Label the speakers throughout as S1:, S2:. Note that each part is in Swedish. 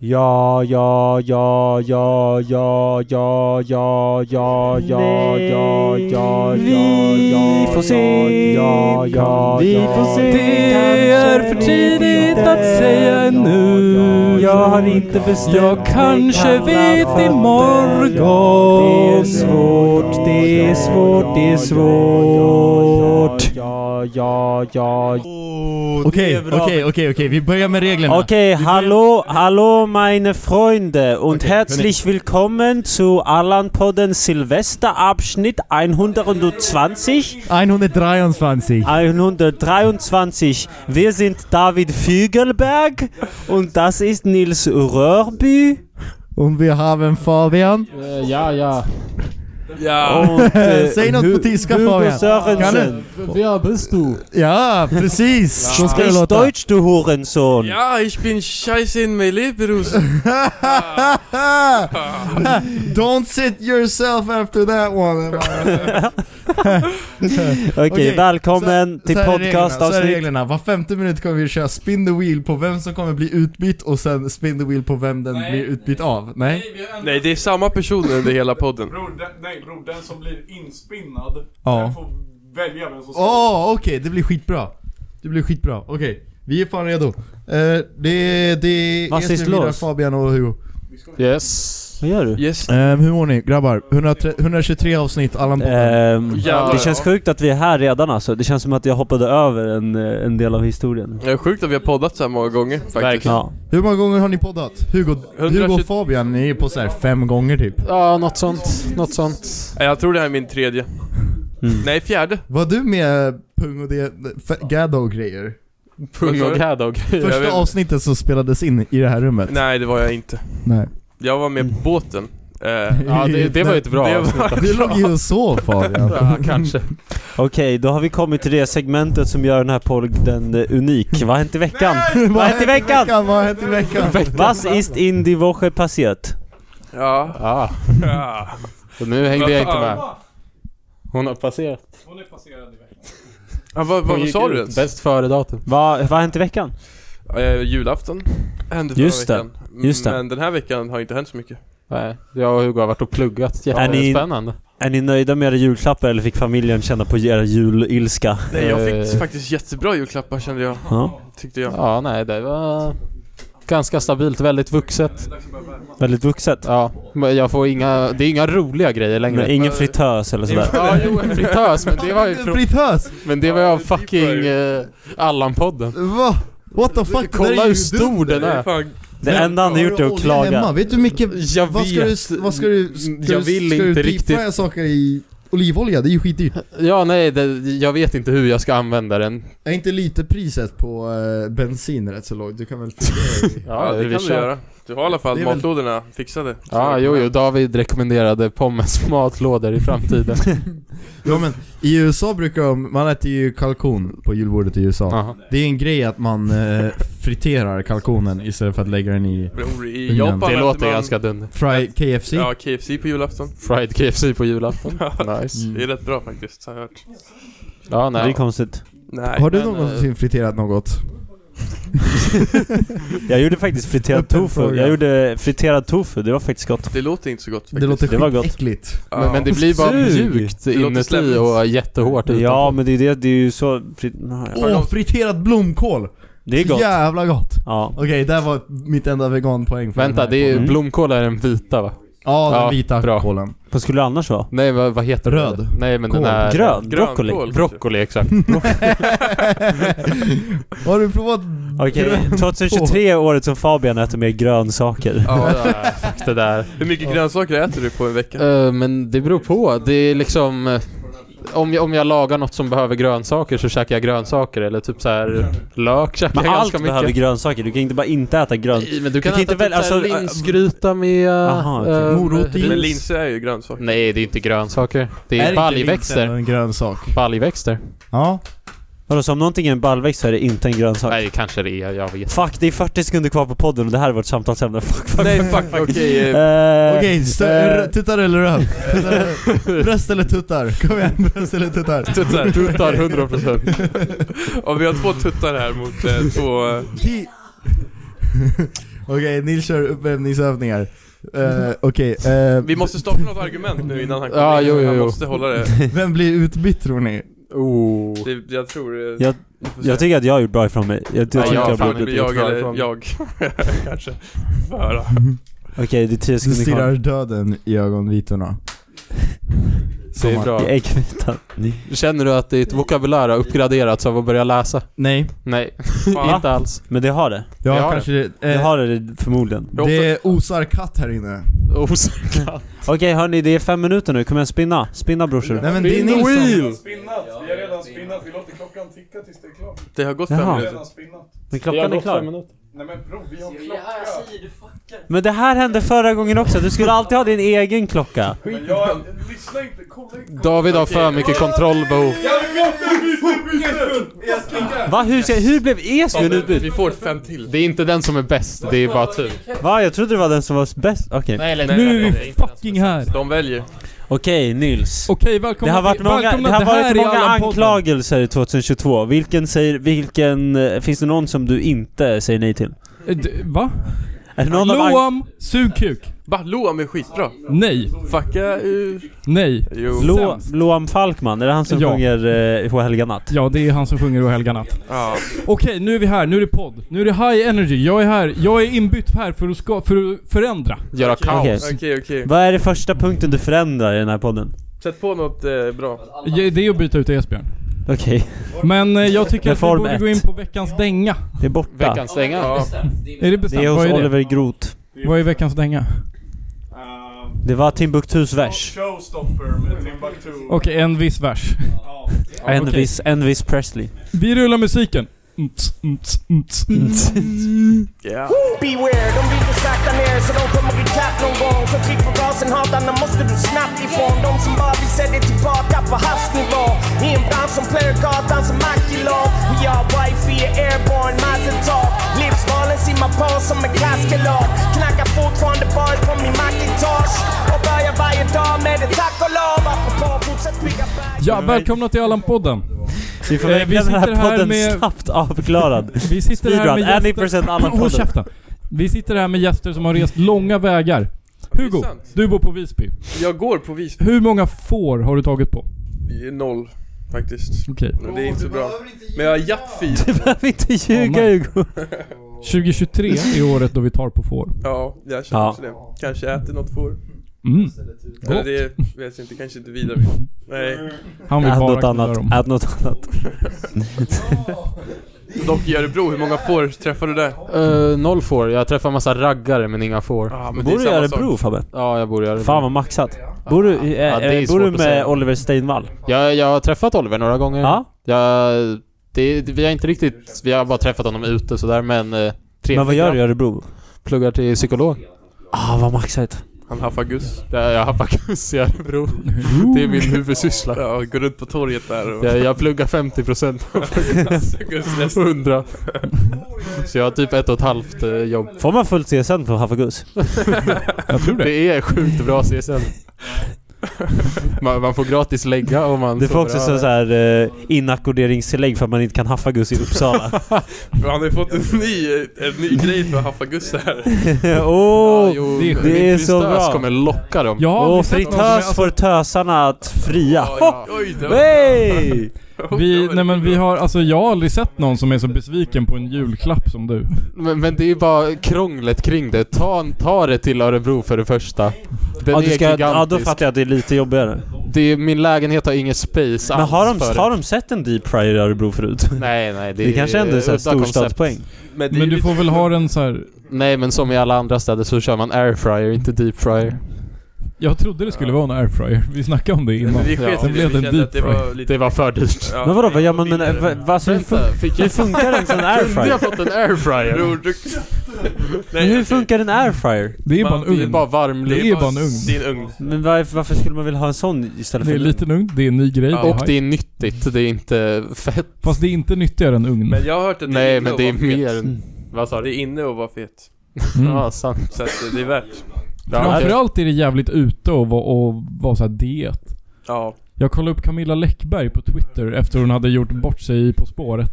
S1: Ja, ja, ja, ja, ja, ja, ja, ja, ja, ja, ja, ja,
S2: Vi får se.
S1: ja, ja,
S2: Vi
S1: ja,
S2: får se.
S3: Det är för tidigt att säga nu.
S2: Jag har inte bestämt
S3: Jag kanske
S2: mig.
S3: vet
S2: Det är
S3: imorgon.
S2: svårt, det är svårt, det är svårt.
S1: Ja, ja, ja,
S4: Okej, okej, okej, okej. Vi börjar med reglerna.
S2: Okay, hallo, hallo meine Freunde und herzlich willkommen zu Alan Podden Silvesterabschnitt 120,
S4: 123.
S2: 123. Wir sind David Fügelberg und das ist Nils Röhrby
S4: Und wir haben Fabian.
S5: Eh, ja, ja.
S2: und äh,
S4: Säg något på tyska
S2: Hugo
S4: Fabian. Kan du?
S2: Sörensen.
S5: Wer bist du?
S4: Ja, precis. Så ska det
S2: Sprich
S4: låta.
S2: Deutsch, du Hurensohn.
S6: Ja, ich bin scheiße in mein Leben raus.
S4: Don't sit yourself after that one.
S2: Okej,
S4: Okej,
S2: välkommen
S4: Så-
S2: till
S4: så här är reglerna, så här är
S2: podcastavsnitt.
S4: reglerna. Var femte minut kommer vi köra spin the wheel på vem som kommer bli utbytt och sen spin the wheel på vem den blir utbytt av. Nej?
S6: Nej, det är samma person under hela podden.
S7: Bror, den, nej bror, den som blir inspinnad,
S4: Ja.
S7: den får välja vem som ska...
S4: Åh, okej, det blir skitbra. Det blir skitbra, okej. Vi är fan redo. Eh, det, det
S2: Was
S4: är
S2: ist
S4: Sylvia,
S2: los?
S4: Fabian och Hugo.
S5: Yes.
S2: Vad gör du?
S6: Yes.
S4: Ehm, hur mår ni grabbar? 100, 123 avsnitt, Allan
S5: Eh.
S4: Botten.
S2: Ehm,
S6: Jävlar,
S2: det känns sjukt att vi är här redan alltså. Det känns som att jag hoppade över en, eh, en del av historien.
S6: Det är sjukt att vi har poddat så här många gånger faktiskt.
S5: Verkligen.
S2: Ja.
S4: Hur många gånger har ni poddat? Hugo, Hugo
S6: 120
S4: och Fabian, ni är på så här fem gånger typ.
S5: Ja, något sånt. Något sånt.
S6: Nej, Jag tror det här är min tredje.
S2: Mm.
S6: Nej, fjärde.
S4: Var du med eh, Pung och det, f- Gaddo och grejer?
S5: Pung och gadda och grejer.
S6: Jag
S4: Första
S6: vet-
S4: avsnittet som spelades in i det här rummet?
S6: Nej, det var jag inte.
S4: Nej.
S6: Jag var med på båten. Eh,
S5: Ja, det, det var ju ett bra
S6: Det var-
S5: avsnitt.
S4: Du låg ju och sov Fabian.
S5: Ja, kanske.
S2: Okej, då har vi kommit till det segmentet som gör den här podden eh, unik. Vad har hänt i veckan? Vad har hänt i veckan?
S4: Vad har hänt i veckan?
S2: Was ist in die Woche passiert?
S6: ja.
S5: Ja.
S6: ja.
S5: Och nu hängde jag inte
S6: Vad fan?
S5: med. Hon har passerat.
S7: Hon är passerad i veckan.
S6: Ja, vad,
S5: Hon
S6: vad
S5: gick
S6: sa du
S5: ut.
S6: ens?
S5: Bäst före-datum.
S2: Va, vad har hänt i veckan?
S6: Eh, julafton hände förra
S2: Just det.
S6: veckan.
S2: Just det.
S6: Men den här veckan har inte hänt så mycket.
S5: Nej, jag och Hugo har varit och pluggat.
S2: Är ni-
S5: Jättespännande.
S2: Är ni nöjda med era julklappar eller fick familjen känna på era julilska?
S6: Nej, jag fick
S5: Eh.
S6: faktiskt jättebra julklappar kände jag.
S2: Ja.
S6: Tyckte jag.
S5: Ja, nej, det var ganska stabilt. Väldigt vuxet.
S2: Väldigt vuxet.
S5: Ja, men jag får inga... Det är inga roliga grejer
S2: Men
S5: längre.
S2: ingen fritös eller sådär.
S5: Ja, jo, en fritös, men det var ju... Från,
S4: Fritös!
S5: men det var ju av fucking eh, Allan-podden.
S4: Va? What the fuck? Det där
S5: Kolla
S4: är
S5: hur
S4: ju
S5: stor
S4: dumt.
S5: den
S6: Det är
S5: är.
S6: fan...
S2: Det enda han har gjort är att
S4: Olja hemma.
S2: klaga.
S4: Vet du hur mycket...
S5: Jag
S4: vad ska
S5: vet.
S4: du... Vad ska du... Ska
S5: Jag
S4: du-
S5: vill
S4: ska
S5: inte
S4: du
S5: riktigt.
S4: deepfrya saker i olivolja? Det är ju skitdyrt.
S5: Ja, nej, det, jag vet inte hur jag ska använda den.
S4: Är inte lite priset på eh, bensin rätt så lågt? Du kan väl fundera i-
S6: Ja, det
S5: vi
S6: kan du
S5: kör.
S6: göra. Du har i alla fall
S4: Det är väl-
S6: matlådorna fixade.
S5: Ja, jo, jo, David rekommenderade pommes matlådor i framtiden.
S4: Ja men, i USA brukar de... Man äter ju kalkon på julbordet i USA.
S5: Jaha.
S4: Det är en grej att man eh, friterar kalkonen istället för att lägga den i
S6: Bror, i
S4: Ugnen.
S6: Japan
S5: Det
S6: äter
S5: låter
S6: man-
S5: ganska Mm. dunder.
S4: fry KFC.
S6: Ja, KFC på julafton.
S5: Fried KFC på julafton. Nice.
S4: Mm.
S6: Det är rätt bra faktiskt, har jag hört.
S5: Ja,
S2: Det är
S5: nej.
S2: konstigt.
S6: Nej,
S4: Har du
S6: men, eh,
S4: någonsin friterat något?
S2: Jag gjorde faktiskt friterad
S4: Öppen
S2: tofu.
S4: fråga.
S2: Jag gjorde friterad tofu, det var faktiskt gott.
S6: Det låter inte så gott faktiskt.
S4: Det låter
S2: Det var gott.
S4: skitäckligt.
S6: Ja.
S5: Men, men det blir bara
S2: Sug.
S5: mjukt
S6: låter
S5: inuti
S6: slemmigt.
S5: och jättehårt utanpå.
S2: Ja, men det är, det, det är ju så... fri-
S4: Åh, friterad blomkål!
S2: Det är gott.
S4: Jävla gott!
S2: Ja.
S4: Okej, där var mitt enda veganpoäng för
S5: Vänta,
S4: den här
S5: det är
S2: Mm.
S5: blomkål är den vita va?
S4: Ja, den
S5: Ja,
S4: vita
S5: bra.
S4: kålen.
S2: Vad skulle det annars vara?
S5: Nej, vad, vad heter
S4: Röd.
S5: det? Nej, men
S4: Kål.
S5: den här...
S2: Grön?
S6: grönkål.
S2: Broccoli?
S5: Broccoli, exakt.
S4: Har du provat?
S2: Okej,
S4: Grön
S2: 2023 är året som Fabian äter mer grönsaker.
S5: ja, ja, fuck det där.
S6: Hur mycket grönsaker äter du på en
S4: Äh,
S6: vecka?
S5: Eh, men det beror på. Det är liksom... eh, Om jag, om jag lagar något som behöver grönsaker så käkar jag grönsaker eller typ så här lök käkar
S2: Men
S5: jag
S2: allt
S5: ganska mycket.
S2: behöver grönsaker, du kan inte bara inte äta grönsaker.
S5: Nej, men du kan,
S2: kan inte
S5: äta
S2: väl-
S5: typ alltså,
S2: alltså, äh,
S5: linsgryta med...
S2: Aha, okej.
S5: eh,
S4: Morot i-
S5: ris.
S6: Men linser är ju grönsaker.
S5: Nej, det är inte grönsaker. Det
S4: Är
S5: är,
S4: inte
S5: baljväxter.
S4: linsen En grönsak.
S5: Baljväxter.
S4: Ja.
S2: Vadå, så om någonting är en baljväxt så är det inte en grönsak?
S5: Nej, kanske det är. Jag vet
S2: Fuck, det är 40 sekunder kvar på podden och det här är vårt samtalsämne. Fuck, fuck.
S6: Nej, fuck, okej. eh,
S2: Eh,
S4: Okej, stö-
S2: eh,
S4: r- tuttar eller röv? Tuttar eller- Bröst eller tuttar? Kom igen, bröst eller tuttar?
S6: Tuttar.
S5: Tuttar 100%.
S6: Ja, vi har två tuttar här mot eh, två... eh,
S4: Ti- Okej, Okej, Nils kör uppvärmningsövningar. Eh, Okej, eh,
S6: Vi måste starta något argument nu innan han kommer
S8: Ja,
S6: in.
S8: jo, jo,
S6: Han
S8: jo.
S6: måste hålla det.
S4: vem blir utbytt tror ni?
S8: Oh.
S6: det jag tror... eh,
S2: Jag-
S6: vi får se.
S2: Jag tycker att jag har gjort bra ifrån mig. Jag, jag
S8: Ja,
S2: tycker
S8: jag
S2: jag
S8: fan,
S2: borde...
S6: det blir jag
S8: bra
S6: eller
S8: ifrån.
S6: jag. Kanske. Föra.
S2: Okej, det är tio
S4: Du
S2: sekunder
S4: stirrar
S2: kvar.
S4: döden i ögonvitorna.
S8: Det är
S4: Sommar.
S8: bra.
S2: I äggvitan.
S8: Känner du att ditt vokabulär har uppgraderats av att börja läsa?
S4: Nej,
S8: Nej,
S6: Fan.
S8: inte alls.
S2: Men det har det.
S4: jag
S8: Vi
S4: har
S8: har
S4: kanske... Det, Eh,
S2: Det har det förmodligen.
S4: det osar katt här inne.
S8: Osäkert.
S2: Okej hörni, det är fem minuter nu. Kom igen, spinna. Spinna brorsor.
S4: Nej men det är
S8: Spin the
S4: Nilsson.
S8: wheel!
S7: redan spinnat, vi har redan spinnat. Vi låter klockan ticka tills det är klart.
S6: Det har gått
S2: Jaha.
S6: fem
S7: Vi har
S6: minuter.
S7: redan spinnat.
S2: Men klockan är klar.
S7: Nej men bror, vi har
S9: Ja,
S7: klocka.
S9: du fuckar.
S2: Men det här hände förra gången också. Du skulle alltid ha din egen klocka.
S7: Men jag, lyssna inte, kolla inte.
S8: David har för mycket
S7: Jag
S8: kontrollbehov.
S7: vill inte byta! Jag ska inte!
S2: Va? Hur, ska, hur blev Esbjörn utbytt?
S6: Vi får fem till.
S8: Det är inte den som är bäst, det är bara typ tur.
S2: Va? Jag trodde det var den som var bäst. Okej.
S8: Nej, eller,
S10: Nu är vi fucking här!
S6: De väljer.
S2: Okej, Nils.
S10: Okej,
S2: Det
S10: välkomna
S2: har varit
S10: till-
S2: många,
S10: välkomna
S2: det har
S10: till här
S2: varit
S10: i
S2: många
S10: Allan-podden.
S2: anklagelser i 2022. Vilken säger, vilken, eh, finns det någon som du inte säger nej till?
S10: Eh, d- Va?
S2: Är det någon av an-
S10: Loam, sug kuk.
S6: Bah, Loam är skitbra.
S10: Nej,
S6: Fucka... eh,
S10: nej.
S6: Jo.
S2: Lo,
S10: Sämst.
S2: Loam Falkman, är det han som
S10: Ja.
S2: sjunger eh, På helga natt?
S10: Ja, det är han som sjunger O helga natt.
S6: Ja.
S10: Okej, nu är vi här, nu är det podd. Nu är det high energy. Jag är här, jag är inbytt här för att, ska, för att förändra.
S8: Göra
S2: Okej.
S8: kaos.
S6: Okej, okej.
S2: Vad är det första punkten du förändrar i den här podden?
S6: Sätt på något eh, bra.
S10: Ja, Det är att byta ut Esbjörn.
S2: Okej,
S10: Men eh, jag tycker att vi
S2: Reform
S10: borde
S2: ett.
S10: gå in på veckans dänga.
S2: det är borta.
S8: Veckans stänga.
S6: Ja.
S10: Är det
S2: Det
S10: bestämt?
S2: är
S10: Vad
S2: hos
S10: är det?
S2: Oliver Groth.
S10: Vad är veckans dänga?
S2: Det var Timbuktus vers.
S7: Ehm, Showstopper med Timbuktu.
S10: Okej, en viss vers.
S7: Ja.
S2: En
S10: okej.
S2: viss, en viss Presley.
S10: Vi rullar musiken. Mts, mts, mts, mts.
S6: Ja.
S11: Beware, don't be the satanär, så don't come och bli katt någon gång. För fick på gasen hatarna måste du snabbt ifrån. De som bara vill se dig tillbaka på havsnivå. I en bransch som Plärgatan som Akilov. Vi har wifi, airborne, mazel tov. Livsvalen simmar på som en kaskelot. Knackar fortfarande bars på min Macintosh. Och börjar varje dag med ett tack och lov. Apropå fortsätt bygga berg.
S10: Ja, välkomna till Allan-podden.
S2: Vi får
S10: Eh, vi
S2: verkligen den
S10: sitter
S2: här
S10: här
S2: podden
S10: med-
S2: snabbt avklarad.
S10: Vi sitter här
S2: Speedrun,
S10: med
S2: 80%
S10: gäster...
S2: Allan-podden.
S10: Håll käften. Vi sitter här med gäster som har rest långa vägar. Hugo,
S6: sant.
S10: du bor på Visby.
S6: Jag går på Visby.
S10: Hur många får har du tagit på?
S6: Noll, faktiskt.
S10: Okej.
S6: Men det är inte så bra. Men jag har jappfil.
S2: Du behöver inte ljuga
S10: nej.
S2: Hugo.
S10: 2023 är året då vi tar på får.
S6: Ja, jag känner
S2: Ja.
S6: också det. Kanske äter något får.
S10: Mm.
S6: Eller
S10: Gott.
S6: det vet jag inte, kanske inte vidare. Nej.
S10: Han vill
S2: Ät
S10: bara
S2: något
S10: knulla dem.
S2: annat, ät något annat.
S6: Dock i Örebro, hur många får träffar du där?
S8: Eh, noll får. Jag träffar massa raggare men inga får.
S6: Ja, men
S2: Bor du i
S6: samma
S2: Örebro Fabbe?
S8: Ja, jag bor i Örebro.
S2: Fan vad maxat. Bor du, eh,
S8: Ja, det är
S2: eh, bor
S8: svårt
S2: du
S8: att
S2: med
S8: säga.
S2: Oliver Steinvall?
S8: Jag, jag har träffat Oliver några gånger.
S2: Ja.
S8: Jag, det, vi har inte riktigt... Vi har bara träffat honom ute sådär men... eh, trevlig
S2: Men vad gör du i
S8: grabb.
S2: Örebro?
S8: Pluggar till psykolog.
S2: Ah vad maxat.
S6: sak. Han haffar guss.
S8: Jag, jag har faktiskt i Örebro. Det är min huvudsyssla.
S6: Ja, går runt på torget där och...
S8: Jag, jag pluggar 50%
S6: Guss,
S8: 100. Så jag har typ ett och ett halvt eh, jobb.
S2: Får man fullt CSN på Haffagus?
S10: Jag tror det.
S8: Det är sjukt bra CSN. Man, man får gratis lägga och man
S2: Du får
S8: sover
S2: också
S8: över.
S2: så här eh, inackorderingstillägg för att man inte kan Haffagus i Uppsala.
S6: Han har ju fått en ny, en ny grej för att haffa guss här.
S2: Åh!
S8: Ja, jo,
S10: det är
S2: sjukt. Det är så
S8: fritös
S2: bra.
S8: kommer locka dem.
S10: Jag har
S2: och
S10: aldrig sett någon som är-
S2: fritös får tösarna att fria.
S6: Ja, Oj, det var-
S2: Hey!
S10: Alltså, Vi, nej men vi har, alltså jag har aldrig sett någon som är så besviken på en julklapp som du.
S8: Men, men det är ju bara krånglet kring det. Ta, ta det till Örebro för det första. Den
S2: Ja,
S8: är
S2: du ska,
S8: gigantisk.
S2: ja, då fattar jag att det är lite jobbigare.
S8: det är, min lägenhet har ingen space
S2: Men
S8: alls
S2: har de,
S8: för
S2: har de sett en Deep Fryer i Örebro förut?
S8: det. Nej, nej. Det,
S2: Det kanske ändå är såhär
S8: udda koncept.
S2: storstadspoäng.
S6: Men det är
S10: Men
S6: ju
S10: du
S6: lite...
S10: får väl ha den så här.
S8: Nej, men som i alla andra städer så kör man airfryer, inte deepfryer.
S10: jag trodde det skulle vara en airfryer. Vi snackade om det innan.
S6: Men vi sket
S8: Ja.
S6: i
S10: Sen
S6: det,
S10: blev
S6: vi
S10: det
S6: kände
S10: en
S6: att det var lite...
S8: Det var för dyrt.
S6: Ja,
S2: Men vadå,
S6: vi
S2: vad gör
S6: går
S2: man med
S6: vidare.
S2: en... va- va- Alltså, hur, fun-
S8: fick
S2: hur funkar en sån
S8: Kunde
S2: airfryer?
S8: jag fått en airfryer?
S6: Bror, du...
S2: Men hur funkar en airfryer?
S10: Det är bara
S6: Man- det
S10: en
S6: är
S8: Det är
S10: ugn.
S8: bara varm
S10: Det är bara en
S6: Det
S10: ugn.
S6: är en ugn.
S2: Men varför, varför skulle man vilja ha en sån istället
S10: Det
S2: för
S10: är en liten ugn, det är en ny grej.
S6: Ja,
S10: det är
S8: Och
S10: hype.
S8: det är Typ nyttigt, det är inte fett.
S10: Fast det är inte nyttigare än ugn.
S6: Men jag har hört att det är
S8: Nej,
S6: inne
S8: men
S6: att
S8: det är
S6: vara fet.
S8: mer än... Vad sa
S6: Det
S8: du?
S6: är inne att vara fet.
S10: Mm.
S8: Ja, sant.
S6: Så att eh, det är värt.
S8: Ja,
S10: Framförallt är det jävligt ute och vara och vara så här diet.
S6: Ja.
S10: Jag kollade upp Camilla Läckberg på Twitter efter hon hade gjort bort sig i På spåret.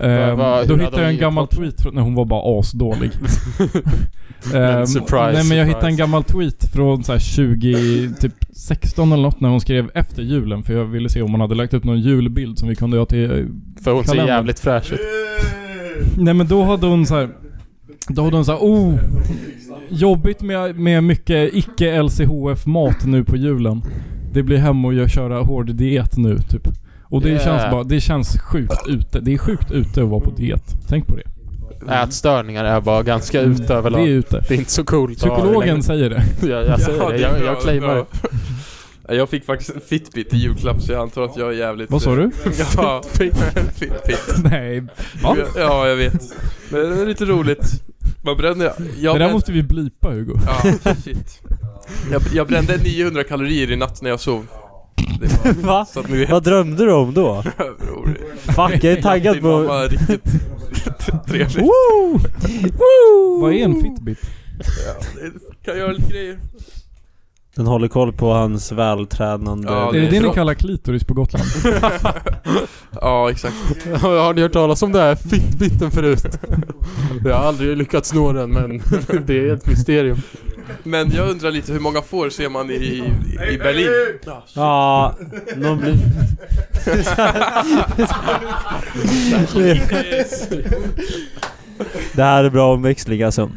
S10: Ehm,
S8: vad- hur
S10: då
S8: hade
S10: hittade
S8: hon
S10: jag en
S8: gjort
S10: gammal
S8: bort sig?
S10: tweet från... Nej, hon var bara asdålig. Ehm,
S8: Men surprise,
S10: nej men jag hittade en
S8: surprise.
S10: gammal tweet från så här 20, typ 16 eller något när hon skrev efter julen för jag ville se om hon hade lagt upp någon julbild som vi kunde ha till
S8: För hon ser
S10: Kalendern.
S8: jävligt fräsch ut.
S10: Nej men då hade hon så här. Då hade hon så här, oh! Jobbigt med, med mycket icke LCHF mat nu på julen. Det blir hem och jag köra hård diet nu typ. Och det
S8: Yeah.
S10: känns bara, det känns sjukt ute. Det är sjukt ute att vara på diet. Tänk på det. Mm.
S8: Ätstörningar är bara ganska
S2: Mm.
S8: ute
S10: Det är
S8: överlag.
S10: ute.
S8: Det är inte så coolt att ha det
S10: Psykologen
S8: längre.
S10: säger det.
S8: Jag, jag säger det, jag, jag claimar det.
S6: det. Jag fick faktiskt en Fitbit i julklapp så jag antar att jag är jävligt...
S10: Vad sa du?
S6: Ja, Fitbit.
S10: Nej. Va?
S6: Ja, jag vet. Men det är lite roligt. Man bränner... Jag
S10: Det där
S6: brände,
S10: måste vi blipa Hugo.
S6: ja, shit. Jag, jag brände 900 kalorier i natt när jag sov. Det var,
S2: Va?
S6: så att ni vet,
S2: Vad drömde du om då?
S6: bror.
S2: Fuck, jag är taggad
S6: Din mamma
S2: på...
S6: är riktigt trevlig.
S2: Woo!
S10: Vad är en fitbit?
S6: Kan göra lite grejer.
S2: Den håller koll på hans vältränande...
S6: Ja,
S10: Är det
S6: det är
S10: det ni
S6: bra.
S10: kallar klitoris på Gotland?
S6: Ja, exakt.
S8: Har ni hört talas om det här fitbiten förut? Jag har aldrig lyckats nå den men det är ett mysterium.
S6: Men jag undrar lite hur många får ser man i, i, i Berlin?
S2: Ja, någon blir... Det här är bra omväxling alltså.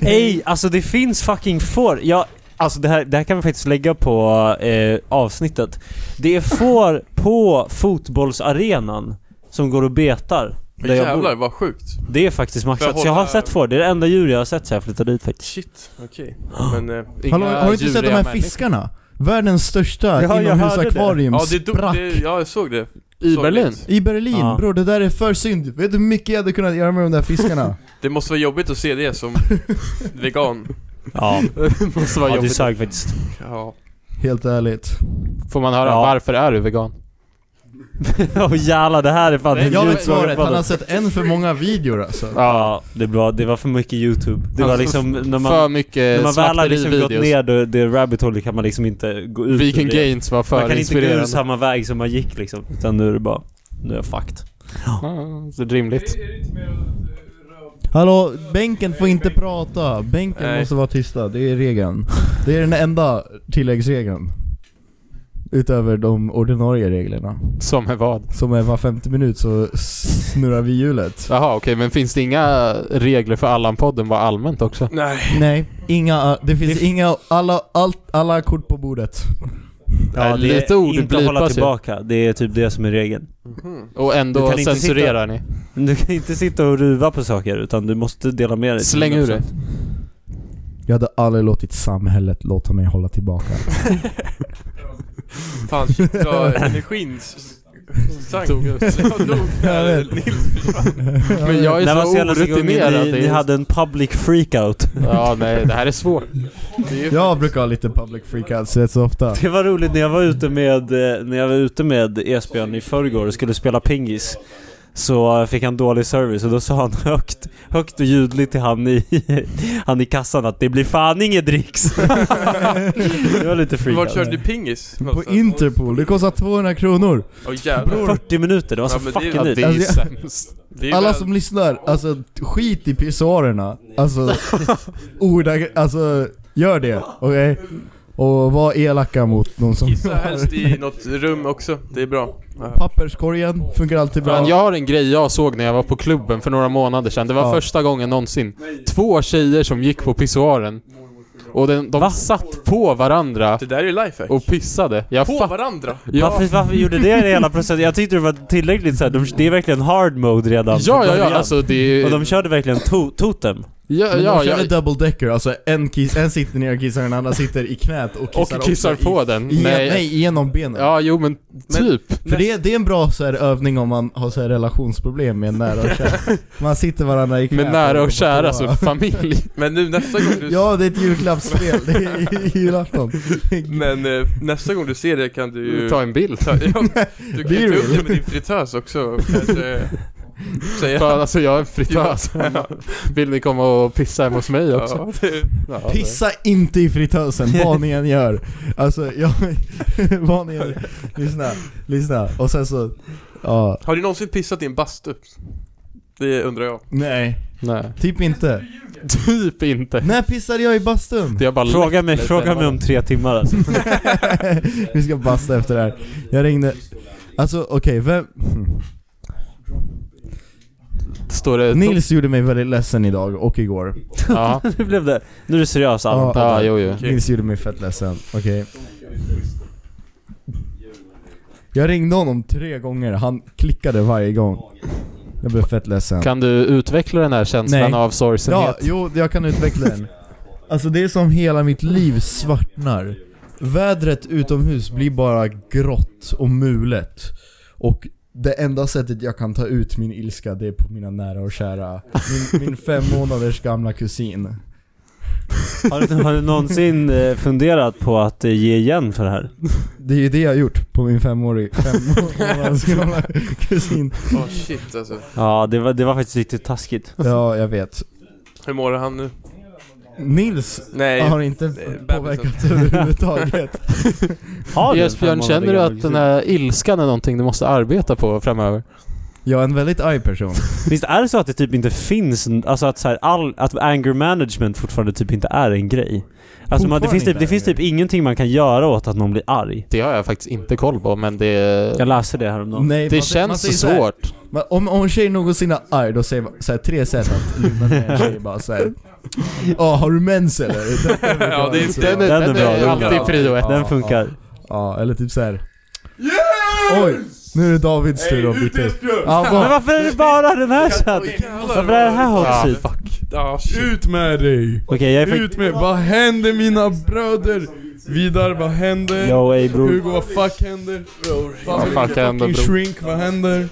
S2: Ej, alltså det finns fucking får. Jag, alltså det här, det här kan vi faktiskt lägga på eh, avsnittet. Det är får på fotbollsarenan som går och betar. Där jag
S6: Jävlar
S2: bor.
S6: vad sjukt.
S2: Det är faktiskt
S6: Får
S2: maxat.
S6: jag
S2: Så jag har
S6: hålla-
S2: sett får. Det är det enda djur jag har sett så jag flyttade dit faktiskt.
S6: Shit, okej. Men... Eh,
S4: Hallå, har du inte sett de här
S8: människor.
S4: fiskarna? Världens
S2: Ja,
S4: största
S2: jag
S4: inomhusakvarium
S6: ja, det dog,
S4: sprack
S6: det, ja, jag såg det.
S8: I
S6: Såg
S8: Berlin?
S6: Det.
S4: I Berlin,
S2: Ja.
S4: bror det där är för synd. Vet du hur mycket jag hade kunnat göra med de där fiskarna?
S6: det måste vara jobbigt att se det som vegan.
S2: Ja,
S8: Måste vara
S2: ja det
S8: jobbigt.
S2: sög faktiskt.
S6: Ja.
S4: Helt ärligt.
S8: Får man höra
S2: Ja.
S8: varför är du vegan?
S2: Åh jävlar, det här är fan
S4: Jag vet
S2: djupare
S4: svaret, han
S2: podden.
S4: har sett en för många videor alltså.
S2: Ja, det var, det var för mycket youtube. Det var
S8: Alltså,
S2: liksom när
S8: för
S2: man, när
S8: mycket
S2: man väl har liksom gått
S8: slakterivideos.
S2: ner det, det rabbit hole kan man liksom inte gå ut
S8: Viking
S2: ur det.
S8: Gains var för
S2: Man kan inte gå ur
S8: inspirerande.
S2: samma väg som man gick liksom. Utan nu är det bara, nu är jag fucked.
S8: Ja, så det är rimligt.
S4: Hallå, bänken får inte prata. Bänken
S6: Nej.
S4: måste vara tysta, det är regeln. Det är den enda tilläggsregeln. Utöver de ordinarie reglerna.
S8: Som är vad?
S4: Som är var 50 minut så snurrar vi hjulet.
S8: Jaha okej, men finns det inga regler för Allan-podden bara allmänt också?
S6: Nej.
S4: Nej, inga, det finns inga, alla, allt, alla kort på bordet.
S8: Ja,
S2: det är
S8: lite ord
S2: inte hålla
S8: blipas ju.
S2: tillbaka. Det är typ det som är regeln.
S8: Och
S2: Du
S8: ändå
S2: kan inte
S8: censurerar ni?
S2: Du kan inte sitta och ruva på saker utan du måste dela med dig.
S8: Släng ur dig.
S4: Jag hade aldrig låtit samhället låta mig hålla tillbaka.
S6: Fan, shit, jag, energin s- sank. Tog
S4: Jag vet.
S8: Men jag är
S2: När var
S8: så
S2: senaste gången
S8: orutinerad.
S2: ni,
S8: det är-
S2: ni hade en public freakout?
S8: Ja nej, det här är svårt.
S4: Jag brukar ha lite public freakouts rätt så ofta.
S2: Det var roligt när jag var ute med, eh, när jag var ute med Esbjörn i förrgår och skulle spela pingis så eh, fick han dålig service och då sa han högt, högt och ljudligt till han i, han i kassan att det blir fan inget dricks. det var lite alltså.
S6: Vart
S2: freakout.
S6: körde du pingis?
S4: alltså. På Interpol, det kostar 200 kronor.
S6: Åh jävlar.
S2: 40 minuter, det var så
S6: Ja, men
S2: fucking
S6: det- ja,
S8: Ja,
S2: nytt.
S8: det är
S4: Alltså,
S8: sämst.
S6: Det är
S4: Alla
S6: väl-
S4: som lyssnar, alltså skit i pissoarerna. Alltså, ordag, alltså gör det, okej? Och var elaka mot någon som...
S6: Kissa helst i något rum också, det är bra.
S4: Papperskorgen funkar alltid bra.
S8: Men jag har en grej jag såg när jag var på klubben för några månader sedan. Det var
S4: Ja.
S8: första gången någonsin. Två tjejer som gick på pissoaren. Och den, de satt på varandra
S6: Det där är ju lifehack.
S8: och pissade. Jag
S6: På
S8: fattar...
S6: varandra?
S8: Ja,
S2: Varför, varför gjorde det det hela processen? Jag tyckte det var tillräckligt såhär, de, det är verkligen hard mode redan
S8: ja,
S2: från
S8: ja, ja
S2: början.
S8: alltså det är...
S2: Och de körde verkligen to- totem.
S8: Ja,
S4: Men
S8: ja,
S4: de körde
S8: ja,
S4: double decker, alltså en, kiss, en sitter ner och kissar, den andra sitter i knät och kissar,
S8: och kissar
S4: också i-
S8: på den.
S4: I, nej.
S8: Nej.
S4: genom benen.
S8: Ja, jo men typ.
S4: För det, det är en bra så här, övning om man har så här, relationsproblem med en nära och kära. Man sitter varandra i knät.
S8: Med nära och kära,
S4: så
S8: så familj.
S6: Men nu nästa gång du...
S4: Ja, det är ett julklappsspel. Det är julafton.
S6: Men eh, nästa gång du ser det kan du ju...
S8: Ta en bild.
S6: Ta, ja, du kan ju
S4: Blir
S6: ta
S4: du?
S6: upp det med din fritös också. Kanske Säger
S8: Fan alltså jag är fritös. Vill ni komma och pissa hemma hos mig också?
S6: Ja, det-
S8: Ja, det-
S4: Pissa inte i fritösen, vad ni än gör. Alltså, jag... vad ni än... Lyssna, lyssna. Och sen så... Ja,
S6: Har du någonsin pissat i en bastu? Det undrar jag.
S4: nej.
S8: Nej.
S4: Typ inte.
S8: Typ inte.
S4: När pissade jag i bastun?
S8: Det har bara
S2: Fråga
S8: läckt
S2: mig,
S8: lite.
S2: fråga mig om tre timmar alltså.
S4: Vi ska basta efter det här. Jag ringde... Alltså okej, vem...
S8: Står det...
S4: Nils gjorde mig väldigt ledsen idag och igår.
S8: Ja,
S2: Nu blev det, nu är du seriös Allan.
S8: ja jo, jo.
S4: Nils gjorde mig fett ledsen, okej. Jag ringde honom tre gånger, han klickade varje gång. Jag blev fett ledsen.
S8: Kan du utveckla den här känslan
S4: Nej.
S8: av sorgsenhet?
S4: Ja, jo, jag kan utveckla den. Alltså det är som hela mitt liv svartnar. Vädret utomhus blir bara grått och mulet. Och det enda sättet jag kan ta ut min ilska, det är på mina nära och kära. Min, min fem månaders gamla kusin.
S2: Har du, har du någonsin eh, funderat på att eh, ge igen för det här?
S4: Det är ju det jag har gjort på min femårig, fem månaders gamla kusin.
S6: Åh shit alltså.
S2: Ja, det var, det var faktiskt riktigt taskigt.
S4: Ja, jag vet.
S6: Hur mår han nu?
S4: Nils
S6: Nej.
S4: har inte
S6: bebisen.
S4: påverkat överhuvudtaget.
S2: Har du en
S8: Esbjörn,
S2: femmånader
S8: känner du
S2: gammal
S8: att
S2: kusin?
S8: den här ilskan är någonting du måste arbeta på framöver?
S4: Jag är en väldigt arg person.
S2: Visst är det så att det typ inte finns, n- alltså att, så här, all, att anger management fortfarande typ inte är en grej? Alltså man, det, finns typ, det finns typ ingenting man kan göra åt att någon blir arg.
S8: Det har jag faktiskt inte koll på, men det...
S2: Jag läste det häromdagen.
S4: Nej,
S8: Det
S4: man säger- man säger
S8: känns
S4: så här,
S8: svårt.
S4: Men om, om en tjej någonsin är arg, då säger man så här, tre sätt att lugna ner en tjej bara såhär Ja, har du mens eller?
S6: Ja, det är
S8: Den är,
S2: Den är
S8: den
S2: bra,
S8: är
S2: den är
S8: alltid
S6: bra.
S8: prio ett.
S2: Den funkar.
S4: Ja, eller typ såhär Oj, nu är det Davids tur att bli till ja,
S2: Men
S4: vad-
S2: varför är det bara den här chatten? Varför är det här hot seat?
S6: Ja, shit.
S10: Ut med dig!
S2: Okej, jag är fakt-
S10: Ut med Vad händer mina bröder? Vidar, vad händer?
S2: Yo ey bror.
S10: Hugo, vad fuck händer?
S8: Vad fuck händer
S10: Fucking
S8: bror?
S10: shrink, vad händer?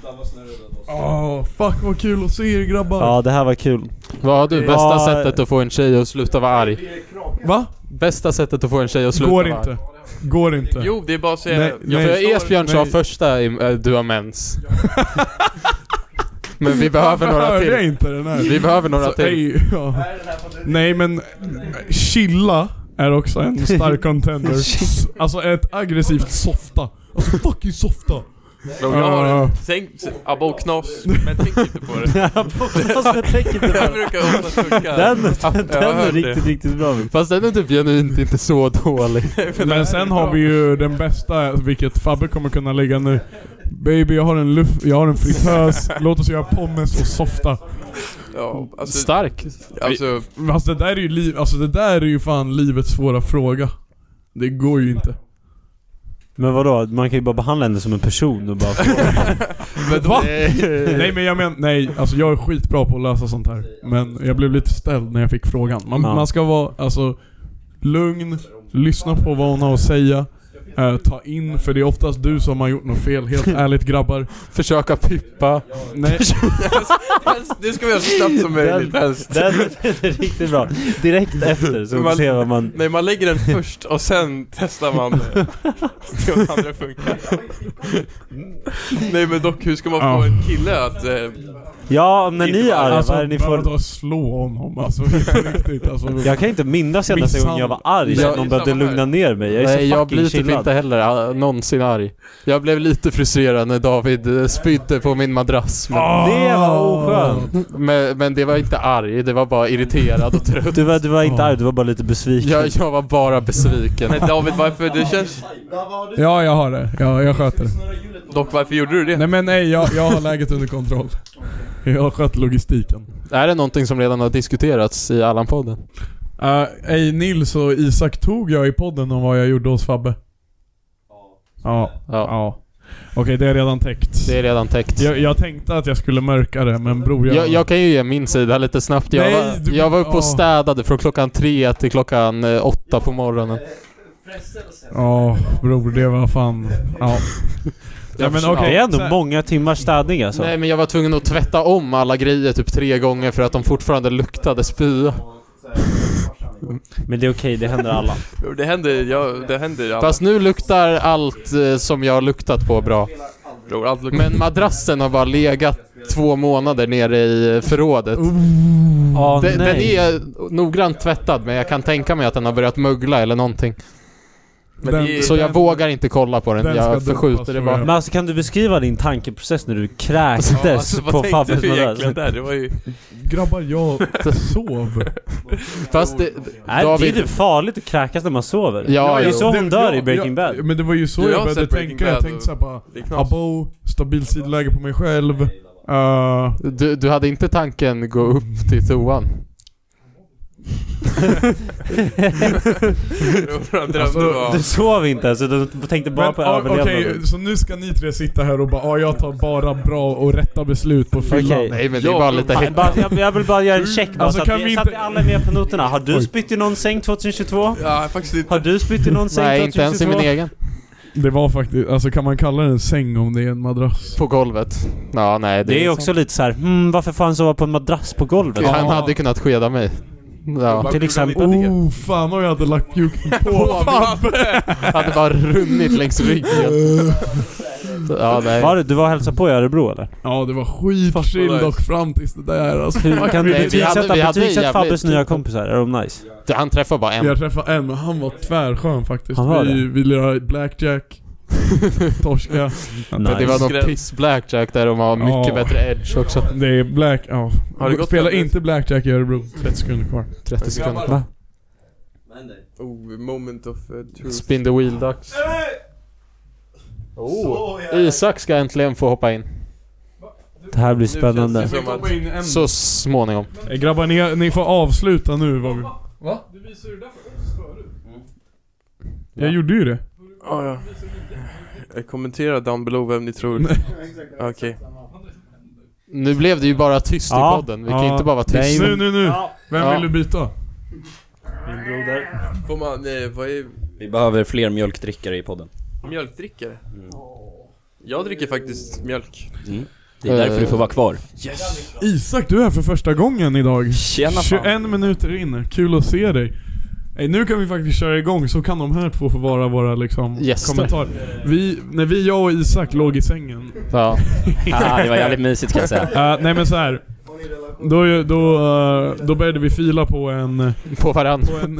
S10: Åh, fuck vad kul att se er grabbar!
S2: Ja, det här var kul.
S8: Vad har du? Bästa
S2: Ja.
S8: sättet att få en tjej att sluta vara arg?
S10: Va?
S8: Bästa sättet att få en tjej att sluta
S10: Går
S8: vara arg?
S10: inte. Går inte.
S6: Jo, det är bara att säga
S10: Nej,
S6: det.
S10: nej.
S8: För
S6: förstår.
S8: Esbjörn sa
S10: Nej.
S8: första, i- äh, du har mens. Men vi behöver några
S10: Hörde jag
S8: till.
S10: inte den här?
S8: Vi behöver några
S10: Så,
S8: till.
S10: ej, ja. Nej men, chilla är också en stark contender. S- alltså ett aggressivt softa. Alltså fucking softa.
S6: Bro, jag har
S10: Ja.
S6: en... Tänk... Abba och knas. Men tänk inte på det.
S2: jag tänker inte på
S6: Det här
S2: det.
S6: brukar ofta funka.
S2: Den, den,
S6: jag har
S2: är
S6: hört det.
S2: riktigt, riktigt bra.
S8: Fast den är typ genuint inte så dålig.
S10: Men sen har vi ju den bästa, vilket Fabbe kommer kunna lägga nu. Baby jag har en luff, jag har en fritös, låt oss göra pommes och softa.
S6: Ja, alltså...
S8: Stark.
S6: Alltså...
S10: Alltså det där är ju liv, alltså det där är ju fan livets svåra fråga. Det går ju inte.
S2: Men vadå? Man kan ju bara behandla henne som en person och bara
S10: Va? nej men jag menar, nej alltså jag är skitbra på att lösa sånt här. Men jag blev lite ställd när jag fick frågan. Man,
S2: Ja.
S10: man ska vara, alltså, lugn, lyssna på vad hon har att säga. eh, ta in, för det är oftast du som har gjort något fel, helt ärligt grabbar.
S8: Försöka pippa.
S10: Nej,
S6: Det ska vi göra så snabbt som möjligt helst.
S2: Den är riktigt bra. Direkt efter så får vi se vad man...
S6: Nej, man lägger den först och sen testar man eh, se om andra funkar. Nej men dock, hur ska man
S10: Ja.
S6: få en kille att... Eh,
S2: Ja, när ni är arga,
S10: alltså
S2: vad är det ni får...
S10: vadå slå honom alltså, på riktigt alltså.
S2: Jag kan inte minnas senaste gången jag var arg
S6: Misshandel.
S2: så någon behövde
S6: Samma här.
S2: lugna ner mig. Jag är
S8: Nej
S2: så
S8: jag
S2: fucking
S8: blir typ
S2: chillad.
S8: inte heller äh, någonsin arg. Jag blev lite frustrerad när David äh, spydde på min madrass. Men,
S2: Det var oskönt.
S8: men, men det var inte arg, det var bara irriterad och trött.
S2: Du var, du var inte arg, du var bara lite besviken.
S8: Jag, jag var bara besviken.
S6: men David, varför... Det känns...
S10: Ja, jag har det. Ja, jag sköter det.
S6: Dock, varför gjorde du det?
S10: Nej men nej, jag, jag har läget under kontroll. Jag har skött logistiken.
S8: Är det någonting som redan har diskuterats i Allan-podden?
S10: Uh, ej, Nils och Isak tog jag i podden om vad jag gjorde hos Fabbe? Ja. Ja.
S8: Ja,
S10: Okej, det är redan täckt.
S8: det är redan täckt.
S10: Jag, jag tänkte att jag skulle mörka det, men bror jag...
S8: Jag, jag kan ju ge min sida lite snabbt. Jag,
S10: Nej,
S8: var,
S10: du-
S8: jag var uppe
S10: ja.
S8: och städade från klockan tre till klockan eh, åtta på morgonen.
S10: Ja, bror det var fan... Ja. ja men okej.
S2: Det är ändå
S10: så här-
S2: många timmars städning alltså.
S8: Nej men jag var tvungen att tvätta om alla grejer typ tre gånger för att de fortfarande luktade spya.
S2: Men det är okej, det händer alla.
S6: Jo, Det händer, ja, det händer ju alla
S8: Fast nu luktar allt eh, som jag har luktat på bra.
S6: bror, allt luktar.
S8: Men madrassen har bara legat två månader nere i eh, förrådet.
S2: Ah,
S8: Den, den
S2: nej.
S8: är noggrant tvättad men jag kan tänka mig att den har börjat mögla eller någonting.
S6: Men
S10: Den-
S6: det är,
S8: Så jag vågar inte kolla på den.
S10: den ska
S8: Jag
S10: dumpas,
S8: förskjuter det
S10: tror
S8: bara.
S10: jag.
S2: Men alltså kan du beskriva din tankeprocess när du kräktes
S6: Ja, alltså,
S2: på
S6: vad tänkte
S2: Fabbes
S6: du egentligen
S2: madrass?
S6: där? Det var ju...
S10: Grabbar, jag sov.
S8: Fast det,
S2: Nej, det är
S8: David...
S2: typ farligt att kräkas när man sover.
S8: Ja,
S2: det är
S8: ja.
S2: så hon
S10: Det-
S2: dör i
S10: jag-
S2: Breaking Bad.
S10: jag- Men det var ju så
S6: Du,
S10: jag,
S6: jag har
S10: började
S6: sett Breaking
S10: tänka. Jag
S6: Bad
S10: tänkte såhär bara,
S6: Det är knas.
S10: abo, stabil sidoläge på mig själv. Eh,
S8: Du, du hade inte tanken gå upp till toan?
S6: Han drömde
S10: Alltså,
S6: bara...
S2: Du sov inte ens, utan du tänkte bara
S10: men,
S2: på
S10: ah, Okej,
S2: överlevnaden.
S10: så nu ska ni tre sitta här och bara ah, jag tar bara bra och rätta beslut på fyllan.
S2: Okej.
S8: Nej men det är bara lite
S2: Fan, bara- Jag, jag vill bara göra en check bara,
S10: Alltså,
S2: så, att
S10: kan
S2: vi,
S10: vi
S2: så att
S10: inte-
S2: vi alla är med på noterna. Har du
S10: Oj.
S2: spytt i någon säng 2022?
S6: Ja, jag har faktiskt inte...
S2: Har du spytt i någon säng
S8: Nej,
S2: 2022?
S8: inte ens i min egen.
S10: Det var faktiskt, alltså kan man kalla det en säng om det är en madrass?
S8: På golvet. Ja, nej. Det,
S2: Det är
S8: är
S2: också lite så här, hmm, varför fan sova på en madrass på golvet?
S8: Han hade kunnat skeda mig. Ja.
S2: Till exempel.
S10: Oh, fan om jag hade lagt puken på
S8: Hade bara runnit längs ryggen. Ja,
S2: Var
S8: nej.
S2: du, du var och hälsade på i Örebro eller?
S10: Ja det var skitchill
S6: nice.
S10: dock fram tills det där alltså.
S2: Hur, kan du
S8: vi hade- vi
S2: betygsätta,
S8: hade
S2: betygsätta
S8: jävligt-
S2: Fabbes nya kompisar? Är de nice?
S8: Han träffade bara en.
S10: Jag träffade en men han var tvärskön faktiskt.
S2: Han var
S10: vi, vi lirade blackjack, torska.
S8: Det var någon
S6: Skräll.
S8: piss blackjack där de har mycket
S10: Ja.
S8: bättre edge också.
S10: Det är black, ja.
S6: Har det gått
S10: Spela
S6: fem
S10: inte blackjack i Örebro. 30 sekunder kvar.
S8: 30 sekunder.
S2: Va?
S6: Oh, moment of uh, truth.
S8: Mm. Spin the wheel ducks. Oh. Isak ska äntligen få hoppa in.
S2: Det här blir
S6: Nu känns det
S2: spännande.
S6: som att-
S8: Så småningom.
S10: Eh, Grabbar ni, ni får avsluta nu vad vi...
S12: Va?
S10: Du visade ju det där för oss förut. Jag gjorde ju det.
S6: Ja, Ah, ja. Jag kommenterar down below vem ni tror. Okej.
S8: Nu blev det ju bara tyst
S2: Ja.
S8: i podden. Vi kan
S2: Ja.
S8: inte bara vara tysta.
S2: Nej,
S10: Nu, nu, nu! Vem
S8: Ja.
S10: vill du byta?
S6: Får man, eh, vad är
S7: Vi behöver fler mjölkdrickare i podden.
S6: mjölkdrickare?
S7: Mm.
S6: Jag dricker faktiskt mjölk.
S7: Det är därför du får vara kvar.
S6: Yes!
S10: Isak, du är här för första gången idag.
S7: Tjena fan.
S10: 21 minuter in, kul att se dig. Ey, nu kan vi faktiskt köra igång, så kan de här två få vara våra liksom,
S8: Gäster.
S10: kommentarer. Vi, när vi, jag och Isak låg i sängen.
S8: Eh, Ja.
S7: Ah, det var jävligt mysigt kan jag säga.
S10: Eh, nej men så här. Då, ju- då, eh, då började vi fila på en...
S8: På varandra.
S10: På en...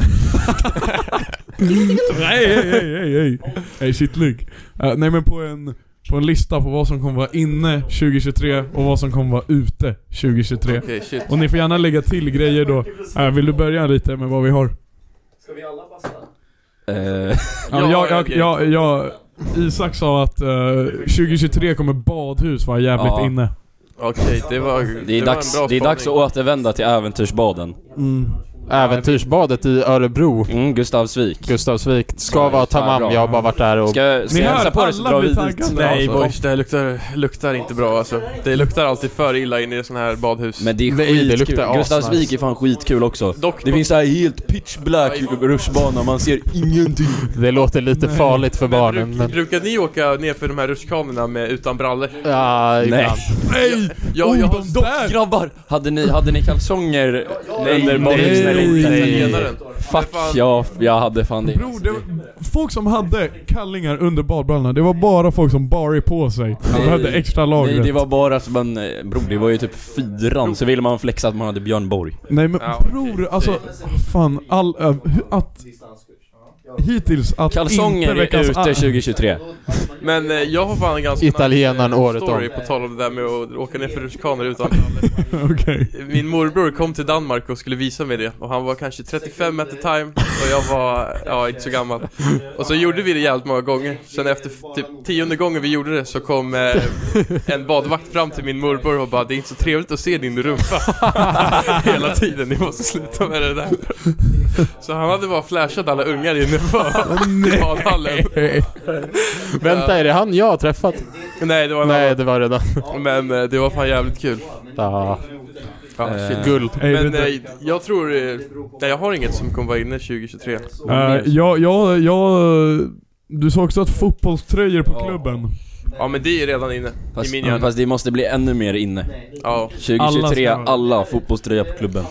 S10: nej, hej, hej, hej, hej. Hej, shitlugg. Eh, nej men på en, på en lista på vad som kommer vara inne 2023 och vad som kommer vara ute 2023.
S6: Okej, shit.
S10: Och ni får gärna lägga till grejer då. Eh, vill du börja lite med vad vi har?
S7: Eh,
S10: Ja, jag, jag, jag, jag, Isak sa att eh, 2023 kommer badhus vara jävligt
S7: Ja.
S10: inne.
S6: Okej, det var
S7: det, är
S6: var
S7: dags,
S6: en bra
S7: det är dags att
S6: spaning.
S7: återvända till äventyrsbaden.
S8: Äventyrsbadet i Örebro.
S7: Mm, Gustavsvik.
S8: Gustavsvik. Ska
S7: Ja,
S8: vara
S7: fan,
S8: tamam.
S7: bra.
S8: Jag har bara varit där och...
S7: Ska, ska
S10: Ni
S7: jag
S10: hör,
S7: hälsa Eh, på dig så
S10: alla
S7: drar vi
S10: blir
S7: dit.
S10: taggade.
S7: Nej,
S10: Alltså.
S7: boy.
S6: Oj, det här luktar, luktar inte bra alltså. Det luktar alltid för illa inne i sådana här badhus.
S7: Men det är
S8: Nej, det
S7: skitkul.
S8: luktar
S7: Gustavsvik
S8: asnice.
S7: är fan skitkul också.
S6: Dock-
S7: Det finns så här helt pitch black rutschbana, man ser ingenting.
S8: Det låter lite farligt för barnen
S6: Bruk,
S8: men...
S6: brukar ni åka ner för de här rutschkanorna med utan brallor?
S8: Ja,
S7: Nej.
S8: ibland.
S10: Nej!
S6: Jag, jag har
S10: där!
S7: Grabbar! Hade ni, hade ni kalsonger under badhuset eller inte?
S6: italienaren.
S7: Fuck, ja, jag hade fan det.
S10: Bror, det var, folk som hade kallingar under badbrallorna, det var bara folk som bar i på sig. De hade extra lagret.
S7: Nej det var bara så man, eh, bror det var ju typ fyran, så ville man flexa att man hade Björn Borg.
S10: Nej men
S6: Ja, okej.
S10: bror, alltså fan all... Äh, hu- att... Hittills att
S7: Kalsonger
S10: inte
S7: är
S10: veckans
S7: ute
S10: ar-
S7: 2023.
S6: Men eh, jag har fan en ganska
S8: Italienaren
S6: nice, eh,
S8: året
S6: story
S8: om.
S6: på tal om det där med att åka ner för rutschkanor utan brallor.
S10: Okej.
S6: Min morbror kom till Danmark och skulle visa mig det och han var kanske 35 at the time och jag var, ja inte så gammal. Och så gjorde vi det jävligt många gånger. Sen efter f- typ tionde gången vi gjorde det så kom eh, en badvakt fram till min morbror och bara Det är inte så trevligt att se din rumpa hela tiden, ni måste sluta med det där. Så han hade bara flashat alla ungar inne på i badhallen.
S8: Vänta, är det han jag har träffat?
S6: Nej det var en
S8: Nej,
S6: annan.
S8: det var det där.
S6: Men eh, det var fan jävligt kul.
S8: Ja.
S6: Ja, shit.
S8: Guld.
S10: Ey,
S6: Men
S10: vänta.
S6: eh, jag tror, eh, nej jag har inget som kommer vara inne 2023.
S10: Äh, jag, jag, jag... Du sa också att fotbollströjor på klubben.
S6: Ja men det är redan inne i
S7: Fast,
S6: min hjärna.
S7: fast det måste bli ännu mer inne.
S6: Ja.
S7: 2023,
S10: Alla ska-
S7: alla fotbollströja på klubben.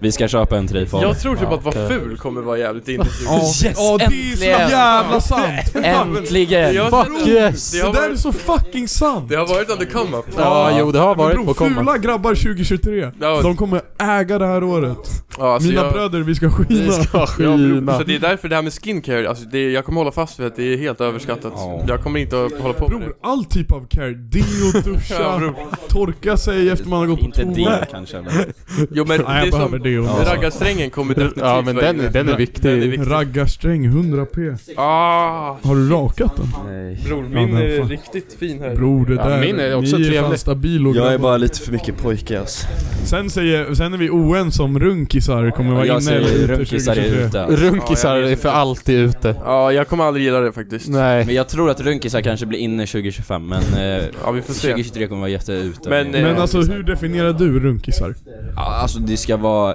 S7: Vi ska köpa en till dig Fabian.
S6: Jag tror typ att vara ful kommer vara jävligt intensivt.
S10: Ja, ja, det är så
S7: äntligen!
S10: jävla sant! Fy fan.
S7: Äntligen!
S6: Jag
S10: Fuck
S6: tror-
S13: yes.
S6: Det
S10: Det
S6: har
S10: där är
S6: varit,
S10: så fucking sant!
S6: det har varit under come up.
S8: Ja, jo det har varit på
S10: Bro,
S8: komma.
S10: fula grabbar 2023.
S6: Ja.
S10: De kommer äga det här året.
S6: Ja, så
S10: Mina
S6: jag-
S10: bröder, vi ska skina.
S6: Ja, bro, så det är därför det här med skincare, alltså det, jag kommer hålla fast vid att det är helt överskattat. Jag kommer inte att hålla på med det.
S10: Bror, all typ av care. Deo,
S6: Ja,
S10: duscha,
S6: bror.
S10: torka sig efter man har gått på
S7: Inte
S10: toa.
S7: det kanske. men-
S6: Jo men det
S10: Nej,
S6: är
S10: jag behöver
S6: som,
S10: deo. Alltså.
S6: raggarsträngen kommer definitivt
S8: Ja men
S6: vara
S8: den,
S6: inne.
S8: den är
S6: Den är
S8: viktig.
S6: viktig.
S10: Raggarsträng 100p.
S6: Ah,
S10: Har du rakat den?
S6: bror
S10: Ja,
S6: min
S10: men
S6: är
S10: fan.
S6: riktigt fin här.
S10: Bror det
S8: Ja,
S10: där,
S8: min är också
S10: ni är fan
S8: trevlig.
S10: stabil och
S7: Jag är
S10: grabbar.
S7: bara lite för mycket pojke alltså.
S10: sen, säger, sen är vi oense om runkisar kommer vara
S7: Jag
S10: inne typ eller
S7: säger
S10: ute
S7: runkisar är
S10: 2023.
S7: ute.
S8: Runkisar
S6: Ja, jag vet
S8: är för
S6: inte.
S8: alltid ute.
S6: Ja, jag kommer aldrig gilla det faktiskt.
S8: Nej.
S7: Men jag tror att runkisar kanske blir inne 2025 men eh,
S6: Ja, vi får se.
S7: 2023 kommer vara jätteute.
S6: Men, eh,
S10: Men alltså hur definierar du runkisar?
S7: Ja, Alltså det ska vara...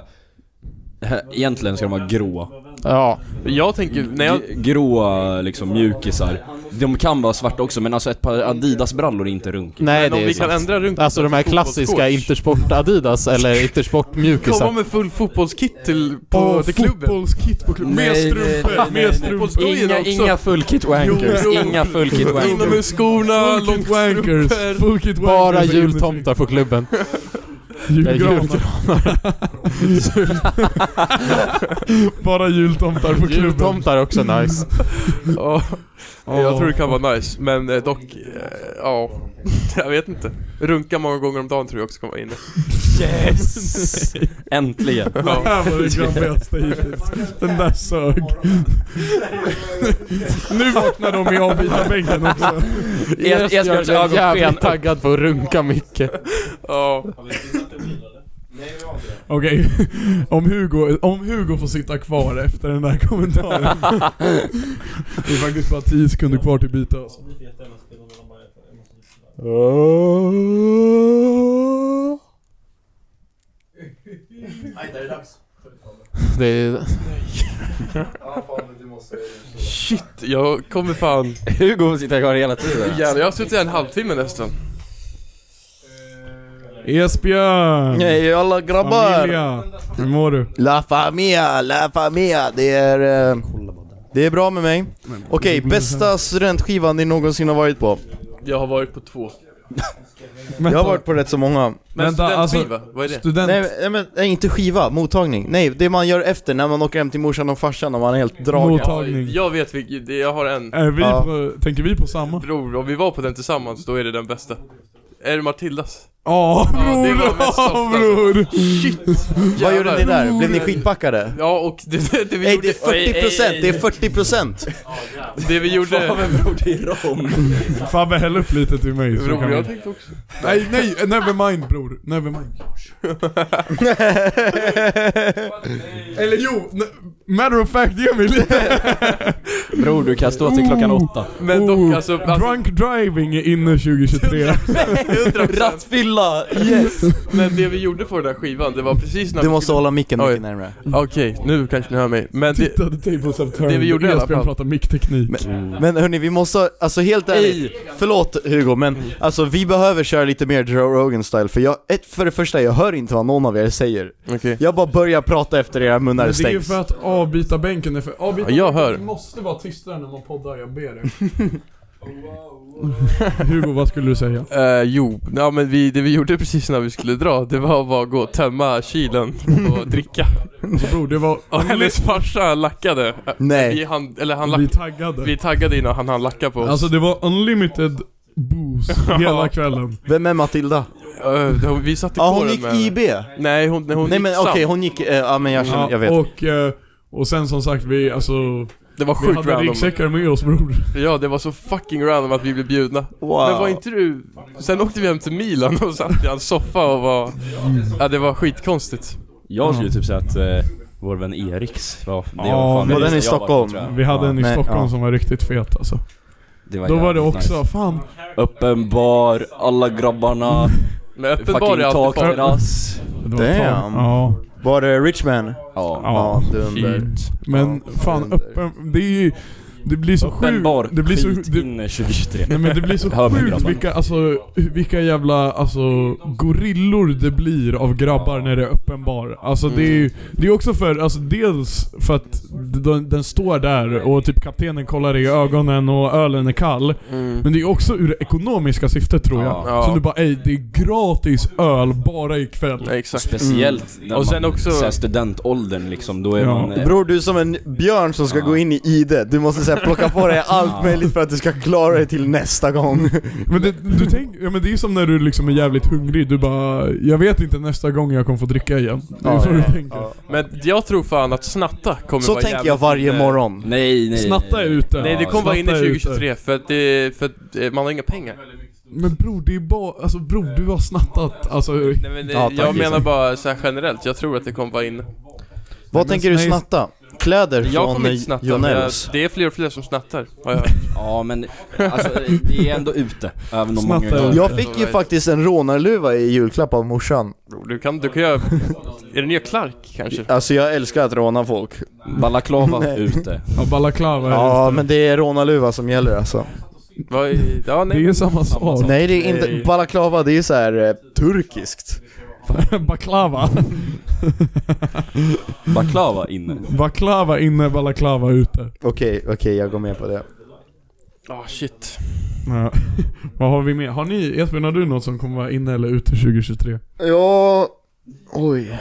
S7: Egentligen ska de vara grå.
S8: Ja.
S6: Jag tänker, när jag...
S7: G- Gråa liksom mjukisar. De kan vara svarta också men alltså ett par Adidas-brallor är inte runkigt.
S8: Nej
S6: Men om
S8: det är
S6: vi kan
S8: sant.
S6: ändra runt
S8: Alltså de här klassiska Intersport Adidas eller Intersport
S6: Komma
S8: mjukisar.
S6: med full fotbollskit till, på,
S10: På
S6: till klubben.
S10: fotbollskit på klubben. Med
S7: Nej, nej,
S10: strumpor,
S7: nej,
S10: med
S7: nej.
S10: strumpor.
S6: Inga-
S7: Inga,
S6: inga
S7: inga full kit wankers, inga full kit wankers.
S6: Inomhusskorna,
S10: Full kit wankers,
S6: långstrumpor.
S10: full kit wankers.
S8: Bara
S10: är inne.
S8: jultomtar på klubben.
S10: Julgranar. Bara jultomtar på klubben.
S8: Jultomtar är också nice.
S6: Ja,
S10: Ja.
S6: jag tror det kan vara nice, men eh, dock, eh, ja, jag vet inte. Runka många gånger om dagen tror jag också kommer vara inne.
S7: Yes! Äntligen.
S10: Det här var det grabbigaste hittills. Den där sög. nu vaknar de i avbytarbänken också.
S7: Es- Esbjörns
S8: Jag är
S7: ögonsken
S8: jävligt taggad på att runka mycket.
S6: Ja,
S10: Okej, om, Hugo, om Hugo får sitta kvar efter den där kommentaren. det är faktiskt bara 10 sekunder kvar till byte alltså.
S8: Det är...
S6: shit, jag kommer fan...
S7: Hugo sitter kvar hela tiden.
S6: Jävlar, jag har suttit här en halvtimme nästan.
S10: Esbjörn!
S4: Hej alla grabbar!
S10: Familja! Hur mår du?
S4: La Famia, La Famia, det är... eh, Det är bra med mig. Okej, bästa studentskivan ni någonsin har varit på?
S6: Jag har varit på två.
S4: Jag har varit på rätt så många.
S6: Men
S10: Vänta, alltså,
S6: studentskiva, vad är det?
S10: Student...
S4: Nej, men- nej, men, nej inte skiva, mottagning. Nej, det man gör efter när man åker hem till morsan och farsan och man är helt dragen.
S10: Mot- Mottagning.
S6: Ja, jag vet vilken, det- jag har en.
S10: Är vi
S4: Ja.
S10: på, tänker vi på samma?
S6: Bror, om vi var på den tillsammans, då är det den bästa. Är det Matildas?
S10: Ja,
S6: Ja, det
S10: bror!
S6: var mest
S10: Ja,
S6: soft,
S10: bror!
S4: Vad gjorde
S6: Jävlar.
S4: ni där? Blev ni skitpackade?
S6: Ja, och det, det, det vi
S4: Nej
S6: gjorde...
S4: det är 40%, det är 40%!
S6: Det vi gjorde...
S10: Fabbe häll upp lite till mig så kan
S6: Bror, jag
S10: vi...
S6: tänkte också...
S10: Nej, nej, nevermind bror, nevermind. Eller jo, ne- matter of fact, ge mig lite.
S7: Bror du kan stå till klockan åtta.
S6: Men dock,
S10: Oh,
S6: alltså... alltså
S10: Drunk driving är inne 2023.
S6: 100%.
S4: Rattfylla! Yes!
S6: Men det vi gjorde på den där skivan, det var precis när
S4: Du måste hålla micken
S6: Oj.
S4: mycket närmare.
S6: Okej, nu kanske ni hör mig. Men det...
S10: Titta, the tables have turned.
S6: Det vi gjorde i alla
S10: Esbjörn
S6: fall.
S10: pratar mickteknik.
S4: Mm. Men hörni, vi måste, alltså helt ärligt, förlåt Hugo, men alltså vi behöver köra lite mer Joe Rogan style för jag, ett, för det första, jag hör inte vad någon av er säger.
S6: Okej.
S4: Jag bara börjar prata efter era
S10: Men
S4: munnar
S10: det är ju
S4: stängs.
S10: för att avbytarbänken är för... Avbytarbänken
S6: Ja, jag hör.
S10: måste vara tystare när man poddar, jag ber dig. Hugo, vad skulle du säga?
S6: Eh, jo, ja, men vi, det vi gjorde precis när vi skulle dra, det var att bara gå och tömma kylen och dricka.
S10: Så Alltså, bror, det var...
S6: Och hennes farsa lackade. Vi,
S4: Nej.
S6: han, eller han
S10: Vi
S6: lack,
S10: taggade.
S6: vi taggade innan han hann lacka på oss.
S10: Alltså det var unlimited booze hela kvällen.
S4: Vem är Matilda?
S6: Eh, då- vi satt i
S4: Ja ah, hon
S6: kåren
S4: gick
S6: med-
S4: IB.
S6: Nej, hon, nej, hon
S4: Nej
S6: gick
S4: men
S6: SAM.
S4: okej, hon gick, eh, ja men jag känner, jag vet.
S10: Och, eh, och sen som sagt vi, alltså,
S6: Det var
S10: vi
S6: sjukt
S10: hade
S6: random.
S10: ryggsäckar med oss bror.
S6: Ja, det var så fucking random att vi blev bjudna. Men var
S4: Wow.
S6: inte du... Sen åkte vi hem till Milan och satt i hans soffa och var... Ja, det var skitkonstigt.
S7: Jag skulle typ säga att eh, vår vän Eriks var... Det var
S10: Ja,
S7: fan det
S10: var
S4: den
S7: bästa
S4: i
S7: jag varit på,
S4: Stockholm?
S7: tror jag.
S10: Vi hade en i
S4: nej,
S10: Stockholm
S4: ja.
S10: som var riktigt fet alltså. Då var det
S7: jävligt
S10: också,
S7: nice.
S10: fan.
S7: Öppen bar, alla grabbarna,
S6: Men öppen bar är
S7: fucking
S6: alltid farligt.
S7: takterrass.
S10: Det var fan-
S4: Damn.
S10: Ja.
S4: Var det Richman?
S7: Ja.
S4: Ja,
S10: ja.
S4: dunder.
S10: Men fan
S4: dunder.
S10: öppen, det är ju... Det blir så sjukt.
S7: Bändbar
S10: Det blir så
S7: skit
S10: det-
S7: inne 2023.
S10: Nej men det blir så
S7: Hör mig,
S10: sjukt
S7: grabbar.
S10: vilka, alltså, vilka jävla alltså, gorillor det blir av grabbar när det är öppen bar. Alltså det är
S4: Mm.
S10: ju det är också för, alltså dels för att den, den står där och typ kaptenen kollar i ögonen och ölen är kall.
S7: Mm.
S10: Men det är också ur det ekonomiska syftet tror jag.
S6: Ja.
S10: Så du bara ej, det är gratis öl bara ikväll.
S6: Nej, exakt. Mm.
S7: Speciellt när
S6: Och sen
S7: man,
S6: också-
S7: så här, studentåldern liksom, då är
S10: Ja.
S7: man... eh,
S4: Bror du är som en björn som ska gå in i ide, du måste så här, plocka på dig allt möjligt för att du ska klara dig till nästa gång
S10: Men det, du tänk, ja, men det är som när du liksom är jävligt hungrig, du bara Jag vet inte nästa gång jag kommer få dricka igen. Det är
S4: Ja,
S10: så du
S4: ja,
S10: tänker.
S6: Men jag tror fan att snatta kommer
S4: Så
S6: vara
S4: tänker
S6: jävligt
S4: jag varje
S6: inne.
S4: morgon
S7: Nej, nej.
S10: Snatta är ute.
S6: Nej det kommer vara inne
S10: Snatta är ute.
S6: 2023 för att, det, för att eh, man har inga pengar
S10: Men bror, det är bara, alltså bror du har snattat, alltså
S6: Nej, men det,
S4: Ja, tack,
S6: Jag
S4: Isak.
S6: menar bara så här generellt, jag tror att det kommer vara inne
S4: Vad tänker du
S10: nej.
S4: snatta? Kläder
S6: Jag
S4: från
S6: kommer inte
S4: eh,
S6: snatta, men jag,
S4: Jonells?
S6: det är fler och fler som snattar har jag hört.
S7: Ja men, alltså det är ändå ute. Även om många...
S10: Snatta.
S4: Jag fick ju faktiskt en rånarluva i julklapp av morsan
S6: Bror, Du kan, du kan göra... Är det nya Clark kanske?
S4: Alltså jag älskar att råna folk
S7: Balaklava ute.
S10: ja, balaklava är
S4: Ja men det är rånarluva som gäller alltså
S6: Vad är- Ja,
S10: Det
S6: nej.
S10: är samma sak.
S4: Nej det är inte,
S6: Nej.
S4: balaklava det är så här eh, turkiskt
S10: baklava.
S7: Baklava inne.
S10: Baklava inne, balaklava ute.
S4: Okej, okej jag går med på det
S6: Ah shit.
S10: Ja. Vad har vi mer? Har ni, Esbjörn har du något som kommer vara inne eller ute 2023?
S4: Ja, oj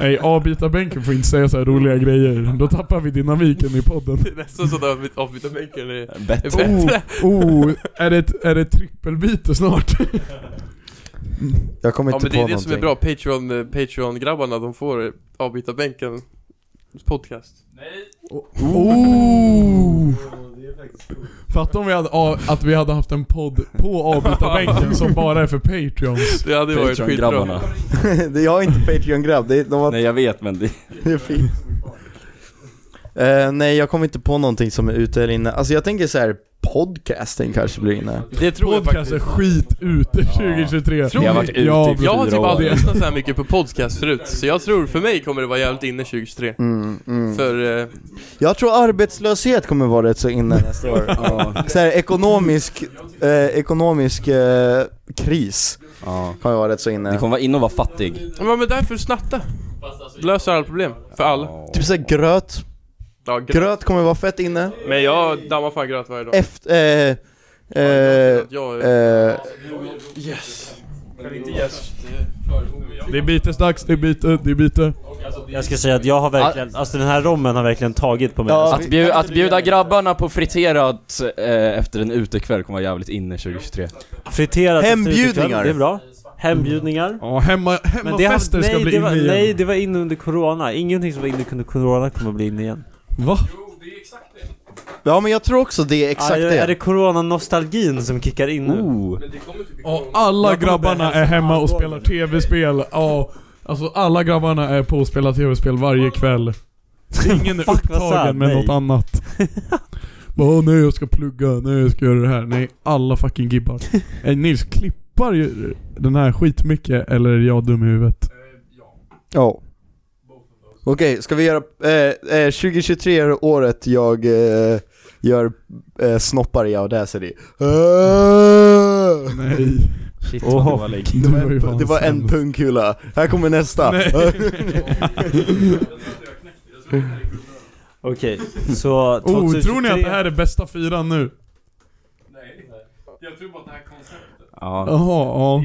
S10: Nej, avbytarbänken får inte säga så här roliga grejer. Då tappar vi dynamiken i podden.
S6: Det är nästan så att avbyta bänken är är
S7: Bättre.
S6: bättre.
S10: Oh, är det, ett- är det ett trippelbyte snart?
S4: Jag kommer
S6: Ja
S4: inte
S6: men det är
S4: på
S6: det
S4: någonting
S6: som är bra, Patreon, eh, Patreon-grabbarna de får eh, avbyta bänken podcast.
S10: Oh! Fatta om vi hade, av- att vi hade haft en podd på avbytarbänken som bara är för Patreons.
S6: Det hade ju varit skitbra.
S7: Patreon-grabbarna.
S4: Det- jag är inte Patreon-grabb, det, är- de var
S7: Nej jag vet men det...
S4: Det är fint. Eh, nej, jag kommer inte på någonting som är ute eller inne. Alltså jag tänker så här podcasting kanske blir inne.
S6: Det tror jag
S10: Podcast
S6: faktiskt.
S10: är skit ute 2023.
S6: Tror Jag har
S7: varit ute i
S10: Ja,
S7: fyra
S6: Jag har typ
S7: Fyra år.
S6: aldrig lyssnat så här mycket på podcast förut, så jag tror för mig kommer det vara jävligt inne 2023.
S4: Mm, mm.
S6: För, eh,
S4: Jag tror arbetslöshet kommer vara rätt så inne nästa år.
S7: Ja.
S4: Så här, ekonomisk, eh, ekonomisk eh, kris
S7: ja.
S4: kommer vara rätt så
S7: Det
S4: inne.
S7: kommer vara in och vara fattig.
S6: ja, men därför snatta. Löser alla problem. För alla.
S4: Typ såhär gröt.
S6: Ja, gröt.
S4: Gröt kommer vara fett inne.
S6: Men jag dammar fan gröt varje dag.
S4: Efter... Eh, eh,
S6: Jag,
S4: eh,
S6: yes. Kan inte yes.
S10: Det är bytesdags, det är byte, det är byte.
S2: Jag ska säga att jag har verkligen, alltså den här rommen har verkligen tagit på mig. Alltså,
S4: Ja.
S7: Att, bju- att bjuda grabbarna på friterat eh, efter en utekväll kommer vara jävligt inne 2023.
S2: Friterat efter
S4: Hembjudningar.
S2: utekväll, Det är bra. Hembjudningar.
S10: Ja, hemma, hemmafester
S2: nej,
S10: ska bli
S2: det var,
S10: inne igen.
S2: nej, det var inne under corona. Ingenting som var inne under corona kommer bli inne igen.
S10: Va?
S4: ja men jag tror också det är exakt
S2: Ah, är, är det
S4: det.
S2: corona-nostalgin som kickar in nu?
S7: Oh.
S10: Ja, alla
S2: Jag kommer
S10: grabbarna
S2: börja
S10: är hemma och spelar tv-spel. Ja, alltså alla grabbarna är på och spelar tv-spel varje kväll. Ingen är
S2: Fuck, vad sad,
S10: upptagen med
S2: nej.
S10: något annat. Bara, Åh, nej jag ska plugga, nej jag ska göra det här. Nej, alla fucking gibbar. Eh, Nils, klippar ju den här skitmycket eller är jag dum i huvudet?
S4: Ja. Okej, ska vi göra... Eh, eh, 2023 är året jag eh, gör eh, snoppar i Audacity. Eh,
S10: Nej.
S7: Shit
S2: Åh.
S7: vad det var lägg.
S10: Det var ju fan
S4: det var en
S10: sämst.
S4: pungkula. Här kommer nästa. Eh,
S2: Okej, så
S10: Oh,
S2: 2023
S10: tror ni att det här är bästa fyran nu?
S7: Ja.
S10: Jaha, ja.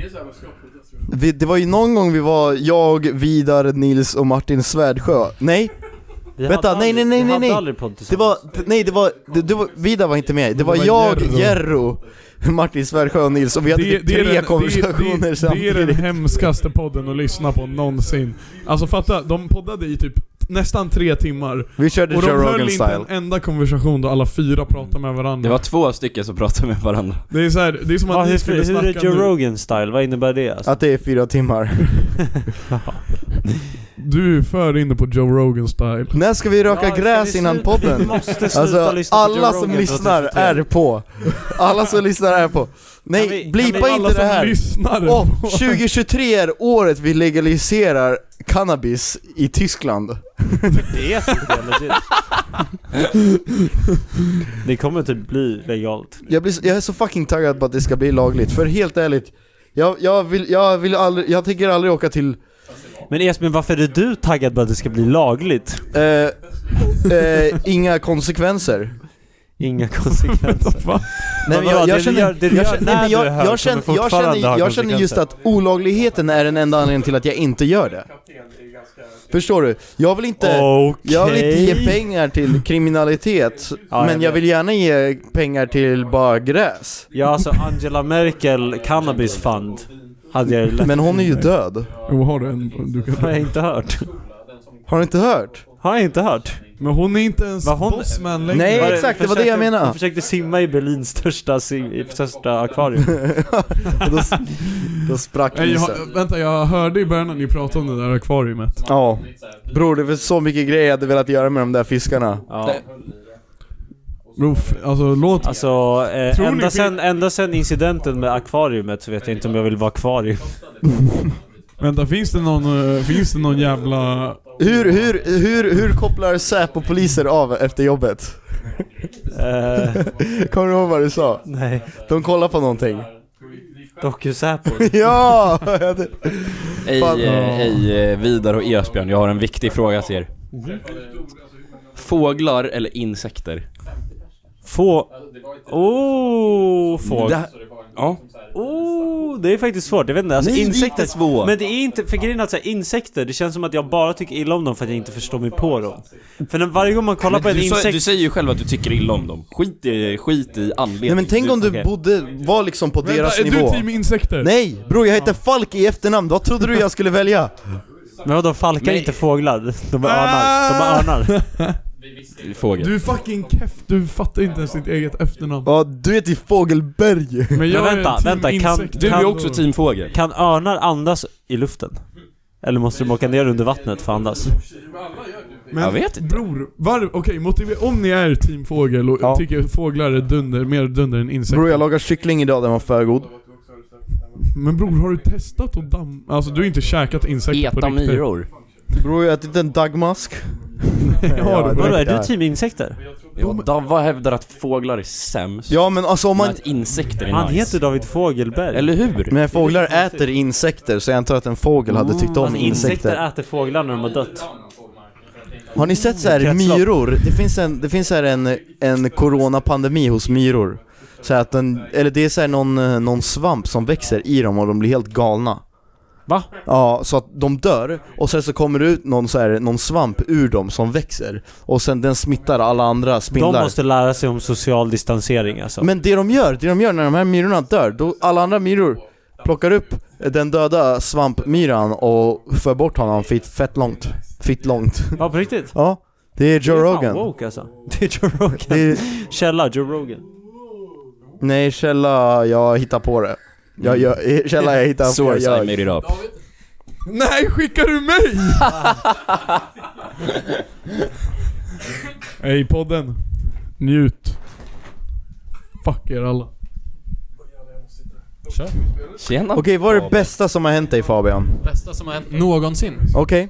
S4: vi, det var ju någon gång vi var jag, Vidar, Nils och Martin Svärdsjö. Nej,
S2: Vi
S4: Vänta,
S2: hade
S4: nej,
S2: aldrig- vi
S4: nej, nej, nej,
S2: hade
S4: nej.
S2: aldrig podd
S4: det var... Nej, det var... Det, det var Vidar var inte med. Det var
S10: var
S4: jag,
S10: Jerro.
S4: Jerro, Martin Svärdsjö och Nils och vi hade typ tre
S10: den-
S4: konversationer
S10: det, det, det är
S4: samtidigt.
S10: den hemskaste podden att lyssna på någonsin. Alltså fatta, de poddade i typ nästan tre timmar.
S4: vi körde
S10: Och de
S4: Joe
S10: höll
S4: Rogan
S10: inte
S4: style.
S10: en enda konversation då alla fyra pratade med varandra.
S7: Det var två stycken som pratade med varandra.
S10: det är så här, det är som att
S2: Ja,
S10: ni
S2: hur,
S10: skulle
S2: hur är
S10: snacka
S2: Joe
S10: nu.
S2: Rogan style? Vad innebär det? Alltså?
S4: Att det är fyra timmar.
S10: Du är för inne på Joe Rogan style.
S4: När ska vi röka
S2: Ja, ska
S4: gräs
S2: vi
S4: innan
S2: sluta- Vi
S4: podden?
S2: måste sluta
S4: Alltså
S2: lyssna på Joe
S4: alla som
S2: Rogan
S4: lyssnar
S2: 2023.
S4: är på. Alla som lyssnar är på. Nej,
S2: Kan vi- kan vi-
S4: blipa
S2: alla
S4: inte det
S2: som
S4: här!
S2: lyssnar-
S4: Och 2023 är året vi legaliserar cannabis i Tyskland.
S2: Det är typ det, legit. Det kommer typ bli legalt.
S4: Jag, blir, så- jag är så fucking taggad på att det ska bli lagligt, för helt ärligt, jag, jag, vill, jag, vill aldrig, jag tänker aldrig åka till...
S2: Men Esbjörn, varför är du taggad på att det ska bli lagligt?
S4: Eh, eh, inga konsekvenser.
S2: Inga konsekvenser.
S4: Nej, men
S2: Vadå,
S4: jag,
S2: det
S4: jag
S2: du gör-
S4: känner,
S2: det
S4: jag
S2: du gör
S4: känner-
S2: när
S4: nej, men
S2: du
S4: jag-
S2: är hög
S4: jag
S2: kommer
S4: känner- jag
S2: fortfarande ha
S4: känner- jag känner just
S2: konsekvenser.
S4: att olagligheten är den enda anledningen till att jag inte gör det. Förstår du? Jag vill inte, jag vill inte
S2: Okej.
S4: ge pengar till kriminalitet,
S2: jag
S4: men jag,
S2: vet.
S4: vill gärna ge pengar till bara gräs.
S2: Ja, alltså Angela Merkel Cannabis Fund hade jag ju lätt.
S4: Men hon är ju död.
S14: Jo, har du en? Du kan...
S2: Har jag inte hört?
S4: Har du inte hört?
S2: Har jag inte hört?
S14: Men hon är inte ens
S2: Var hon-
S14: bossman längre.
S4: Nej,
S2: Var
S4: exakt, det var det
S2: försökte-
S4: jag menade.
S2: Hon försökte simma i Berlins största, sim, i största akvarium.
S4: då, s- då sprack
S14: Nej, jag,
S4: isen.
S14: har- vänta, jag hörde i början när ni pratade om det där akvariumet.
S4: Ja. Bror, det är så mycket grejer jag hade velat göra med de där fiskarna.
S2: Ja.
S14: Bro, f- alltså låt...
S2: Alltså,
S14: Tror
S2: eh,
S14: ni
S2: ända,
S14: vi-
S2: sen, ända sen incidenten med akvariumet så vet jag inte om jag vill vara akvarium.
S14: Vänta, finns det någon, eh, finns det någon jävla...
S4: Hur, hur, hur, hur kopplar Säpo-poliser av efter jobbet?
S2: Eh,
S4: Kommer du ihåg vad du sa?
S2: nej,
S4: De kollar på någonting.
S2: docusäpo.
S4: Ja! jag vet.
S7: Hej,
S4: Fan.
S7: eh, hej eh, Vidar och Esbjörn, jag har en viktig fråga till er. Fåglar eller insekter?
S2: Få... Oh, fågel.
S7: Det- Ja.
S2: Oh, det är faktiskt svårt. Jag vet inte. Alltså,
S7: Nej, det är
S2: insekter,
S7: inte svårt.
S2: Men det är inte... För grejen är att så här, insekter, det känns som att jag bara tycker illa om dem för att jag inte förstår mig på dem. För när, varje gång man kollar på en
S7: Du, sa,
S2: insekt...
S7: du säger ju själv att du tycker illa om dem. Skit i, skit i anledning.
S4: Nej men tänk om du
S2: Okej.
S4: bodde, var liksom på deras
S14: vänta, är
S4: nivå.
S14: du team insekter?
S4: Nej! Bror, jag heter Falk i efternamn, vad trodde du jag skulle välja?
S2: Men vadå, falkar
S7: Nej.
S2: är inte fåglar? De är örnar. De är örnar.
S7: du... Fågel.
S14: Du är fucking keff, du fattar inte ens ditt eget efternamn.
S4: Ja, du heter ju Fågelberg!
S14: jag
S2: Men
S14: är
S2: vänta,
S14: team
S2: vänta, kan-
S14: insekter.
S7: Du är också team fågel.
S2: Kan örnar andas i luften? Eller måste de åka ner under vattnet för att andas?
S14: Men
S7: Jag vet inte.
S14: Bror, var, okej, motivera, om ni är team fågel och
S4: Ja.
S14: tycker fåglar är dunder, mer dunder än insekter.
S4: Bror jag lagar kyckling idag, den var för god.
S14: Men bror, har du testat att damm... Alltså du har inte käkat insekter på
S7: Eta
S14: riktigt?
S7: myror.
S4: Bror jag har ätit en dagmask.
S14: Ja,
S4: Ja,
S14: det-
S4: det-
S2: Vadå, är
S4: där.
S2: du typ- team insekter?
S7: Ja, Davva hävdar att fåglar är sämst.
S4: Ja men alltså om
S7: Men
S4: man...
S7: att insekter är
S2: Han
S7: nice.
S2: heter David Fågelberg.
S7: Eller hur?
S4: Men fåglar äter insekter, så jag antar att en fågel hade tyckt om
S2: Fast Alltså, insekter
S4: insekter.
S2: äter fåglar när de har dött.
S4: Har ni sett så här
S2: Kretslopp.
S4: myror? Det finns, en, det finns så här en, en coronapandemi hos myror. Så att den, eller det är så här någon, eh, någon svamp som växer i dem och de blir helt galna.
S2: Va?
S4: Ja, så att de dör och sen så kommer det ut någon, så här, någon svamp ur dem som växer och sen den smittar alla andra
S2: De
S4: spindlar.
S2: måste lära sig om social distansering alltså.
S4: Men det de gör, det de gör när de här myrorna dör, då alla andra myror plockar upp den döda svampmyran och för bort honom fit, fett långt. Fitt långt.
S2: Ja, på riktigt?
S4: Ja, det är Joe
S2: Det är fan
S4: Rogan.
S2: woke alltså. Det är Joe Rogan.
S4: Det är,
S2: Källa, Joe Rogan.
S4: nej, källa, jag hittar på det. Jag,
S10: Mm.
S4: jag, källa, jag hittar på det.
S7: Source I
S4: Jag,
S7: made it up.
S14: Nej, skickar du mig? Hej podden. Njut. Fuck er alla.
S7: Tjena.
S4: Okej, vad är det bästa som har hänt dig Fabian?
S10: Bästa som har hänt någonsin.
S4: Okej?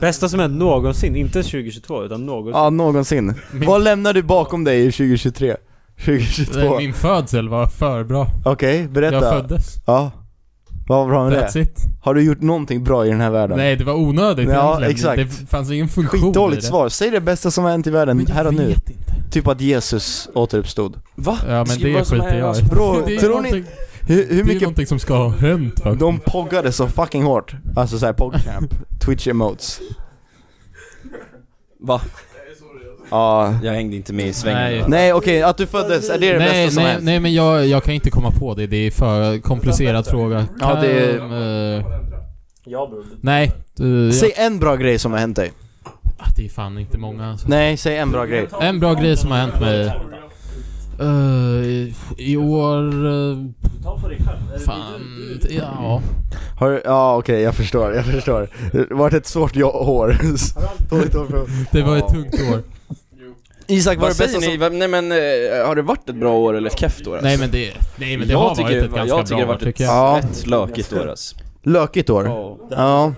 S2: Bästa som hänt någonsin. Inte 2022, utan någonsin.
S4: Ja, någonsin. Vad lämnar du bakom dig i 2023? 2022?
S10: Min födsel var för bra.
S4: Okej, berätta.
S10: Jag föddes.
S4: Ja. Vad var bra med
S10: That's
S4: det?
S10: it.
S4: Har du gjort någonting bra i den här världen?
S10: Nej, det var onödigt
S4: Ja,
S10: egentligen.
S4: exakt.
S10: Det fanns ingen funktion
S4: Skitdåligt
S10: i det.
S4: svar. Säg det bästa som har hänt i världen
S10: Men jag
S4: här och nu.
S10: vet inte.
S4: Typ att Jesus återuppstod.
S7: Va?
S10: Ja, men
S7: Skriv
S10: det
S7: vad som
S10: skiter
S7: är-
S10: jag i.
S4: Bro,
S10: Det är
S4: tror ni,
S10: någonting-
S4: hur, hur
S10: Det är
S4: mycket
S10: någonting som ska ha hänt faktiskt.
S4: de poggade så fucking hårt? Alltså såhär PogChamp, Twitch emotes.
S7: Va?
S4: Ja.
S7: Jag hängde inte med i svängen.
S10: Nej.
S4: Nej okej, att du föddes, är det det
S10: Nej,
S4: bästa som har
S10: nej,
S4: hänt?
S10: nej men jag, jag kan inte komma på det, det är för komplicerad fråga.
S4: Ja, det är-
S10: är... Nej, du,
S4: Säg en bra grej som har hänt dig.
S10: jag, det är fan inte många alltså.
S4: Nej, säg en bra grej.
S10: En bra grej som har hänt mig eh, i, I år... eh, fan, ja.
S4: Har du, ja okej jag förstår, jag förstår. Det har varit ett svårt jo- år. Dåligt år för
S10: Det var ett tungt år.
S7: Isak, vad,
S10: Vad
S7: säger
S10: säger
S7: ni? Va- Nej men, eh, har det varit ett bra år eller ett keft år? Alltså?
S10: Nej, men det- nej, men det
S7: jag
S10: har
S7: tycker,
S10: varit ett ganska
S7: Jag tycker det
S10: bra
S7: har
S10: år,
S7: varit ett
S10: tycker jag.
S7: rätt lökigt år alltså.
S4: Lökigt år? Ja.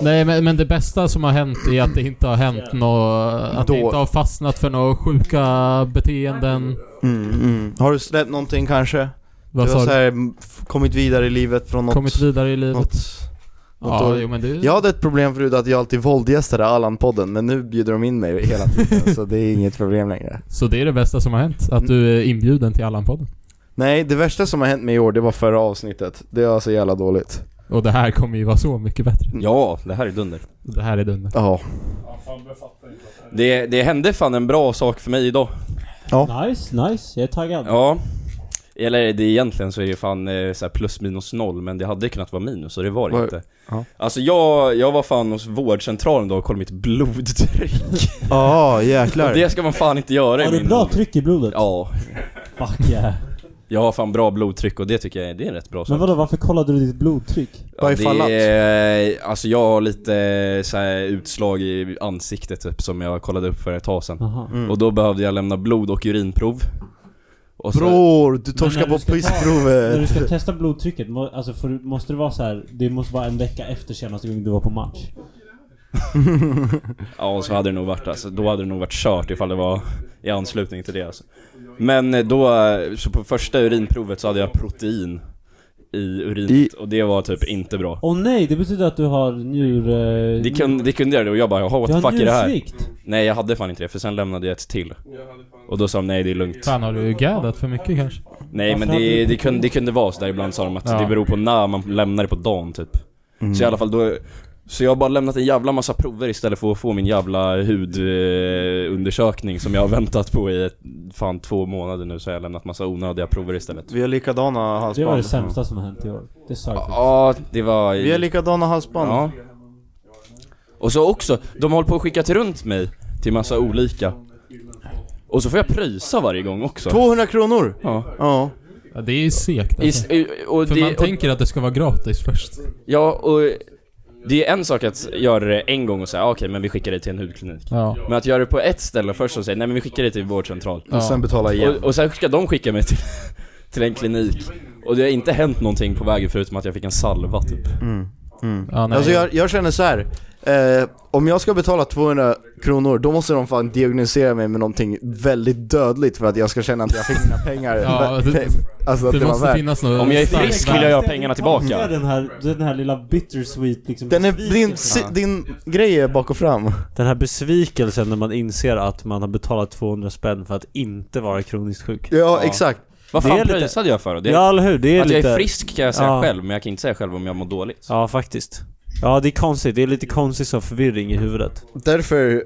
S10: Nej men, men det bästa som har hänt är att det inte har hänt något... Att det
S4: Då-
S10: inte har fastnat för några sjuka beteenden.
S4: Mm, mm. Har du släppt någonting kanske?
S10: Vad
S4: du
S10: sa
S4: har
S10: du?
S4: så här, m- f- kommit vidare i livet från något...
S10: Kommit vidare i livet?
S4: Något, något
S10: Ja,
S4: år.
S10: jo, men det-
S4: Jag hade ett problem förut att jag alltid våldgästade Allan-podden, men nu bjuder de in mig hela tiden så det är inget problem längre.
S10: Så det är det bästa som har hänt? Att du är inbjuden till Allan-podden?
S4: Nej, det värsta som har hänt mig i år, det var förra avsnittet. Det var så jävla dåligt.
S10: Och det här kommer ju vara så mycket bättre.
S7: Ja, det här är dunder.
S10: Det här är dunder.
S4: Ja.
S7: Det, det hände fan en bra sak för mig idag.
S2: Nice, nice. Jag är taggad.
S7: Ja. Eller det egentligen så är det fan eh, så här plus minus noll, men det hade kunnat vara minus och det var det
S4: Var-
S7: inte.
S4: ja.
S7: Alltså jag, jag var fan hos vårdcentralen då och kollade mitt blodtryck.
S4: Ja,
S7: Och
S4: jäklar.
S7: det ska man fan inte göra i
S2: Har du
S7: min
S2: bra tryck i blodet?
S7: Ja.
S2: Fuck yeah.
S7: Jag har fan bra blodtryck och det tycker jag är, det är en rätt bra sak.
S2: Men vadå, varför kollade du ditt blodtryck?
S7: Ja, det är, alltså jag har lite eh, så här, utslag i ansiktet typ, som jag kollade upp för ett tag sedan.
S2: Aha.
S4: Mm.
S7: Och då behövde jag lämna blod och urinprov. Och så-
S4: Bror, du
S2: Men
S4: torskar
S2: när
S4: på
S2: du ska ta-
S7: Eh,
S2: När du
S4: pissprovet.
S2: ska testa blodtrycket, må, alltså får du- måste det vara så här, det måste vara en vecka efter senaste gången du var på match?
S7: Ja, så hade det nog varit alltså, Då hade det nog varit kört ifall det var i anslutning till det alltså. Men eh, då, eh, så på första urinprovet så hade jag protein i urinet och det var typ inte bra.
S2: Åh nej, det betyder att du har njur... eh,
S7: Det kunde, det kunde göra det och jag bara jaha what
S2: Du
S7: the
S2: har
S7: fuck är det här?
S2: njursvikt.
S7: Nej jag hade fan inte det för sen lämnade jag ett till. Och då sa de nej det är lugnt.
S10: Fan har du gaddat för mycket kanske?
S7: Nej men det, det, kunde, det kunde vara sådär ibland sa de att
S10: Ja.
S7: det beror på när man lämnar det på dagen typ.
S4: Mm.
S7: Så i alla fall då så jag har bara lämnat en jävla massa prover istället för att få min jävla hudundersökning som jag har väntat på i ett, fan två månader nu så har jag lämnat massa onödiga prover istället.
S4: Vi har likadana halsband.
S2: Det var det sämsta som har hänt i år. Det sa jag
S7: Ja, det var...
S4: Vi har likadana halsband.
S7: Ja. Och så också, de håller på och skickat runt mig till massa olika. Och så får jag pröjsa varje gång också.
S4: 200 kronor!
S7: Ja.
S4: Ja.
S10: Ja, det är segt
S7: I,
S10: alltså.
S7: och
S10: För
S7: det,
S10: man
S7: och,
S10: tänker att det ska vara gratis först.
S7: ja, och det är en sak att göra det en gång och säga "Ah, okej, men vi skickar dig till en hudklinik.
S10: Ja.
S7: Men att göra det på ett ställe först och säga nej men vi skickar dig till vårdcentral.
S4: Och sen betala igen.
S7: Och, och sen ska de skicka mig till, till en klinik. Och det har inte hänt någonting på vägen förutom att jag fick en salva typ.
S4: Mm. Mm.
S10: Ja, nej.
S4: Alltså jag, jag känner så här. Eh, om jag ska betala 200 kronor, då måste de fan diagnosera mig med någonting väldigt dödligt för att jag ska känna att jag fick mina pengar.
S10: Ja, det-
S4: alltså att
S10: det
S4: det, var
S10: måste
S4: värt.
S10: finnas något
S7: Om jag är
S10: starkt
S7: frisk
S10: värde.
S7: vill jag ha
S2: Det
S7: pengarna tillbaka.
S2: är den här, den här lilla bittersweet liksom
S4: Den är, din, si, din grej är bak och fram.
S2: Den här besvikelsen när man inser att man har betalat 200 spänn för att inte vara kroniskt sjuk.
S4: Ja, exakt.
S7: Vad
S2: Det är
S7: fan
S2: lite-
S7: pröjsade jag för då? Det är-
S2: Ja, eller hur? Det är
S7: att
S2: lite...
S7: jag är frisk kan jag säga
S2: Ja.
S7: själv, men jag kan inte säga själv om jag mår dåligt.
S2: Ja, faktiskt. Ja, det är konstigt. Det är lite konstigt som förvirring i huvudet.
S4: Därför är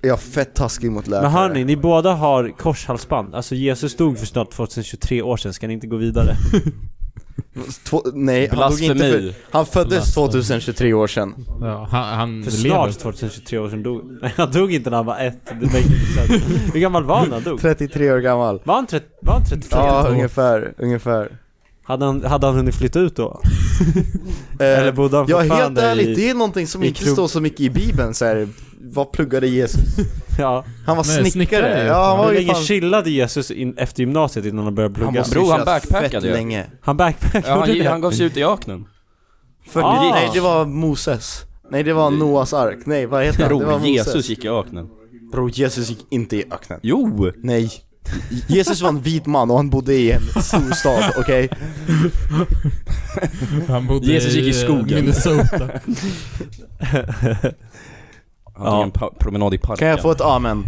S4: jag fett taskig mot läkare.
S2: Men hörni, ni båda har korshalsband. Alltså Jesus dog för snart 2023 år sedan, ska ni inte gå vidare?
S4: Två, nej, han dog inte
S7: Blasfemi.
S4: för, Han föddes
S10: Blasfemi.
S4: 2023 år sedan.
S10: Ja, han, han
S2: För
S10: lever.
S2: snart 2023 år sedan dog... Nej, han dog inte när han var ett. Det märkte inte sen. Hur gammal var han när han dog?
S4: 33 år gammal.
S2: Var han, 30, var han 35?
S4: Ja, ungefär, ungefär.
S2: Hade han, hade han hunnit flytta ut då? Eller bodde han
S4: Ja, helt
S2: fortfarande
S4: ärligt,
S2: i-
S4: det är någonting som
S2: i
S4: inte
S2: krog-
S4: står så mycket i bibeln så här. vad pluggade Jesus?
S2: Ja.
S4: Han var snickare.
S10: Nej, snickare.
S4: Ja, han var
S2: Hur
S4: ju
S2: länge
S4: fan...
S2: chillade Jesus in, efter gymnasiet innan han började plugga?
S4: måste
S7: Bror, han
S4: chillat
S7: backpackade
S4: fett
S7: ju.
S4: länge.
S2: Han backpackade
S7: Ja, han,
S2: det.
S7: han gav sig ut i öknen.
S4: 40,
S2: Ah.
S4: Nej, det var Moses. Nej, det var Noas ark. Nej, vad heter han? Det var
S7: Bror,
S4: Moses.
S7: Jesus gick i öknen.
S4: Bror, Jesus gick inte i öknen.
S7: Jo!
S4: Nej. Jesus var en vit man och han bodde i en stor stad, okej?
S10: Han bodde
S7: Jesus gick i
S10: eh,
S7: skogen.
S10: Minnesota.
S7: Han tog en pa- promenad i parken.
S4: Kan jag få ett amen?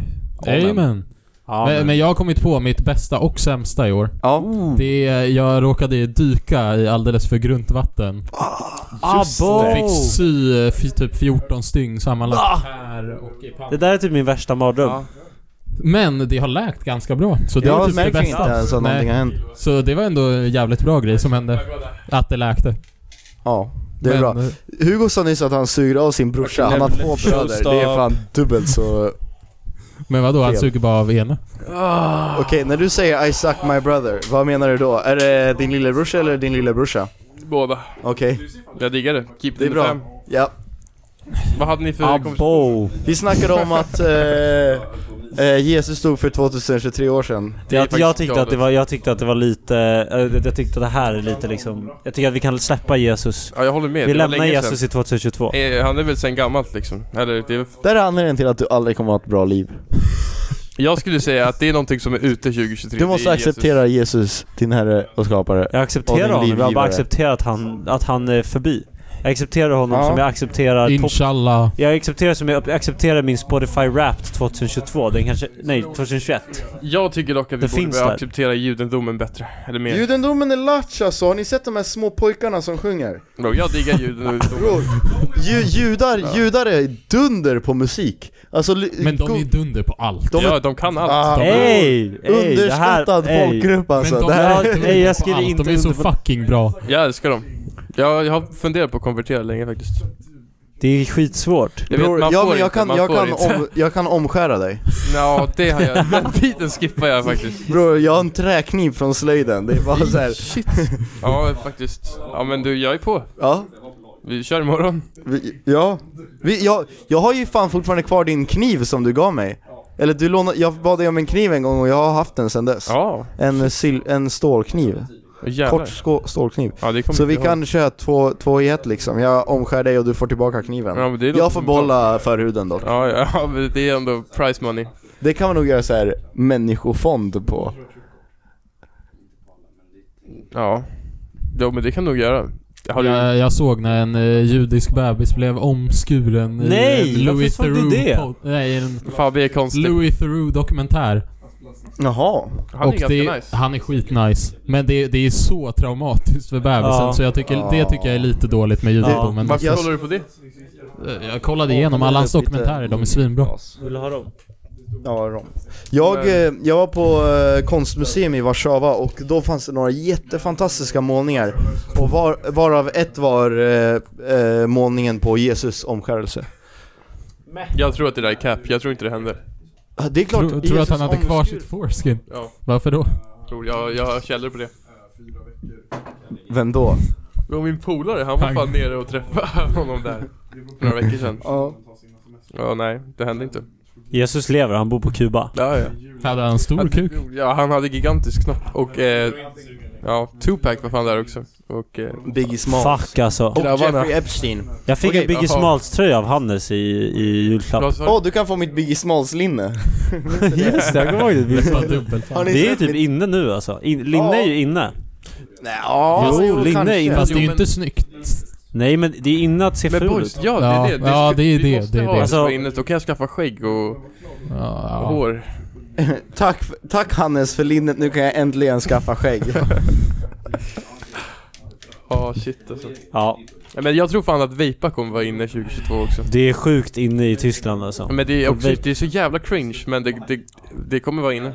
S10: Amen.
S2: Ja,
S10: Men, men jag har kommit på mitt bästa och sämsta i år.
S4: Ja.
S10: Det är, jag råkade dyka i alldeles för grunt vatten.
S2: Abo!
S7: Ah,
S10: Jag fick sy eh, f- typ 14 stygn sammanlagt.
S7: Ah.
S2: Det där är typ min värsta mardröm.
S10: Men det har läkt ganska bra. Så det
S4: jag
S10: är typ det
S4: märker inte
S10: bästa.
S4: ens att
S10: Nej.
S4: någonting har hänt.
S10: Så det var ändå en jävligt bra grej som hände. Att det läkte.
S4: Ja, det är
S10: Men,
S4: bra.
S10: eh,
S4: Hugo sa nyss att han suger av sin brorsa, han har två bröder. Det är fan dubbelt så...
S10: Men vadå, han
S4: Fel.
S10: suger bara av ena?
S4: Okej, när du säger I suck my brother, vad menar du då? Är det din lillebrorsa eller din lillebrorsa?
S6: Båda.
S4: Okej,
S6: Jag diggar det. Keep
S4: det är bra. Ja.
S6: Vad hade ni för
S2: Abo!
S4: Vi snackade om att eh, Eh, Jesus stod för 2023 år sedan.
S2: Det jag, jag, tyckte att det var, jag tyckte att det var lite, eh, jag tyckte att det här är lite liksom Jag tycker att vi kan släppa Jesus
S6: Ja, jag håller med.
S2: Vi
S6: Det var
S2: lämnar
S6: länge
S2: Jesus
S6: sedan.
S2: i 2022
S6: Eh, Han är väl sen gammalt liksom. Eller, det är...
S4: Där är anledningen till att du aldrig kommer att ha ett bra liv.
S6: Jag skulle säga att det är någonting som är ute 2023.
S4: Du måste
S6: Det är Jesus.
S4: acceptera Jesus, din herre och skapare.
S2: Jag
S4: och din
S2: accepterar honom, jag
S4: livgivare.
S2: bara accepterar att han, att han är förbi Jag accepterar honom
S4: Ja.
S2: som jag accepterar topp-
S10: Inshallah.
S2: Jag accepterar som jag accepterar min Spotify Wrapped 2022, den kanske, nej 2021
S6: Jag tycker dock att vi
S2: Det
S6: borde
S2: finns
S6: börja
S2: där.
S6: acceptera judendomen bättre. Eller mer.
S4: Judendomen är latch alltså, har ni sett de här små pojkarna som sjunger?
S6: Bro, jag diggar judendomen.
S4: Bror, ju, judar, judar är dunder på musik. Alltså,
S10: Men de är dunder på allt.
S4: De är-
S6: ja, de kan allt.
S4: Ah,
S2: Ey! ey, det här-
S4: Underskattad
S2: ey.
S4: folkgrupp alltså.
S10: Men de
S4: det här
S10: är
S2: Ey,
S10: dunder
S2: jag
S10: på
S2: skriver
S10: allt.
S2: inte
S10: De är så
S2: under på-
S10: fucking bra.
S6: Jag älskar dem. Jag, jag har funderat på att konvertera länge faktiskt.
S2: Det är skitsvårt
S6: Jag vet,
S4: Bror,
S6: man
S4: ja,
S6: får
S4: men jag
S6: inte,
S4: kan,
S6: man
S4: jag,
S6: får
S4: kan
S6: inte.
S4: om, jag kan omskära dig.
S6: Ja, det har jag. Den biten skippar jag faktiskt.
S4: Bror, jag har en träkniv från slöjden. Det är bara så här.
S6: Shit. Ja, faktiskt. Ja, men du, jag är på.
S4: Ja,
S6: Vi kör imorgon.
S4: vi, ja. Vi, jag, jag har ju fan fortfarande kvar din kniv som du gav mig. Eller du lånade, jag bad dig om en kniv en gång och jag har haft den sedan dess.
S6: Ja.
S4: En, sil, en stålkniv.
S6: Åh, jävlar.
S4: Kort skå, stålkniv.
S6: Ja, det kommer
S4: Så
S6: inte
S4: vi
S6: jag
S4: kan köra två, två i ett liksom. Jag omskär dig och du får tillbaka kniven.
S6: Ja, men det låter
S4: jag får
S6: som
S4: behålla förhuden dock.
S6: Ja, ja, ja, men det är ändå price money.
S4: Det kan man nog göra så här människofond på.
S6: Ja. Jo, men det kan du nog göra. Har du...
S10: Jag, jag såg när en eh, judisk bebis blev omskuren
S2: Nej,
S10: i en Louis
S2: varför såg du det?
S10: Theroux pod- Nej, en
S6: Fan, det är konstigt.
S10: Louis Theroux dokumentär.
S4: Jaha.
S6: Han är
S10: Och
S6: ganska
S10: det,
S6: nice.
S10: Han är skitnice. Men det, det är så traumatiskt för bebisen
S2: Ja.
S10: så jag tycker, det tycker jag är lite dåligt med judendomen.
S4: Varför
S6: Varför kollar du på det?
S10: Jag kollade igenom alla hans dokumentärer, de är svinbra.
S2: Vill du ha dem?
S4: Mm, Ja, rom. Jag, eh, jag var på eh, konstmuseum i Warszawa och då fanns det några jättefantastiska målningar och var, varav ett var eh, eh, målningen på Jesus omskärelse.
S6: Jag tror att det där är cap. Jag tror inte det händer.
S4: Ah, Det är klart,
S10: Tror, tror du att
S4: Jesus
S10: han hade kvar
S4: omskur-
S10: sitt foreskin?
S6: Ja,
S10: Varför då?
S6: tror jag. Jag har källor på det.
S4: Vem då?
S6: Jo, min polare, han var
S10: Han-
S6: fan nere och träffade honom där. För några veckor sedan. Ja, nej. Det hände inte.
S2: Jesus lever, han bor på Kuba
S6: Ja, ja.
S10: Hade han en stor Oh, kuk?
S6: Ja, han hade gigantisk snopp och eh, ja, Tupac var fan där också. Och eh,
S4: Biggie Smalls.
S2: Fuck alltså
S4: Och
S6: Grabbarna.
S4: Jeffrey Epstein.
S2: Jag fick
S4: Okej,
S2: en Biggie
S6: jaha.
S2: Smalls tröja av Hannes i, i julklapp
S6: vad sa du?
S4: Åh, du kan få mitt Biggie Smalls-linne.
S2: Just det, jag kommer ihåg det Biggie
S10: Bara
S2: Smalls.
S10: dubbelt.
S4: Har ni
S2: Det är
S4: sett
S2: typ
S4: mitt-
S2: inne nu alltså, in, linne är ju inne
S4: Nej, ja,
S2: Jo,
S4: jo,
S2: linne
S4: kanske.
S2: innan-
S10: Fast det är ju
S6: men-
S10: inte snyggt.
S2: Nej men det är inne att se
S6: Men
S2: ful
S6: boys,
S2: ut
S6: ja det är det.
S10: Ja, ja, det är
S6: vi
S10: det,
S6: måste
S10: det är
S6: ha
S10: det.
S6: det på
S2: Alltså-
S6: innet. Då kan jag skaffa skägg och, och
S10: Ja,
S6: hår.
S4: Tack, f- tack Hannes för linnet, nu kan jag äntligen skaffa skägg.
S6: Ja, shit alltså.
S2: Ja,
S6: Ja, men jag tror fan att vejpa kommer vara inne 2022 också.
S2: det är sjukt inne i Tyskland alltså
S6: Ja, Men det är, också,
S2: Vape.
S6: det är så jävla cringe, men det, det, det kommer vara inne.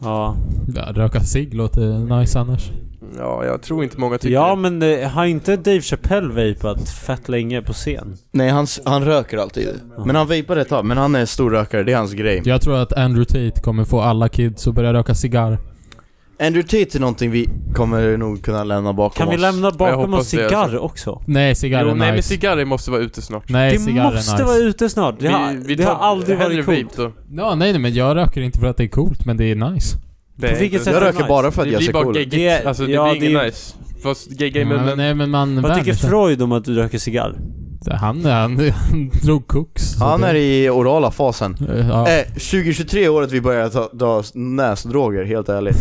S2: Ja,
S10: ja. Röka cigg låter nice annars.
S6: Ja, jag tror inte många tycker
S2: ja
S6: det.
S2: men eh, har inte Dave Chappelle vapat fett länge på scen?
S4: Nej, han, s- han röker alltid. Men han vejpar ett tag, men han är stor rökare, det är hans grej.
S10: Jag tror att Andrew Tate kommer få alla kids att börja röka cigarr.
S4: Andrew Tate är någonting vi kommer nog kunna lämna bakom
S2: Kan vi
S4: oss.
S2: lämna bakom
S6: hoppas
S2: oss
S6: det, alltså.
S2: cigarr också?
S10: Nej, cigarr
S6: Jo,
S10: är
S6: nej men
S10: nice.
S6: cigarrer måste vara ute snart.
S10: Nej,
S2: Det
S10: cigarr är nice.
S2: måste vara ute snart, det har, det har aldrig
S6: hellre
S2: varit coolt
S6: vape då.
S10: Ja, nej, nej men jag röker inte för att det är coolt, men det är nice.
S6: Det är
S2: vilket
S6: inte-
S2: sätt
S4: Jag
S2: är
S4: röker
S2: nice.
S4: bara för att
S6: Det
S4: jag
S6: blir
S4: ser
S6: bara
S4: cool ut.
S6: geggigt. Alltså det
S2: ja,
S6: blir inget
S2: det är-
S6: nice. Fast gegga i
S10: Ja, men,
S6: munnen.
S10: nej men man
S2: Vad
S10: värmer
S2: tycker
S10: sig.
S2: Freud om att du röker cigarr?
S10: Han, han, han drog koks. så
S4: Han
S10: det-
S4: är i orala fasen.
S10: Eh, Ja,
S4: Eh, 2023 är året vi börjar ta, dra näsdroger, helt ärligt.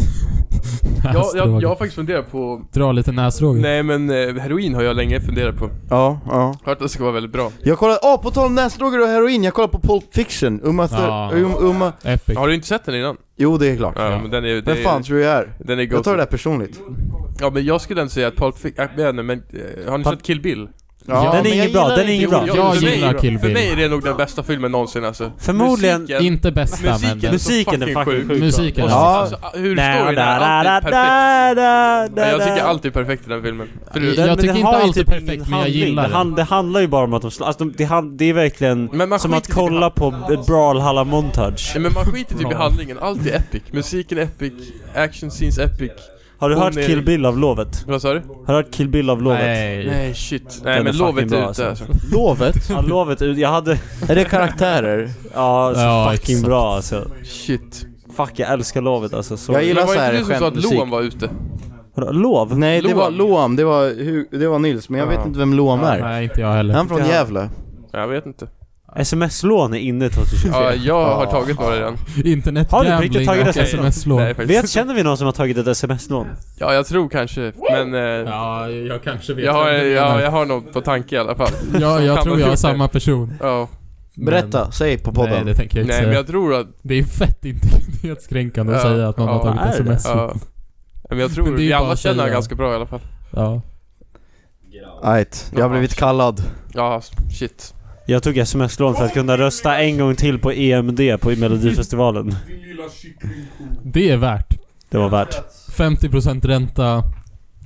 S6: Jag, jag,
S10: näsdrog.
S6: jag har faktiskt funderat på...
S10: Dra lite näsdroger.
S6: Nej men eh, heroin har jag länge funderat på.
S4: Ja, ja.
S6: Hört att det ska vara väldigt bra.
S4: Jag kollar, ah på tal om näsdroger och heroin, jag kollar på Pulp Fiction, Uma, Thur-
S10: Ja.
S4: um, Uma
S10: Epic.
S6: Har du inte sett den innan?
S4: Jo det är klart.
S6: Ja,
S10: Ja.
S6: men den är...
S4: Vem
S6: det är-
S4: fan tror du jag är?
S6: Den är
S4: Jag
S6: god.
S4: tar det där personligt.
S6: Ja men jag skulle ändå säga att Pulp Fiction, äh, men, men eh, har ni
S2: Pulp-
S6: sett Kill Bill?
S10: Ja,
S2: den
S4: men
S2: är
S4: jag
S2: ingen bra,
S4: gillar
S2: den är
S4: inte
S2: ingen
S4: orala.
S2: bra.
S10: Jag gillar Kill
S6: För
S10: Bill.
S6: mig är det nog den bästa filmen någonsin alltså.
S2: Förmodligen-
S6: Musiken,
S10: Inte bästa, men...
S6: musiken,
S10: den-
S2: Musiken är fucking sjuk.
S10: Musiken.
S6: Och så-
S4: Ja.
S6: alltså, hur storyn är, allt är perfekt. Ja, jag tycker allt är perfekt i den filmen. Förut-
S10: Jag
S2: men
S10: tycker
S2: den
S10: inte
S2: har ju
S10: allt är perfekt,
S2: ingen
S10: men jag
S2: handling.
S10: gillar
S2: det. Han, det handlar ju bara om att de slåss. Alltså, de, det, han, det är verkligen
S6: Men man
S2: som att
S6: skiter i det.
S2: kolla på Brawlhalla Montage.
S6: Nej, men man skiter typ i
S10: Bra.
S6: handlingen, allt är epic. Musiken är epic, action scenes epic.
S2: Har du
S6: Hon
S2: hört
S6: är-
S2: Kill Bill av lovet?
S6: Vad sa du?
S2: Har du hört Kill Bill av lovet?
S6: Nej. Nej, shit. Nej,
S2: Den
S6: men
S2: är fucking
S6: Lovet är
S2: bra,
S6: ute, alltså.
S2: Lovet? Ja, lovet är ute. Jag hade...
S6: Är det karaktärer?
S2: Ja, så
S6: Ja,
S2: fucking
S6: exakt.
S2: bra alltså.
S6: Shit.
S2: Fuck, jag älskar lovet alltså. Så...
S4: Jag gillar Men var så inte här
S6: Du som sa att Loam var ute.
S2: Vadå, Lov?
S4: Nej, det var Loam. Det var, Hu- det var Nils, men jag vet
S2: Ja.
S4: inte vem Loam
S2: Ja,
S4: är.
S2: nej, inte jag heller.
S4: Är han från
S2: Inte jag.
S4: Gävle?
S6: Jag vet inte.
S2: Sms-lån är inne 2023.
S6: Ja, jag har tagit några redan.
S2: Har du på riktigt tagit ett
S6: Nej,
S2: sms-lån?
S6: faktiskt
S2: Vet,
S6: inte.
S2: känner vi någon som har tagit ett sms-lån?
S6: Ja, jag tror kanske, men... ja, jag kanske
S10: vet
S6: jag har,
S10: vem du
S6: ja,
S10: menar.
S6: jag har något på tanke i alla fall.
S10: Ja, jag
S6: Kan
S10: tror
S6: ha
S10: jag är
S6: gjort
S10: samma
S6: det.
S10: person.
S6: Ja.
S4: Berätta, säg på podden.
S10: Nej, det tänker jag inte
S6: Nej,
S10: säga.
S6: men jag tror att...
S10: Det är fett integritetskränkande att
S6: Ja,
S10: säga att någon
S6: ja,
S10: har tagit
S6: är det?
S10: sms.
S6: Ja. Men jag tror,
S10: Men det är ju
S6: vi
S10: bara
S6: alla
S10: att
S6: känner
S10: säga.
S6: ganska bra i alla fall.
S10: Ja.
S4: Ajt, jag har blivit kallad.
S6: Ja, shit.
S2: Jag tog sms-lån för att kunna rösta en gång till på EMD på i Melodifestivalen.
S10: Det är värt.
S2: Det var värt.
S10: 50% ränta.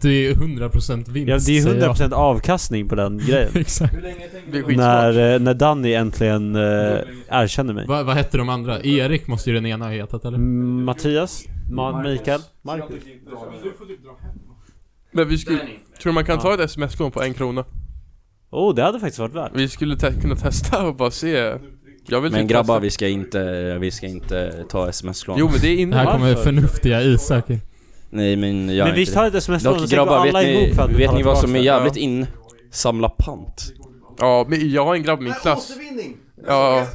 S10: Det är 100% vinst
S2: Ja, det är
S10: säger jag.
S2: 100% avkastning på den grejen.
S10: Exakt.
S6: Det är
S2: När, eh, när Danny äntligen eh, erkänner mig.
S10: Vad, vad hette de andra? Erik måste ju den ena ha hetat
S2: Mm.
S10: eller?
S2: Mattias? Ma- Mikael? Marcus?
S6: Men vi skulle... Tror du man kan ta ett sms-lån på en krona?
S2: Oh, det hade faktiskt varit värt.
S6: Vi skulle te- kunna testa och bara se. Jag vill
S7: Men
S6: typ
S7: grabbar,
S6: testa.
S7: vi ska inte, vi ska inte ta sms-lån.
S6: Jo, men det är inne.
S10: Här kommer
S6: Varför?
S10: förnuftiga Isak. in.
S7: Nej men jag
S2: Men
S7: är
S2: vi
S7: inte
S2: tar
S7: det.
S2: ett sms-lån
S7: Dock,
S2: och så går
S7: grabbar, vet
S2: alla
S7: ni,
S2: ihop för att
S7: vet
S2: betala
S7: ni vad som är
S2: tillbaka.
S7: jävligt
S2: Ja.
S7: in? Samla pant.
S6: Ja, men jag har en grabb i min klass. Ja.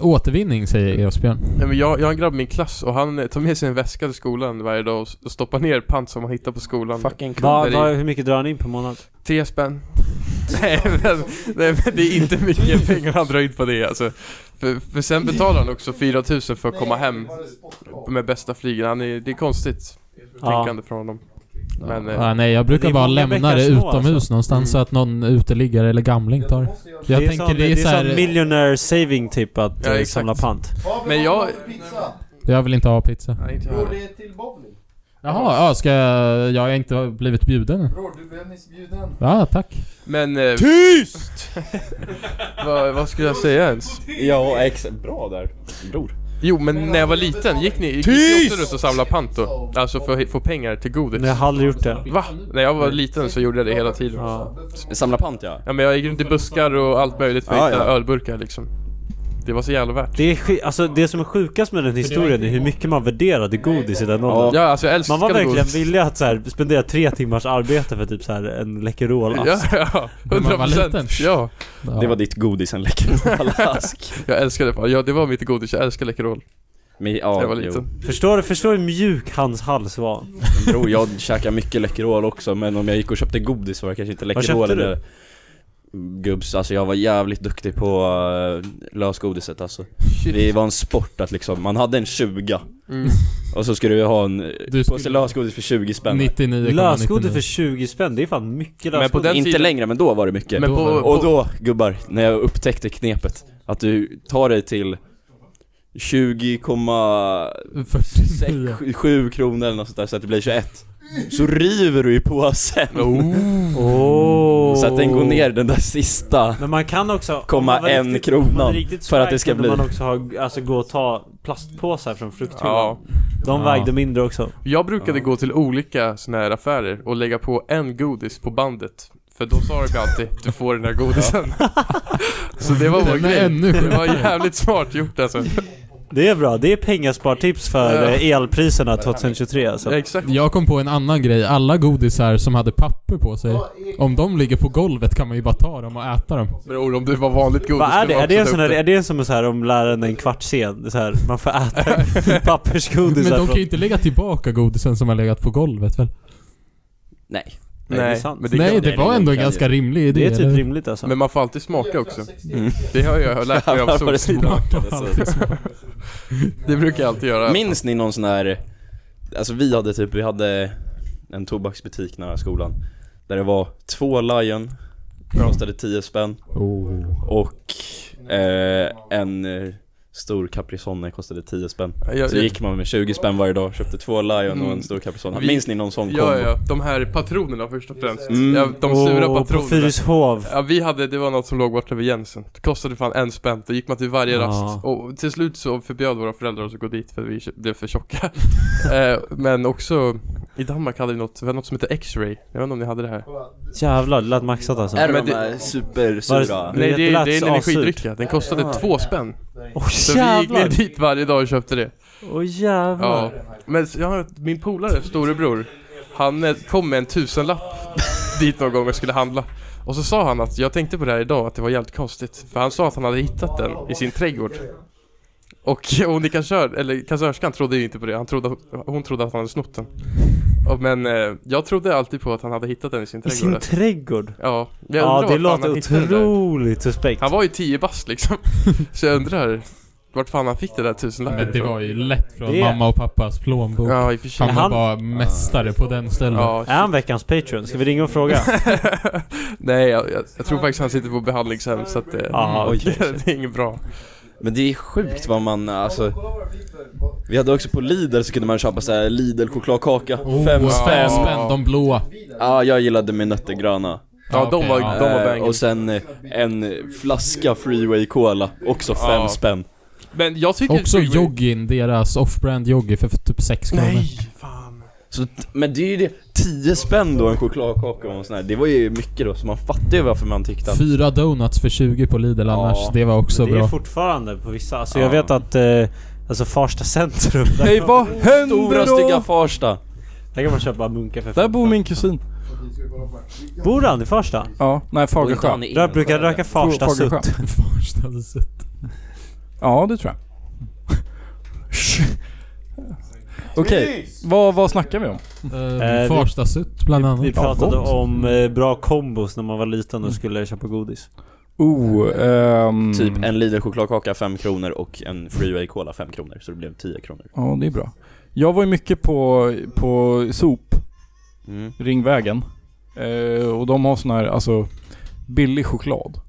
S10: Återvinning säger Esbjörn.
S6: Nej, men jag, jag har en grabb i min klass och han eh, tar med sig en väska till skolan varje dag och s- och stoppar ner pant som han hittar på skolan. Fucking
S2: Va, va, hur mycket drar han in per månad?
S6: Tre spänn. nej, men, nej men det är inte mycket pengar han drar in på det alltså. För, för sen betalar han också 4000 för att komma hem med bästa flygen. Han är, det är konstigt tänkande från honom. Men,
S2: Typ.
S6: eh,
S10: Ah, nej, jag brukar bara lämna det utomhus någonstans så att någon uteliggare eller gamling tar det.
S2: alltså. Mm.
S10: Jag
S2: det är
S10: tänker
S2: sån,
S10: det är så
S2: sån
S10: här,
S2: millionaire saving tip att
S6: Ja,
S2: eh,
S6: exakt.
S2: samla pant.
S6: Men jag...
S10: Jag vill inte ha pizza.
S6: Nej, inte jag heller.
S10: Jaha, ja, ska jag... Jag har inte blivit bjuden än.
S8: Bror, du blev nyss bjuden.
S10: Ja, tack.
S6: Men... Eh, Tyst! vad, vad skulle jag säga ens?
S7: Ja, ex bra där. Bror.
S6: Jo men när jag var liten, gick ni, gick ni också runt och samlade pant då? Alltså för att få pengar till godis?
S2: Nej, jag har aldrig gjort det.
S6: Va? När jag var liten så gjorde jag det hela tiden.
S7: Samla pant ja.
S6: Ja men jag gick runt i buskar och allt möjligt för att
S2: Ja,
S6: hitta
S2: ja.
S6: ölburkar liksom. Det var så jävla värt.
S2: Det, är, sk- alltså, det som är sjukast med den historien är hur mycket man värderade godis i den åldern.
S6: Ja, alltså jag älskade
S2: Man var verkligen
S6: godis.
S2: villig att så här, spendera tre timmars arbete för typ så här, en Läkerol
S6: Ja, ja. 100 procent. Ja.
S7: Det var ditt godis, en Läkerolask.
S6: jag älskade det. Ja det var mitt godis, jag älskade Läkerol.
S7: Men ja,
S6: Jag var
S7: jo.
S6: liten.
S2: Förstår du förstår du hur mjuk hans hals var?
S7: Bror, jag käkar mycket Läkerol också men om jag gick och köpte godis var det kanske inte Läkerol
S2: köpte du?
S7: eller Gubbs, alltså jag var jävligt duktig på uh, lösgodiset alltså Det var en sport att liksom, man hade en 20
S6: Mm.
S7: Och så skulle du ha en, du påse lösgodis för 20 spänn
S10: 99,99.
S2: Lösgodis för 20 spänn, det är fan mycket lösgodis.
S7: Inte längre, men då var det mycket
S2: Men på-
S7: Och
S2: på-
S7: då gubbar, när jag upptäckte knepet Att du tar dig till 20,7 kronor eller något sånt där så att det blir 21 Så river du i påsen!
S2: Oh.
S7: Så att den går ner den där sista
S2: Men man kan också... om
S7: Komma
S2: man var
S7: en
S2: riktigt-
S7: kronan
S2: om man är riktigt
S7: för att det
S2: swag
S7: ska
S2: kunde
S7: bli.
S2: man också ha, alltså gå och ta plastpåsar från frukthyllan.
S6: Ja.
S2: De
S6: Ja.
S2: vägde mindre också.
S6: Jag brukade gå till olika såna här affärer och lägga på en godis på bandet. För då sa de ju alltid du får den här godisen. Så det var vår
S10: Den är
S6: grej.
S10: ännu
S6: Det var
S10: sjukare.
S6: jävligt smart gjort alltså.
S2: Det är bra, det är pengaspartips för eh, elpriserna 2023 alltså.
S10: Jag kom på en annan grej. Alla godisar som hade papper på sig, om de ligger på golvet kan man ju bara ta dem och äta dem.
S6: Bror om det var vanligt godis
S2: Vad är
S6: skulle
S2: det?
S6: man
S2: Är det, en sån här, är
S6: också ta upp
S2: det som så här om läraren är en kvart sen? Det är Så här, man får äta pappersgodis
S10: Men de
S2: härifrån.
S10: kan ju inte lägga tillbaka godisen som har legat på golvet väl?
S7: Nej.
S6: Nej,
S2: det är sant.
S6: men
S10: Nej,
S6: kan-
S10: det var ändå en ganska rimlig idé.
S2: Det är typ
S10: eller?
S2: rimligt alltså.
S6: Men man får alltid smaka också. Det har jag lärt mig av
S7: Jävlar vad det
S6: Solsidan.
S7: smakade, alltså.
S6: det brukar jag alltid göra.
S7: Minns ni någon sån här, alltså vi hade typ, vi hade en tobaksbutik nära skolan Där det var två Lion, kostade 10 spänn Och eh, en eh, stor Capri Sonne kostade 10 spänn
S6: jag-
S7: Så
S6: jag-
S7: gick man med 20 spänn varje dag, köpte två Lion och en stor Capri Sonne
S6: Mm. Vi-
S7: Minns ni någon sån kombo?
S6: Ja, ja, de här patronerna först och främst.
S7: Mm.
S6: Ja, de sura
S2: Åh, på
S6: patronerna.
S2: Fyrishov.
S6: Ja, vi hade, det var något som låg borta vid Jensen. Det kostade fan en spänn, då gick man till varje
S2: Ja.
S6: rast. Och till slut så förbjöd våra föräldrar oss att gå dit för vi blev för tjocka. eh, men också, I Danmark hade vi något, vi hade något som hette X-ray. Jag vet inte om ni hade det här?
S2: Jävlar, det lät maxat alltså.
S6: Är de
S2: Men
S6: de
S2: det-
S6: här
S7: supersura?
S2: Var
S6: Nej det, är-
S2: lät
S6: det är en
S2: assurt.
S6: energidrycka, den kostade
S2: Ja.
S6: två spänn.
S2: Åh,
S6: så vi gick ner
S2: jävlar.
S6: dit varje dag och köpte det.
S2: Åh jävlar.
S6: Men jag har, min polare, storebror, han eh, kom med en tusenlapp dit någon gång och skulle handla. Och så sa han att, jag tänkte på det här idag, att det var jävligt konstigt. För han sa att han hade hittat den i sin trädgård. Och hon i kassör, eller kassörskan trodde ju inte på det, han trodde, hon trodde att han hade snott den. Och, men eh, jag trodde alltid på att han hade hittat den i sin
S2: I
S6: trädgård.
S2: sin trädgård?
S6: Ja, jag undrar
S2: ja det
S6: vart fan
S2: låter
S6: han hittade det där.
S2: otroligt suspekt.
S6: Han var ju 10 bast liksom. Så jag undrar vart fan han fick det där tusenlappen
S10: Men det
S6: ifrån.
S10: var ju lätt från
S6: Det-
S10: mamma och pappas plånbok.
S6: Ja, i och för sig.
S10: Han var
S6: Han-
S10: bara mästare på den ställen.
S6: Ja.
S2: Är han veckans Patreon? Ska vi ringa och fråga?
S6: Nej, jag, jag, jag tror faktiskt han sitter på behandlingshem så att det,
S7: Aha,
S15: Mm.
S7: okej.
S6: det är inget bra.
S7: Men det är sjukt vad man, alltså Vi hade också på Lidl så kunde man köpa så här Lidl chokladkaka,
S10: Oh,
S7: fem
S10: wow.
S7: spänn
S10: spänn, de blåa.
S7: Ja, jag gillade med nöttergröna
S6: Ja, de var- de var
S7: Eh,
S6: bangers.
S7: Och sen eh, en flaska Freeway Cola, också fem
S10: Ja.
S7: spänn
S6: Men jag tycker...
S10: Också joggin, deras off-brand joggi för typ 6 kronor.
S7: Så, t- men det är ju det, 10 spänn då en chokladkaka och en sån här, det var ju mycket då så man fattar ju varför man tyckte att
S10: Fyra donuts för 20 på Lidl annars, det var också
S7: men
S2: Det är
S10: bra.
S2: fortfarande på vissa. Alltså
S7: Ja.
S2: jag vet att, eh, alltså Farsta centrum. där-
S7: Nej, vad händer Stora då? stygga Farsta.
S2: Där kan man köpa munkar för
S3: Där bor min kusin.
S2: Bor han i Farsta?
S3: Ja, nej Fagersjö.
S2: Där brukar röka Farsta
S3: Fagersjö.
S2: sutt.
S10: Farsta sutt.
S3: Ja, det tror jag. Okej, vad, vad snackar vi om?
S2: Eh,
S10: Farsta sutt bland annat.
S2: Vi pratade
S10: Ja, gott.
S2: om eh, bra kombos när man var liten och skulle köpa godis.
S3: Oh,
S7: Typ en Lidl chokladkaka 5 kronor och en Freeway Cola 5 kronor, så det blev 10 kronor
S3: Ja, det är bra. Jag var ju mycket på, på sop. Ringvägen. Eh, och de har sån här, alltså billig choklad.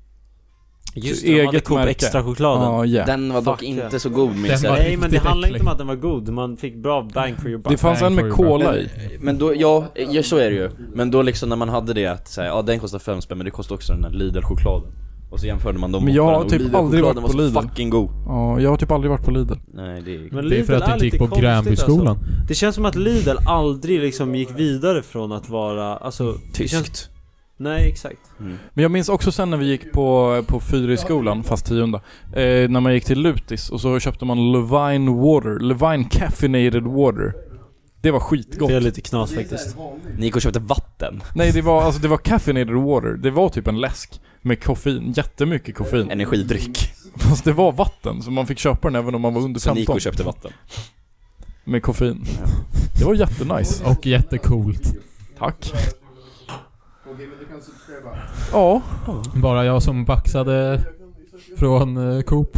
S2: Just
S3: Så
S2: det, de hade Coop extra chokladen.
S3: Ja, yeah.
S7: Den var dock inte så god minns jag.
S2: Nej men det handlar inte om att den var god, man fick bra bang for your buck.
S7: Men, men då, ja, ja, så är det ju Men då liksom när man hade det att säga, ja den kostar 5 spänn men det kostar också den där Lidl-chokladen Och så jämförde man dem
S3: Men
S7: mot
S3: jag har
S7: varandra, och
S3: typ aldrig varit
S7: Lidl-chokladen
S3: på
S7: var så
S3: Lidl.
S7: fucking god
S3: Ja, jag har typ aldrig varit på Lidl.
S7: Nej det är
S2: Men
S10: Det är
S2: Lidl
S10: för att du inte
S2: lite
S10: gick på
S2: konstigt,
S10: Gränbyskolan.
S2: Alltså. Det känns som att Lidl aldrig liksom gick vidare från att vara, alltså... det
S7: Tyskt.
S2: Känns... Nej, exakt.
S3: Men jag minns också sen när vi gick på, på Fyrisskolan, fast tionde, eh, när man gick till Lutis och så köpte man Levine Water, Levine Caffeinated Water. Det var skitgott.
S2: Det är lite knas faktiskt.
S7: Ni gick och köpte vatten?
S3: Nej, det var, alltså, det var caffeinated water. Det var typ en läsk med koffein, jättemycket koffein.
S7: Energidryck.
S3: Fast det var vatten, så man fick köpa den även om man var under
S7: Så
S3: 15.
S7: ni gick och köpte vatten?
S3: Med koffein. Det var jättenice.
S10: Och jättecoolt.
S3: Tack. Ja.
S10: Bara jag som baxade från eh, Coop.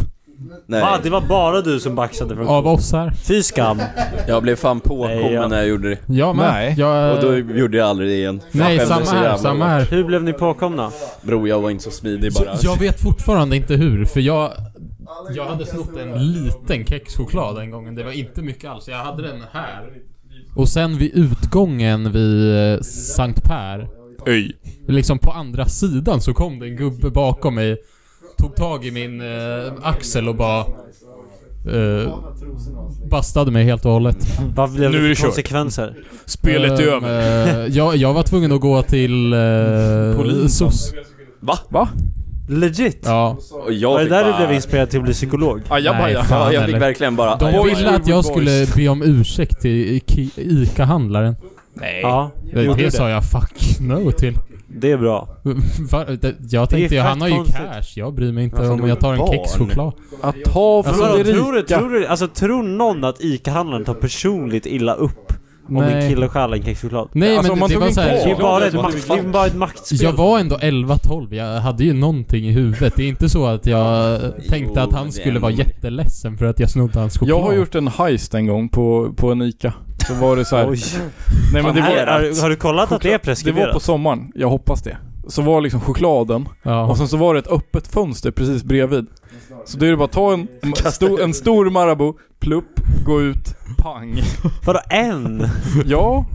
S7: Nej.
S2: Va? Ah, Det var bara du som baxade från
S10: Av oss här.
S2: Fy skam.
S7: Jag blev fan påkommen
S2: Nej, jag-
S7: när jag gjorde det
S10: Jag med. Nej. Jag-
S7: Och då gjorde jag aldrig det igen Fan,
S10: Nej,
S7: jag skämdes
S10: samma
S7: så
S10: här,
S7: jävla
S10: samma
S7: hårt.
S10: här.
S2: Hur blev ni påkomna?
S7: Bror jag var inte så smidig bara
S10: Jag vet fortfarande inte hur, för jag... Jag hade snott en liten kexchoklad den gången. Det var inte mycket alls. Jag hade den här. Och sen vid utgången vid eh, Sankt Per.
S3: Öj.
S10: Liksom på andra sidan så kom det en gubbe bakom mig. Tog tag i min eh, axel och bara... Eh, bastade mig helt och hållet.
S2: Vad blev det för konsekvenser?
S10: Ehm, eh, jag, jag var tvungen att gå till... Eh,
S2: Polisen.
S10: SOS.
S7: Va?
S3: Va?
S2: Legit?
S10: Ja.
S7: Och jag
S2: Var det
S7: fick
S2: där
S7: bara-
S2: du blev inspirerad till att bli psykolog?
S10: Nej, fan,
S7: Ja, jag
S10: eller?
S7: fick verkligen bara
S10: De ville att jag skulle be om ursäkt till Ike- ICA-handlaren.
S3: Nej.
S2: Ja,
S10: Det,
S2: gjorde
S10: det
S2: det.
S10: sa jag fuck no till.
S2: Det är bra.
S10: Jag
S2: Det är
S10: tänkte ju,
S2: fett
S10: han har ju
S2: konstigt.
S10: cash. Jag bryr mig inte
S2: Ja, fan, de
S10: om
S2: är
S10: jag tar en
S2: barn.
S10: kexchoklad.
S3: Att ta
S2: Alltså, vadå, tror, du, tror, du, alltså, tror någon att ICA-handlaren tar personligt illa upp om
S10: Nej.
S2: en kille stjäl en kexchoklad?
S10: Nej, men det var så här-
S2: Det är bara ett,
S10: What
S2: makt,
S10: the
S2: det är bara ett maktspel.
S10: Jag var ändå 11-12. Jag hade ju någonting i huvudet. Det är inte så att jag tänkte att han
S3: det är
S10: skulle vara
S3: ändå-
S10: jätteledsen för att jag snodde hans choklad.
S3: Jag har gjort en heist en gång på, på en ICA. Så var det så här.
S10: Oj.
S3: Nej, men det var,
S2: Har- har du kollat att det
S3: choklad- Det
S2: är
S3: var
S2: preskriberat?
S3: på sommaren, jag hoppas det. Så var liksom chokladen,
S10: Ja.
S3: och sen så var det ett öppet fönster precis bredvid. Så då är det bara att ta en, sto, en stor Marabou, plupp, gå ut, pang.
S2: Vadå en?
S3: Ja.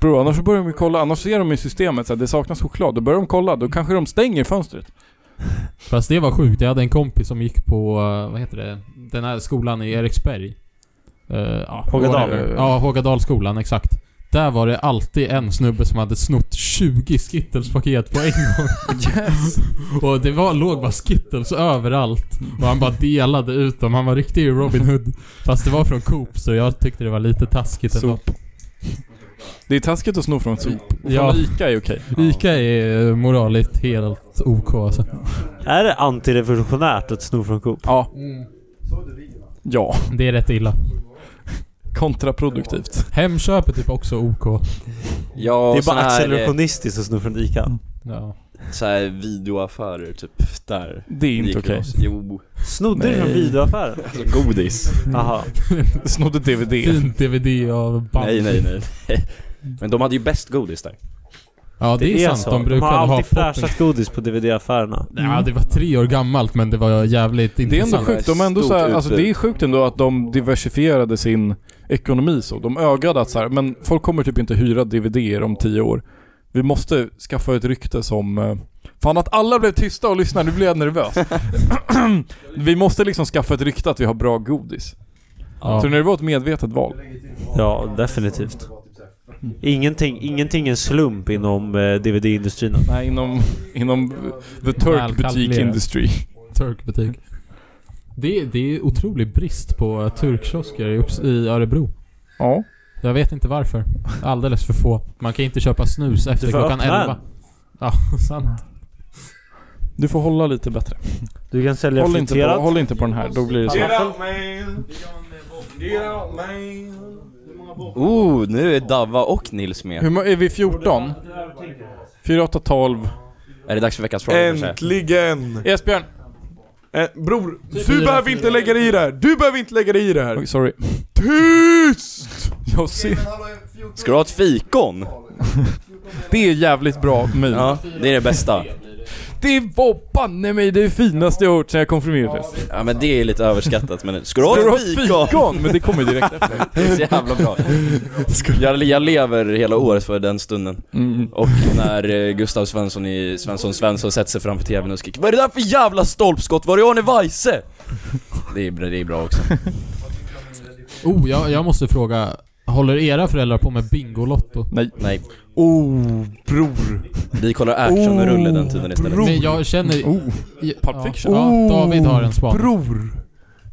S3: Bro, annars så börjar de ju kolla, annars ser de i systemet så här, det saknas choklad. Då börjar de kolla, då kanske de stänger fönstret.
S10: Fast det var sjukt. Jag hade en kompis som gick på, eh, vad heter det, den här skolan i Eriksberg. eh, ja,
S2: Hågadal.
S10: eh, Ja, Hågadalsskolan, exakt. Där var det alltid en snubbe som hade snott 20 Skittles-paket på en gång. Yes. Och det var, låg bara Skittles överallt. Och han bara delade ut dem. Han var riktig Robin Hood. Fast det var från Coop, så jag tyckte det var lite taskigt ändå.
S15: Det är taskigt att sno från ett sop.
S10: Ja.
S15: Ja. Ica är okej.
S10: Ica är eh, moraliskt helt OK alltså.
S2: Är det antirevolutionärt att sno från Coop?
S15: Ja. Ja.
S10: Det är rätt illa.
S15: Kontraproduktivt.
S10: Hemköp är typ också OK.
S7: Ja,
S2: det är
S7: sån
S2: bara
S7: här, eh,
S2: accelerationistiskt att sno från ICA.
S10: Ja.
S7: Så här videoaffärer typ, där
S15: Det är inte
S7: gick vi
S15: okej.
S7: oss. Jo
S2: Snodde du från videoaffären?
S7: Alltså godis
S2: Jaha.
S15: Snodde DVD.
S10: Fint DVD av band.
S7: Nej nej nej Men de hade ju bäst godis där
S10: Ja, det, är, sant.
S2: så.
S10: De brukar
S2: har
S10: ha
S2: alltid
S10: popping.
S2: fräschat godis på DVD-affärerna.
S10: Ja, det var tre år gammalt men det var jävligt
S15: Det är ändå
S10: intressant.
S15: sjukt. De är ändå så här, alltså, det är sjukt ändå att de diversifierade sin ekonomi så. De ögade att så här, men folk kommer typ inte hyra DVD-er om tio år. Vi måste skaffa ett rykte som... eh, Fan att alla blev tysta och lyssnade, nu blir jag nervös. vi måste liksom skaffa ett rykte att vi har bra godis.
S2: Ja.
S15: Tror ni det var ett medvetet val?
S2: Ja, definitivt. Ingenting, ingenting är en slump inom eh, DVD-industrin.
S15: Nej, inom, inom the Turk butik industry.
S10: Turkbutik. Det, det är otrolig brist på turkkiosker i Upps- i Örebro.
S15: Ja.
S10: Jag vet inte varför. Alldeles för få. Man kan inte köpa snus efter
S2: Du får
S10: klockan
S2: öppna
S10: 11. Ja, sant.
S15: Du får hålla lite bättre.
S2: Du kan sälja
S15: håll inte, på,
S2: friterat.
S15: håll inte på den här, då blir det
S8: Get
S15: så.
S8: out man! Get out man!
S7: Oh, nu är Davva och Nils med
S15: Hur, må- är vi 14? 4, 8, 12.
S7: Är det dags för veckans fråga kanske?
S8: Äntligen!
S15: Esbjörn! Typ
S8: Eh, bror, du
S15: fyra,
S8: behöver inte lägga dig i det här! Du behöver inte lägga dig i det här!
S15: Oj, sorry.
S8: Tyst!
S15: Jag ser.
S7: Ska du ha ett fikon?
S15: Det är jävligt bra meme.
S7: Ja, det är det bästa
S15: Det var banne mig det finaste jag hört sen jag konfirmerades.
S7: Ja men det är lite överskattat men ska du ha
S15: Ska du ha
S7: ett
S15: ett
S7: fikon?
S15: fikon? Men det kommer direkt efter.
S7: Det är så jävla bra jag, jag lever hela året för den stunden
S15: Mm.
S7: Och när eh, Gustav Svensson i Svensson Svensson sätter sig framför tvn och skriker Vad är det där för jävla stolpskott? Var är Arne Weise? Det är, bra- det är bra också
S10: Oh, jag, jag måste fråga. Håller era föräldrar på med Bingolotto?
S15: Nej
S7: Nej,
S15: Oh, bror.
S7: vi kollar actionrulle den tiden istället
S10: Men jag känner...
S15: Oh.
S10: Ja,
S15: Pulp Fiction.
S10: Ja, David har en span.
S8: Bror!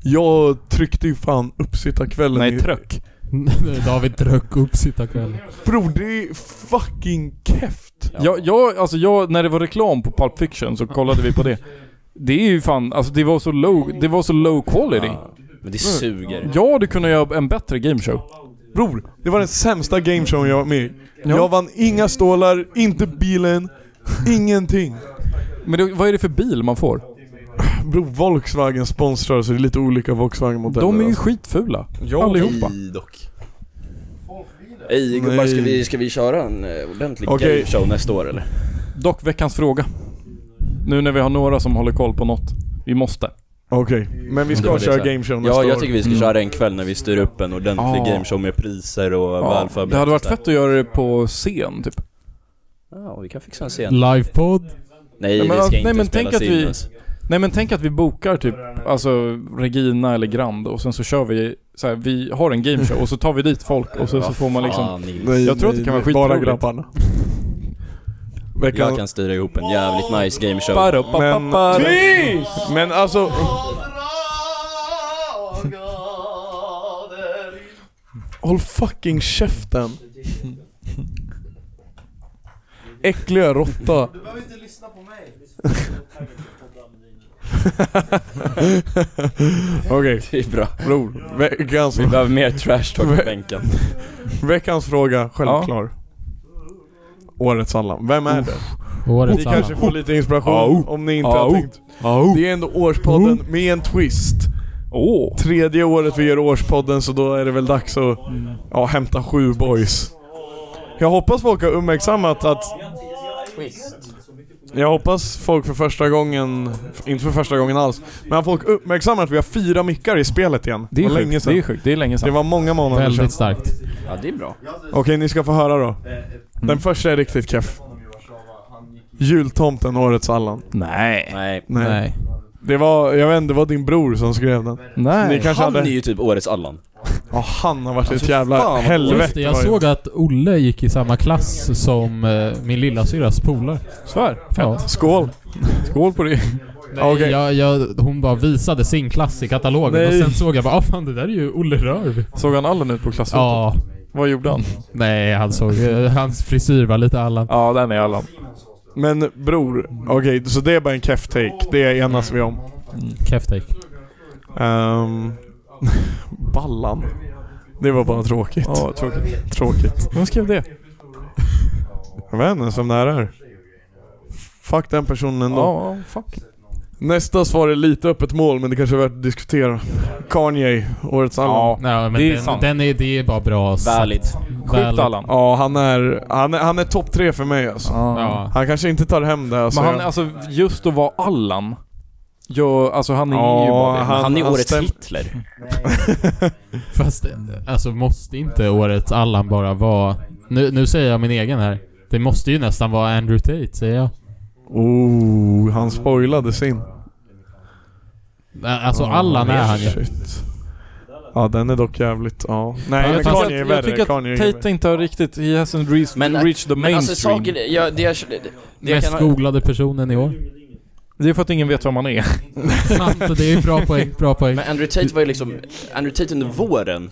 S8: Jag tryckte ju fan uppsittarkvällen
S15: Nej,
S8: i-
S15: tröck.
S10: David dröck upp sitta kväll.
S8: Bror, det är fucking keft!
S15: Jag, jag, alltså jag, när det var reklam på Pulp Fiction så kollade vi på det. Det är ju fan, alltså det var så low, det var så low quality.
S7: Ja, Men det suger
S15: Jag hade kunnat göra en bättre gameshow.
S8: Bror, det var den sämsta gameshowen jag var med i. Jag vann inga stålar, inte bilen, ingenting.
S15: Men det, vad är det för bil man får?
S8: Bror, Volkswagen sponsrar så det är lite olika Volkswagen-modeller.
S15: De är ju skitfula. Allihopa.
S7: Ej dock Ej gubbar, ska vi, ska vi köra en eh, ordentlig
S8: Okej.
S7: gameshow nästa år eller?
S15: Dock veckans fråga. Nu när vi har några som håller koll på något. Vi måste.
S8: Okej, men vi
S7: Det
S8: ska
S7: var det
S8: köra
S7: så här.
S8: gameshow nästa
S7: Ja,
S8: år.
S7: jag tycker vi ska
S15: Mm.
S7: köra en kväll när vi styr upp en ordentlig
S15: Ja.
S7: gameshow med priser och
S15: Ja,
S7: välförberett
S15: det hade varit
S7: sådär.
S15: fett att göra det på scen typ.
S7: Ja, vi kan fixa en scen
S10: Livepodd.
S7: Nej,
S15: Nej, men- alltså,
S7: det ska
S15: nej,
S7: inte
S15: men
S7: spelas
S15: tänk att
S7: in
S15: vi-
S7: alltså.
S15: Nej men tänk att vi bokar typ, alltså Regina eller Grand och sen så kör vi så här, vi har en gameshow och så tar vi dit folk och så, så får man liksom...
S7: Fan, Nils.
S8: Nej,
S15: Jag tror att det kan
S8: nej,
S15: vara
S8: Bara
S15: skitroligt.
S8: grabbarna.
S7: Jag
S8: Veckan...
S7: kan styra ihop en jävligt nice gameshow
S8: Men...
S15: Ba-da-ba-ba-ba.
S8: Men alltså... Håll fucking käften. Äckliga råtta.
S4: Du behöver inte lyssna på mig.
S8: Okej,
S7: Det är bra
S8: bror. Veckans,
S7: Vi behöver mer trash talk på bänken
S8: veckans fråga, självklar. Årets Allan. Vem är det? Ni
S10: Årets
S8: kanske
S10: alla.
S8: får lite inspiration
S15: Oh. Au.
S8: om ni inte
S15: Au.
S8: har tänkt. Det är ändå Årspodden med en twist.
S15: Åh!
S8: Tredje året vi gör Årspodden så då är det väl dags att ja, hämta sju boys. Jag hoppas folk har uppmärksammat att... Jag hoppas folk för första gången, inte för första gången alls, men att folk uppmärksammar att vi har fyra mickar i spelet igen.
S15: det är
S8: var länge
S15: sjukt, det är
S8: sedan.
S15: sjukt, det är länge
S8: Det
S15: sedan.
S8: var många månader sedan.
S10: Väldigt starkt.
S7: Ja, det är bra
S8: Okej, ni ska få höra då. Den första är riktigt keff. Jultomten, Årets Allan.
S15: Nej.
S7: Nej
S8: Nej.
S10: Nej.
S8: Det var, jag vet inte, det var din bror som skrev den. Ni kanske
S7: han
S8: hade...
S7: är ju typ årets Allan.
S8: Ja, han har varit ett
S7: Alltså,
S8: jävla
S7: fan vad
S8: helvete.
S10: Just det, jag
S8: var det.
S10: såg att Olle gick i samma klass som eh, min lillasyrras polare.
S8: Svär?
S10: Ja.
S8: Skål. Skål på det.
S10: Nej, jag, jag, hon bara visade sin klass i katalogen och
S8: Nej.
S10: sen såg jag bara ah, fan det där är ju Olle Rörv.
S15: Såg han Allen ut på klassfotot?
S10: Ja.
S15: Vad gjorde han?
S10: Nej, han såg... eh, Hans frisyr var lite Allan.
S8: Ja, den är Allan. Men bror, okej, så det är bara en keff take. Det enas vi om.
S10: Keff take.
S8: Ehm, ballan. Det var bara tråkigt.
S15: Ja, tråkigt.
S8: Tråkigt. Vem skrev det? Jag vet inte som det här är. Fuck den personen ändå.
S15: Ja, fuck.
S8: Nästa svar är lite öppet mål, men det kanske är värt att diskutera. Kanye, årets Allan.
S15: Ja,
S10: Nej, men den, den är, det är bara bra sagt. Valid.
S8: Sjukt Allan. Ja, han är, han är, han är topp tre för mig alltså.
S15: Ja.
S8: Han kanske inte tar hem det alltså.
S15: Men han, alltså just att vara Allan. Jo, alltså han är ju bara det.
S7: Hitler.
S10: Fast eh, alltså måste inte årets Allan bara vara... Nu, nu säger jag min egen här. Det måste ju nästan vara Andrew Tate säger jag.
S8: Oh, han spoilade sin.
S10: Eh, Alltså Allan är han ju.
S8: Shit. Ja, den är dock jävligt... Ja. Nej,
S15: Ja, jag,
S8: men
S15: tycker
S8: Kanye är
S15: att,
S8: värre.
S15: jag tycker
S8: Kanye är
S15: att Tate inte har riktigt... He hasn't reached, reached the
S10: men
S15: mainstream.
S10: alltså, saker-
S7: Ja, det jag, det, det jag
S10: Mest
S7: kan,
S10: googlade personen i år.
S15: Det är för att ingen vet vem man är.
S10: Sant, det är ju bra poäng, bra poäng.
S7: men Andrew Tate var ju liksom, Andrew Tate under våren.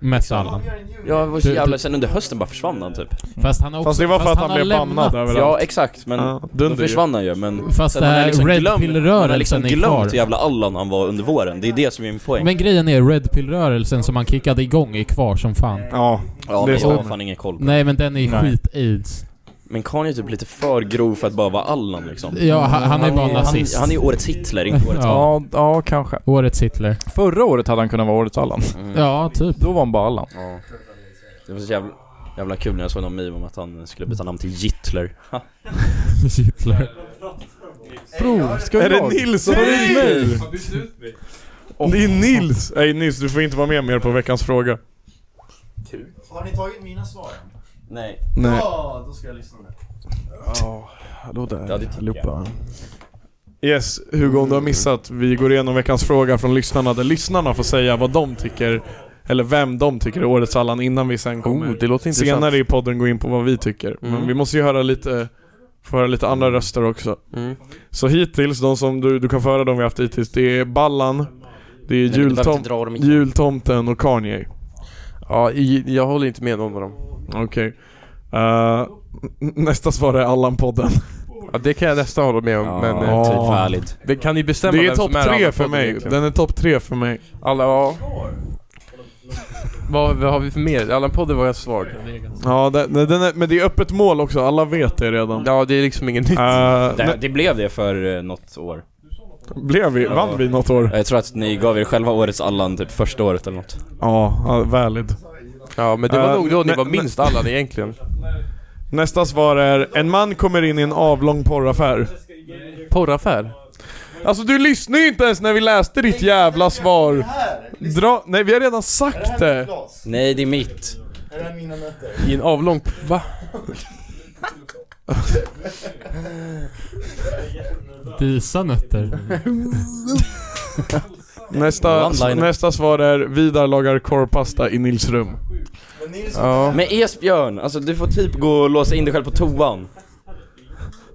S10: Mest Allan.
S7: Ja, det var så
S10: Du-
S7: jävla,
S10: du-
S7: sen under hösten bara försvann han typ.
S10: Fast han har också...
S8: Fast det var för
S10: fast
S8: att han
S10: har
S8: blev bannad
S10: lämnat.
S8: överallt.
S7: Ja, exakt. Men
S8: Ja,
S7: då
S8: dunder ju.
S7: försvann han ju. Men
S10: Fast
S7: sen Alltså, har
S10: det här Red Pill-rörelsen
S7: han har liksom
S10: är
S7: glömt
S10: kvar.
S7: hur jävla Allan han var under våren. Det är det som är min poäng.
S10: Men grejen är Red Pill-rörelsen som han kickade igång är kvar som fan.
S8: Ja,
S7: ja,
S8: det
S7: men jag har
S8: stämmer.
S7: fan ingen koll på det.
S10: Nej men den är
S7: Nej.
S10: skit-aids.
S7: Men Kanye är typ lite för grov för att bara vara Allan liksom.
S10: Ja, han- han är bara nazist.
S7: Han, han är ju årets Hitler, inte årets Allan.
S15: Ja, ja, kanske.
S10: Årets Hitler.
S15: Förra året hade han kunnat vara årets Allan.
S10: Ja, typ.
S15: Då var han bara Allan.
S7: Ja. Det var så jävla, jävla kul när jag såg någon meme om att han skulle byta namn till Gittler. Ha.
S10: Hitler.
S15: Bror, ska
S8: Är det
S15: jag?
S8: Nils som
S15: Nej!
S8: har ringt mig? Det är Nils! Nej Nils, du får inte vara med mer på veckans fråga.
S4: Har ni tagit mina svar?
S7: Nej.
S8: Nej.
S4: Ja, då ska jag lyssna nu.
S8: Ja, hallå där
S7: Ja, det tycker
S8: allihopa. Yes, Hugo om du har missat. Vi går igenom veckans fråga från lyssnarna där lyssnarna får säga vad de tycker, eller vem de tycker är årets Allan innan vi sen
S6: Oh,
S8: kommer.
S14: det låter intressant.
S8: Senare i podden gå in på vad vi tycker. Men vi måste ju höra lite, få höra lite andra röster också. Så hittills, de som du, du kan föra de vi haft hittills, det är Ballan, det är
S7: Nej, men du behöver
S8: jultom
S7: inte dra dem igen.
S8: jultomten och Kanye.
S6: Ja, i- jag håller inte med någon av dem.
S8: Okej. Eh, nästa svar är Allan-podden.
S6: Ja, det kan jag nästan hålla med om, men... eh,
S8: Ja.
S6: typ.
S7: Valid.
S6: Det kan ni bestämma
S8: Det är
S6: vem
S8: topp
S6: som är
S8: tre
S6: alla
S8: för
S6: podden
S8: mig.
S6: egentligen?
S8: Den är topp tre för mig.
S6: Alla, ja. Vad, vad har vi för mer? Allan-podden var jag svag.
S8: Ja, den, nej, den är, men det är öppet mål också. Alla vet det redan.
S6: Ja, det är liksom ingen nytt.
S8: Eh,
S7: Det,
S8: nej,
S7: det blev det för eh, något år.
S8: blev vi? Vann vi något år?
S7: Jag tror att ni gav er själva årets Allan typ första året eller något.
S8: Ja, ja, valid.
S6: Ja, men det var
S8: Eh,
S6: nog då ni
S8: men-
S6: var minst Allan egentligen.
S8: Nästa svar är En man kommer in i en avlång porraffär.
S6: Porraffär?
S8: Alltså du lyssnar ju inte ens när vi läste ditt jävla svar. Dra, nej vi har redan sagt det.
S7: Nej, det är mitt.
S4: Är det här mina nötter?
S6: I en avlång... Va?
S10: Disa nötter.
S8: Nästa,
S7: One-liner.
S8: nästa svar är Vidar lagar korvpasta i Nils rum.
S6: Ja.
S7: Men Esbjörn, alltså du får typ gå och låsa in dig själv på toan.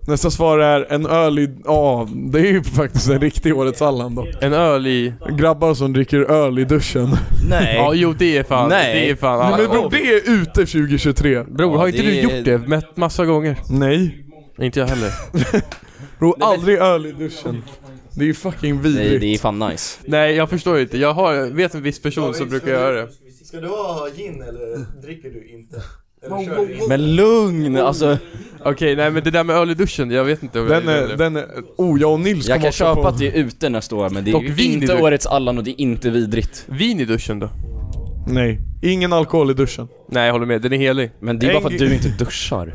S8: Nästa svar är en öl i... Ja, det är ju faktiskt en riktig årets Allan då.
S6: En öl i...
S8: Grabbar som dricker öl i duschen.
S7: Nej.
S6: Ja, jo det är fan...
S7: Nej.
S6: Det är fan
S8: Nej,
S6: Allan.
S8: men bror, det är ute 2023.
S6: Bror,
S7: Ja,
S6: har inte
S7: det
S6: du
S7: är-
S6: gjort det med- massa gånger?
S8: Nej.
S6: Inte jag heller.
S8: Bror, aldrig öl i duschen. Det är ju fucking
S7: Nej,
S8: vidrigt.
S7: det är fan nice.
S6: Nej, jag förstår inte. Jag har, jag vet en viss person som brukar göra det.
S4: Ska du ha gin eller dricker du inte? Eller kör du inte?
S7: Men lugn, alltså.
S6: Okej, nej men det där med öl i duschen, jag vet inte. om jag
S8: Den är,
S6: gör det.
S8: den är... Oh, jag och Nils
S7: Jag
S8: kom
S7: kan
S8: också
S7: köpa
S8: på...
S7: att det är ute nästa år, men det är
S6: Dock
S7: ju
S6: vin i
S7: inte
S6: duschen.
S7: årets Allan och det är inte vidrigt.
S6: Vin i duschen då?
S8: Nej. Ingen alkohol i duschen.
S6: Nej, jag håller med. Den är helig.
S7: Men det är bara för
S8: En-
S7: att du inte duschar.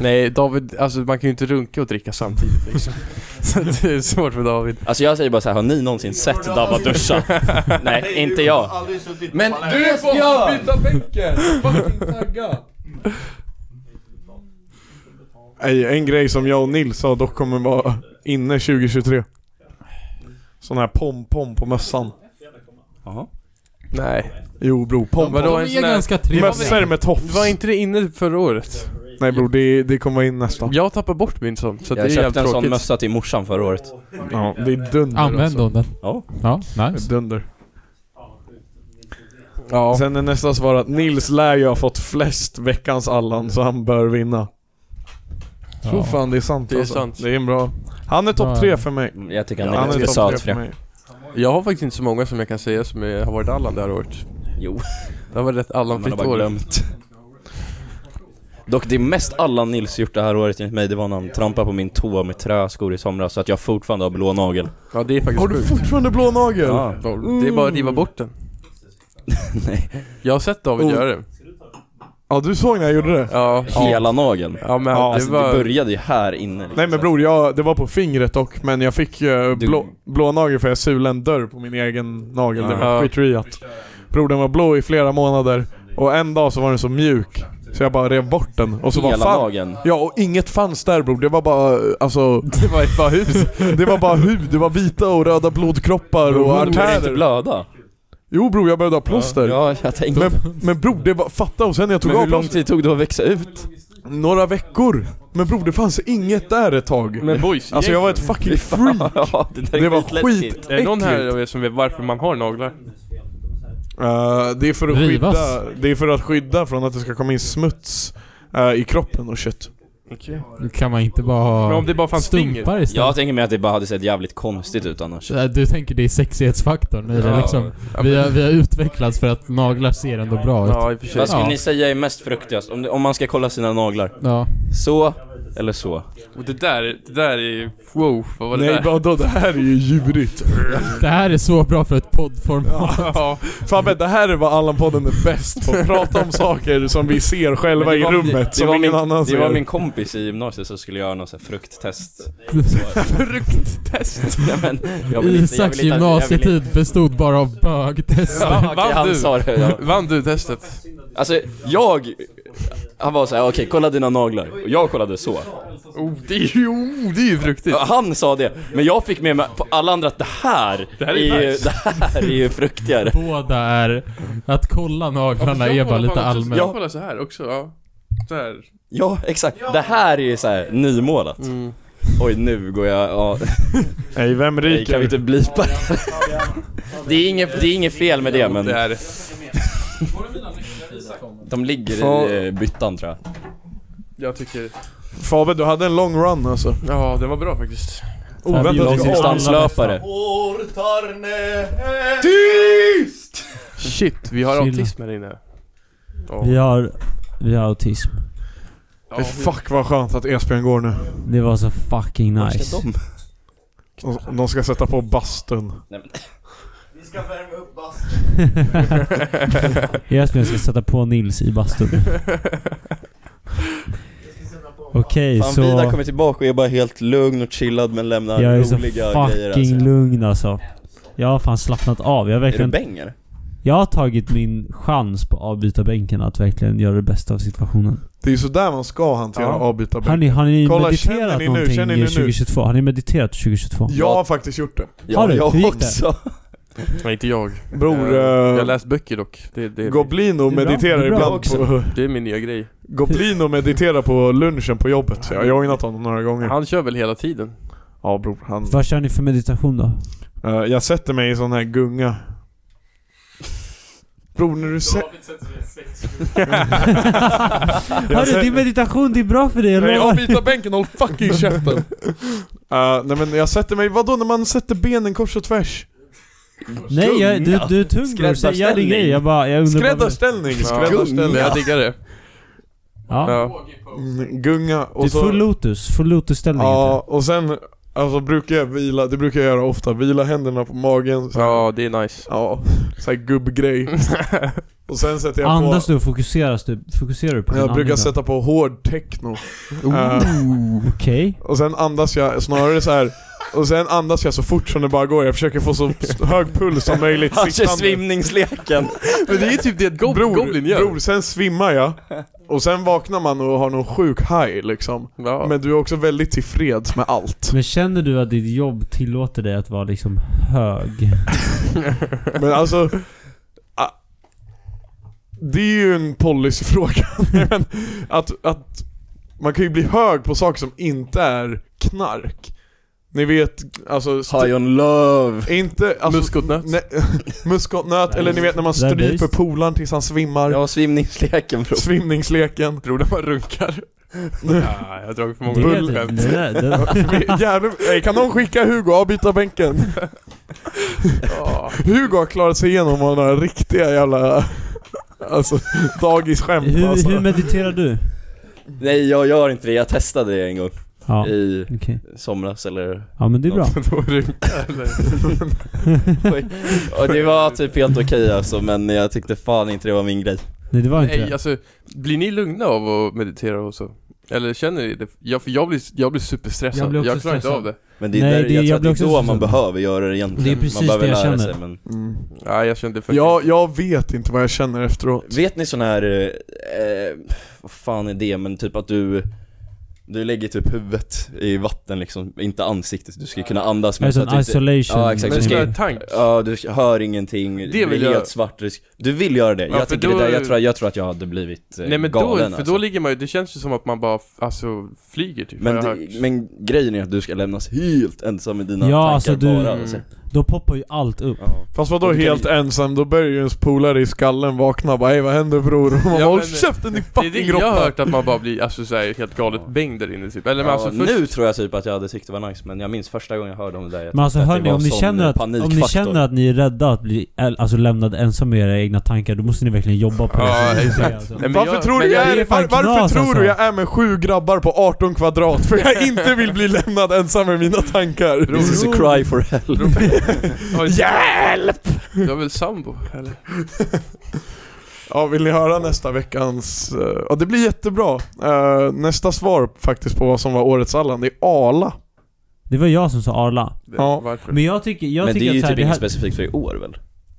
S6: Nej, David, alltså man kan ju inte runka och dricka samtidigt liksom. Så det är svårt för David.
S7: Alltså jag säger bara så här, har ni någonsin sett Dabba duscha? Nej, inte jag.
S4: Aldrig suttit på
S7: Men
S4: balans.
S7: du är Björn!
S14: Byta bänken! Fucking tagga!
S8: Nej, en grej som jag och Nils sa dock kommer vara inne 2023. Sån här pom-pom på mössan.
S7: Jaha.
S8: Nej. Jo bror, pom-pom.
S6: Vadå, en sån här-
S8: Mössor med tofs.
S6: Var inte det inne förra året?
S8: Nej bror, det, det kommer in nästa.
S6: Jag tappar bort min sån, så det är
S7: jag
S6: jävligt
S7: köpte en sån
S6: tråkigt.
S7: mössa till morsan förra året.
S8: Ja, det är dunder
S10: Använd då den.
S7: Ja.
S10: Ja, nice.
S8: Dunder. Sen är nästa svar att Nils lär ju ha fått flest veckans Allan, så han bör vinna. Jag tror
S6: Ja.
S8: fan det är sant
S6: Det är
S8: alltså.
S6: sant.
S8: Det är en bra... Han är topp tre för mig.
S7: Jag tycker
S8: Ja,
S7: han är ganska
S8: topp tre
S7: söt för
S8: mig.
S7: det.
S6: Jag har faktiskt inte så många som jag kan säga som är, har varit Allan det här året.
S7: Jo.
S6: Det har varit rätt
S7: Man har
S6: Allan-fritt
S7: bara
S6: år.
S7: glömt. Dock det mest Allan Nils gjort det här året enligt mig, det var när han trampade på min tå med träskor i somras så att jag fortfarande har blå nagel.
S6: Ja det är faktiskt
S8: Har du
S6: sjukt.
S8: fortfarande blå nagel?
S7: Ja.
S6: Det är bara att riva bort den.
S7: Nej.
S6: Jag har sett David
S8: Oh.
S6: göra det.
S8: Ja du såg när jag gjorde det?
S6: Ja.
S7: Hela nageln.
S6: Ja, men det
S7: alltså,
S6: var-
S7: det började ju här inne. Liksom.
S8: Nej men bror, jag, det var på fingret dock, men jag fick eh, blå, blå nagel för jag sulade en dörr på min egen nagel. Det var
S6: Ja.
S8: skitriat. Bror den var blå i flera månader, och en dag så var den så mjuk. Så jag bara rev bort den och så
S7: Hela
S8: bara fan,
S7: nageln?
S8: Ja och inget fanns där bror, det var bara eh, alltså... Det var bara hud? det var bara hud, det var vita och röda blodkroppar och
S7: Du började inte
S8: artärer.
S7: blöda.
S8: Jo bror, jag behövde ha plåster.
S7: Ja, jag tänkte.
S8: Men, men bror, det var, fatta och sen när jag tog
S7: Men
S8: av
S7: hur lång
S8: plåstret,
S7: tid tog det att växa ut?
S8: några veckor. Men bror, det fanns inget där ett tag.
S6: Men boys,
S8: Alltså jag var ett fucking freak.
S7: ja, det, där är
S8: Det var
S7: skitläskigt.
S8: skit
S6: Är det någon här av er som vet varför man har naglar?
S8: Eh, det, är för att
S10: Rivas.
S8: skydda, det är för att skydda från att det ska komma in smuts eh, i kroppen och shit.
S10: Kan man inte bara ha
S6: Men om det bara fanns
S10: stumpar istället?
S7: Jag tänker mig att det bara hade sett jävligt konstigt ut annars.
S10: Så här, Du tänker det är sexighetsfaktorn i det
S7: Ja.
S10: liksom. Vi har, vi har utvecklats för att naglar ser ändå bra ut.
S6: Ja i och för sig.
S7: Vad skulle
S10: Ja.
S7: ni säga är mest fruktigast? Om, om man ska kolla sina naglar?
S10: Ja.
S7: Så, eller så?
S6: Och det där, det där är... Wow, vad var det
S8: Nej
S6: där?
S8: vadå, det här är ju djurigt.
S10: Det här är så bra för ett poddformat.
S6: Ja.
S8: Fabbe, det här är vad Allan-podden är bäst på. Prata om saker som vi ser
S7: Men
S8: själva
S7: det
S8: i
S7: var-
S8: rummet,
S7: det, det
S8: som
S7: var
S8: ingen
S7: min,
S8: annan
S7: Det
S8: ser.
S7: var min kompis i gymnasiet som skulle göra något så här frukttest.
S6: Frukttest!
S7: Nej, men, jag vill inte- jag
S10: Isaks
S7: vill inte- jag vill inte-
S10: gymnasietid bestod bara av bögtest.
S7: Ja, okej,
S6: Vann
S7: han
S6: du?
S7: sa det. Ja.
S6: Vann du testet?
S7: Alltså, jag... Han var såhär, okej kolla dina naglar. Och jag kollade så.
S6: Oh, det är ju, oh, det är ju fruktigt.
S7: Ja, Han sa det, men jag fick med mig på alla andra att det här,
S6: här är
S7: ju,
S6: nice.
S7: det här är ju fruktigare.
S10: Båda är... Att kolla naglarna är bara lite allmänt.
S6: Jag kollar så här också, ja. Så här.
S7: Ja, exakt. Det här är ju såhär nymålat. Oj, nu går jag... Ja,
S8: Nej, vem
S7: nej, kan vi
S8: ryker?
S7: inte blipa det? det är inget, det är inget fel med det, men
S6: Det här.
S7: de ligger
S8: Fan.
S7: i eh, byttan tror jag.
S6: Jag tycker...
S8: Fabbe, du hade en lång run alltså.
S6: Ja, den var bra faktiskt.
S7: Oh,
S8: Oväntat
S10: biologisk
S8: bra.
S10: distans.
S7: Distanslöpare.
S6: Shit, vi har
S2: Chilla.
S6: autism här inne. Ja.
S5: Vi har, vi har autism.
S6: Ja,
S8: Hey, fuck vad skönt att Esbjörn går nu.
S5: Det var så fucking nice.
S7: De?
S8: De- De ska sätta på bastun.
S4: Vi ska värma upp bast.
S5: Esbjörn ska sätta på Nils i bastun. Okej,
S7: Fan, Vidar
S5: så...
S7: kommer tillbaka och är bara helt lugn och chillad men lämnar
S5: Jag är så
S7: roliga grejer.
S5: fucking
S7: alltså.
S5: lugn alltså. Jag har fan slappnat av. Jag har
S7: Är du
S5: verkligen...
S7: bäng eller?
S5: Jag har tagit min chans på avbytarbänken att verkligen göra det bästa av situationen.
S8: Det är ju sådär man ska hantera avbytarbänken.
S5: Har ni, har ni
S8: Kolla, känner
S5: mediterat
S8: ni nu?
S5: någonting
S8: Känner ni
S5: i
S8: nu?
S5: 2022? Har ni mediterat 2022?
S8: Jag har faktiskt gjort det.
S5: Har du?
S7: jag
S5: Hur gick det?
S7: också.
S6: Nej, inte jag.
S8: Bror,
S6: Eh, jag har
S8: uh,
S6: läst böcker dock. Det, det,
S8: Goblino
S5: Det är bra.
S8: mediterar
S5: Det är bra
S8: ibland
S5: också.
S8: på...
S6: det är min nya grej.
S8: Goblino mediterar på lunchen på jobbet. så Jag har joinat honom några gånger.
S6: Han kör väl hela tiden?
S8: Ja bror, han...
S5: Vad kör ni för meditation då?
S8: Eh, jag sätter mig i sån här gunga. Bror när du sä... Jag
S5: Hörru,
S8: ser-
S5: din meditation, det är bra för dig, jag
S8: Nej,
S5: lovar.
S8: avbytarbänken, håll fucking käften! Eh, nej men jag sätter mig, vadå när man sätter benen kors och tvärs?
S5: Nej, jag, du, du är tung bror, så jag gör
S7: Skräddarställning.
S5: ingen grej. Jag bara, jag undrar bara-
S8: Skräddarställning!
S6: Men
S8: Skräddarställning!
S6: jag diggar det.
S5: Ja.
S6: Ja.
S8: Mm, gunga
S5: Du är full
S8: och så...
S5: lotus, full lotus-ställning heter
S8: Ja, och sen... Alltså brukar jag vila, det brukar jag göra ofta, vila händerna på magen så här.
S6: ja, det är nice.
S8: Ja, såhär gubbgrej. och sen sätter
S5: det.
S8: jag
S5: Andas
S8: på...
S5: du och fokuseras du? Fokuserar du på din Oh.
S8: Jag brukar
S5: andning då?
S8: sätta på hård techno. Eh,
S5: Okej.
S8: och sen andas jag snarare så här. Och sen andas jag så fort som det bara går. Jag försöker få så s- hög puls som möjligt
S7: Han kör
S8: sittande.
S7: svimningsleken.
S6: Men det är typ det Gob-
S8: Bror,
S6: Goblin gör.
S8: bror, sen svimmar jag. Och sen vaknar man och har någon sjuk high liksom. Men du är också väldigt tillfreds med allt.
S2: Men känner du att ditt jobb tillåter dig att vara liksom hög?
S8: Men alltså... ah, Det är ju en policyfråga. Nej, men att, att man kan ju bli hög på saker som inte är knark. Ni vet, alltså... st-
S7: High on love.
S8: Inte, alltså, muskotnöt. muskotnöt, eller ni vet när man
S7: Där visst.
S8: stryper polaren tills han svimmar. Ja,
S7: svimningsleken bro.
S8: Svimningsleken.
S6: Tror du man runkar? Nej, jag har dragit för många
S8: Bull-
S6: skämt.
S8: Jävlar, nej, kan någon skicka Hugo avbytarbänken? Hugo har klarat sig igenom några riktiga jävla alltså, dagisskämt
S2: Hur,
S8: alltså.
S2: hur mediterar du?
S7: Nej jag gör inte det, jag testade det en gång.
S2: Ja,
S7: I
S2: okej.
S7: somras eller...
S2: Ja, men det är bra.
S7: Då Och det var typ helt okej alltså men jag tyckte fan inte det var min grej.
S2: Nej det var inte
S6: Nej,
S2: det.
S6: alltså, blir ni lugna av att meditera och så? Eller känner ni det? Jag, för jag blir, jag blir superstressad.
S2: Jag
S6: Jag,
S2: blir också
S6: klarar inte
S2: stressad.
S6: av det.
S7: Men det är, där, jag tror att det är då man behöver göra det egentligen. man behöver lära sig, men...
S8: Mm.
S6: Nej, jag känner det faktiskt.
S8: Jag, jag vet inte vad jag känner efteråt.
S7: Vet ni sån här, eh, eh, vad fan är det, men typ att du du lägger typ huvudet i vatten liksom, inte ansiktet, du ska kunna andas
S2: Är det
S7: så
S2: sån
S7: att du inte-
S2: isolation?
S7: Ja exakt,
S2: Men
S7: du
S2: ska
S7: ska,
S2: jag
S6: tank?
S7: ja, du hör ingenting, det blir
S6: vill jag-
S7: helt svart, du, du vill göra det,
S6: Ja,
S7: jag,
S6: för
S7: tycker
S6: då-
S7: det där, jag, tror, jag tror att jag hade blivit eh,
S6: Nej men då,
S7: galen
S6: för
S7: alltså.
S6: då ligger man ju, det känns ju som att man bara, f- alltså, flyger typ.
S7: men,
S6: har jag
S7: du,
S6: hört.
S7: men grejen är att du ska lämnas helt ensam med dina
S2: Ja
S7: tankar
S2: alltså du,
S6: Mm.
S7: bara alltså.
S2: då poppar ju allt upp.
S8: Fast vadå helt ensam? Då börjar ju ens polare i skallen vakna och bara Ej vad händer bror? Och
S6: Ja,
S8: man bara Håll
S6: men-
S8: käften din
S6: Det är det
S8: fucking
S6: jag har
S8: råtta!
S6: hört, att man bara blir, alltså såhär, helt galet bäng där inne typ. Eller men
S7: Ja,
S6: alltså först...
S7: Nu tror jag typ att jag hade tyckt det var nice, men jag minns första gången jag hörde om det där jag
S2: Men alltså
S7: tyckte att
S2: hörni,
S7: det var
S2: om
S7: en
S2: ni,
S7: sån
S2: känner att, om ni
S7: panikfaktor.
S2: känner att ni är rädda att bli äl- alltså, lämnade ensam med era egna tankar, då måste ni verkligen jobba på det.
S6: Ja,
S2: Så-
S6: exakt.
S2: alltså.
S6: Nej, men
S8: Varför
S6: jag-
S8: tror,
S6: men
S8: du jag,
S2: det är
S8: är,
S2: fan
S8: var, varför
S2: knas,
S8: tror
S2: alltså.
S8: du jag är med sju grabbar på 18 kvadrat? För jag inte vill bli lämnad ensam med mina tankar.
S7: This is a cry for help.
S8: Hjälp!
S6: Du har väl sambo, eller?
S8: Ja, vill ni höra nästa veckans... eh, Ja, det blir jättebra. Eh, nästa svar faktiskt på vad som var årets Allan, det är Arla.
S2: Det var jag som sa Arla.
S8: Ja.
S6: Varför?
S2: Men jag tycker, jag
S7: men det
S2: tycker
S7: är ju
S2: att så här,
S7: typ
S2: det
S7: inget
S2: här,
S7: specifikt för i år väl?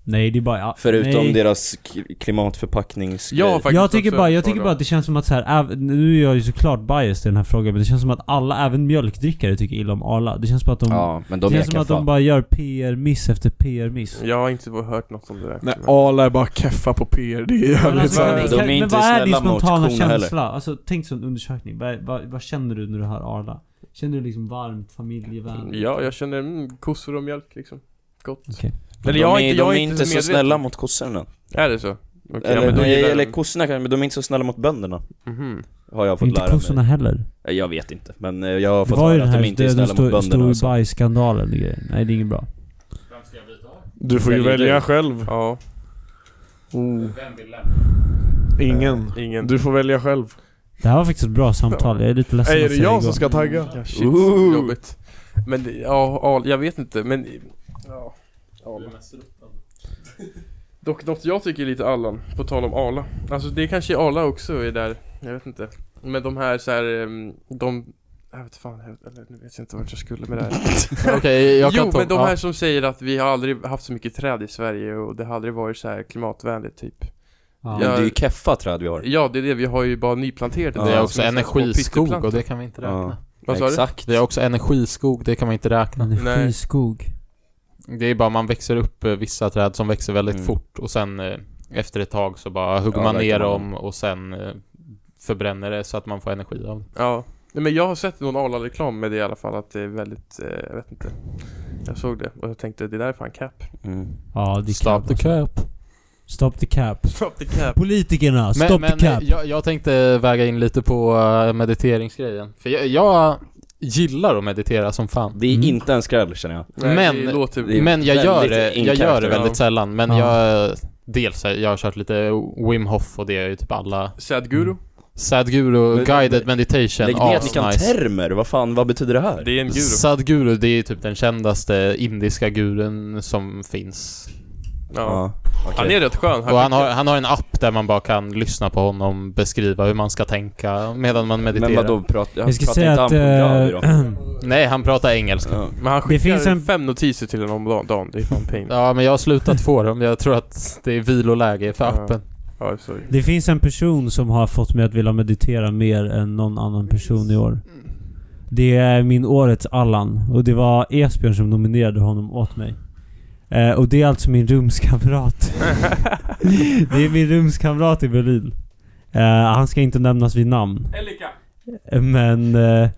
S2: Nej det är bara... ja,
S7: Förutom
S2: nej.
S7: deras k- klimatförpacknings...
S2: jag tycker, bara, jag tycker bara att det känns som att så här, äv- nu är jag ju såklart biased i den här frågan men det känns som att alla, även mjölkdrickare tycker illa om Arla. Det känns bara att de...
S7: Ja, men de
S2: det känns
S7: ekar
S2: som att
S7: fan.
S2: de bara gör PR-miss efter PR-miss.
S6: Jag har inte hört något om det där.
S8: Nej, Arla är bara keffa på PR. Det är
S2: Men,
S8: jävligt
S2: alltså,
S8: så här-
S2: kan, kan, men vad är din spontana känsla? Alltså, tänk som en undersökning. Vad, vad, vad känner du när du hör Arla? Känner du liksom varmt, familjevänligt?
S6: Ja, jag känner mm, kossor och mjölk liksom. Gott.
S2: Okej.
S7: Men
S6: Eller
S7: de
S6: jag
S7: är,
S6: är inte,
S7: de
S6: jag
S7: är inte så
S6: medveten.
S7: snälla mot kossorna.
S6: Är det så? Okej, ja,
S7: eller,
S6: men då
S7: nej,
S6: gillar
S7: eller
S6: den-
S7: kossorna kanske, men de är inte så snälla mot bönderna.
S6: Mhm.
S7: Har jag fått
S2: Inte
S7: lära
S2: kossorna
S7: mig.
S2: heller.
S7: Nej, Jag vet inte, men eh, jag har
S2: Det
S7: fått
S2: var ju
S7: höra
S2: den
S7: att
S2: här
S7: de inte är
S2: st- den
S7: snälla mot
S2: stor-
S7: bönderna. alltså.
S2: storbajsskandalen och grejer. Nej det är inget bra.
S8: Du får ju
S7: Väljer
S8: välja
S7: du?
S8: själv. Oh.
S6: Ja.
S8: Ingen.
S6: Ingen.
S8: Du får välja själv.
S2: Det här var faktiskt ett bra samtal, jag är lite ledsen
S8: Är
S2: att
S8: det
S2: säga
S8: jag
S2: igång.
S8: som ska tagga? Uh.
S6: Ja, shit,
S8: Ooh.
S6: jobbigt. Men det- ja, ja, jag vet inte, men... Ja. Arla. Dock något jag tycker är lite Allan, på tal om Arla. Alltså det kanske är Arla också är där, jag vet inte. Men de här så här, ehm, de... Jag vet fan, jag, eller, nu vet jag inte vart jag skulle med det här.
S16: Okej, jag kan
S6: jo,
S16: ta-
S6: men de
S16: ja.
S6: här som säger att vi har aldrig haft så mycket träd i Sverige och det har aldrig varit så här klimatvänligt typ.
S7: Men det är ju keffa träd vi har.
S6: Ja, det är det. Vi har ju bara nyplanterat en
S7: Det är
S6: massa
S7: också
S6: små
S10: energiskog och
S6: pytteplantor.
S10: det kan vi inte räkna.
S6: Vad sa du?
S10: Det är också energiskog, det kan man inte räkna.
S2: Energiskog.
S10: Det är bara man växer upp eh, vissa träd som växer väldigt
S7: Mm.
S10: fort och sen eh, efter ett tag så bara hugger
S6: Ja,
S10: man
S6: verkar
S10: ner
S6: man.
S10: dem och sen eh, förbränner det så att man får energi av det.
S6: Ja, Nej, men jag har sett någon Arla-reklam med det i alla fall att det är väldigt, eh, jag vet inte. Jag såg det och jag tänkte det där är fan cap.
S7: Mm.
S2: Ja, det är
S10: Stop
S2: cap
S10: the
S2: alltså.
S10: cap.
S2: Stop the cap.
S6: Stop the cap.
S2: Politikerna, stop
S10: Men, men
S2: the cap.
S10: eh, jag, jag tänkte väga in lite på eh, mediteringsgrejen. För jag, jag gillar att meditera som fan.
S7: Det är
S2: Mm.
S7: inte en skräll känner jag.
S10: Men, men jag, gör det, jag gör det väldigt sällan. Men
S7: Ja.
S10: jag, dels har jag har kört lite Wim Hof och det är ju typ alla...
S6: Sadhguru?
S10: Sadhguru,
S7: Men-
S10: guided meditation,
S7: Lägg ner
S10: asnice.
S7: vilka termer, vad fan, vad betyder det här?
S6: Det är en
S10: Sadhguru, det är typ den kändaste indiska gurun som finns.
S7: Ja.
S6: Han är rätt skön.
S10: och han har, han har en app där man bara kan lyssna på honom, beskriva hur man ska tänka medan man mediterar.
S7: vadå, prat-
S2: Jag ska säga att... eh,
S10: Nej, han pratar engelska.
S6: Men han
S2: Det
S6: skickar
S2: finns en-
S6: fem notiser till honom om dagen, det är fan pain.
S10: Ja, men jag har slutat få dem. Jag tror att det är viloläge för appen.
S6: Ja, sorry.
S2: Det finns en person som har fått mig att vilja meditera mer än någon annan person i år. Det är min årets Allan och det var Esbjörn som nominerade honom åt mig. Eh, och det är alltså min rumskamrat. det är min rumskamrat i Berlin. Eh, han ska inte nämnas vid namn. Eh, Men eh,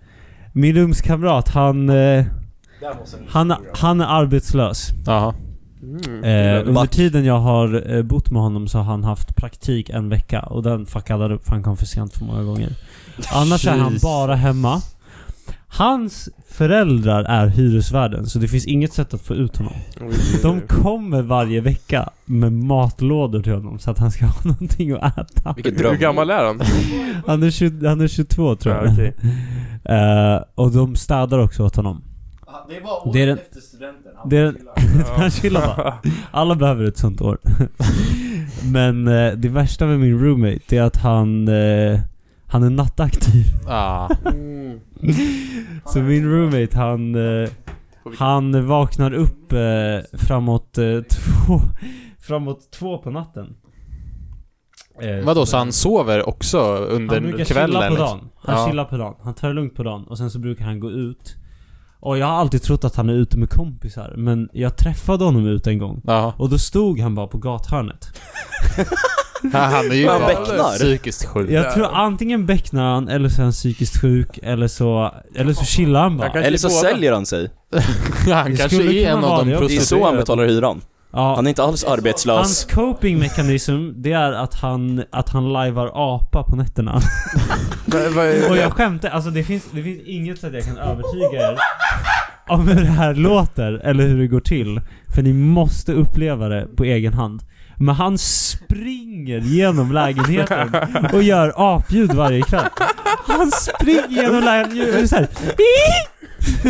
S2: min rumskamrat, han... Eh, han, han är arbetslös.
S6: Mm.
S2: Eh, under tiden jag har eh, bott med honom så har han haft praktik en vecka och den fuckade han upp för han kom för sent för många gånger. Annars är han
S17: Jeez.
S2: bara hemma. Hans föräldrar är hyresvärden så det finns inget sätt att få ut honom. De kommer varje vecka med matlådor till honom så att han ska ha någonting att äta.
S6: Vilket dröm. Hur gammal är han?
S2: Han är, 20, han är 22 tror jag.
S6: Ja, okej.
S2: Eh, och de städar också åt honom.
S18: Ah, det var året efter studenten. Han
S2: det är den,
S18: chillar.
S2: han chillar bara. Alla behöver ett sånt år. Men eh, det värsta med min roommate det är att han, eh, han är nattaktiv.
S10: Ah.
S2: Så min roommate han, eh, han vaknar upp eh, framåt, eh, två, framåt två på natten. Eh,
S10: Vadå, så han sover också under
S2: han
S10: kvällen?
S2: brukar chilla på
S10: liksom?
S2: dagen. Han
S10: Ja.
S2: chillar på dagen. Han tar det lugnt på dagen och sen så brukar han gå ut. Och jag har alltid trott att han är ute med kompisar men jag träffade honom ute en gång. Och då stod han bara på gathörnet.
S10: Han är ju
S2: Han
S10: bara
S2: bäcknar.
S10: psykiskt sjuk.
S2: Jag tror antingen bäcknar han eller så är han psykiskt sjuk eller så, eller så chillar han bara.
S7: Eller så säljer han sig.
S2: Det kanske skulle är kunna en av vara de det också.
S7: Det är så han betalar hyran.
S2: Ja.
S7: Han är inte alls
S2: Hans
S7: arbetslös.
S2: copingmekanism, det är att han, att han lajvar apa på nätterna. Och jag skämtar, alltså det finns, det finns inget sätt jag kan övertyga er om hur det här låter eller hur det går till. För ni måste uppleva det på egen hand. Men han springer genom lägenheten och gör apljud varje kväll. Han springer genom lägenheten och såhär...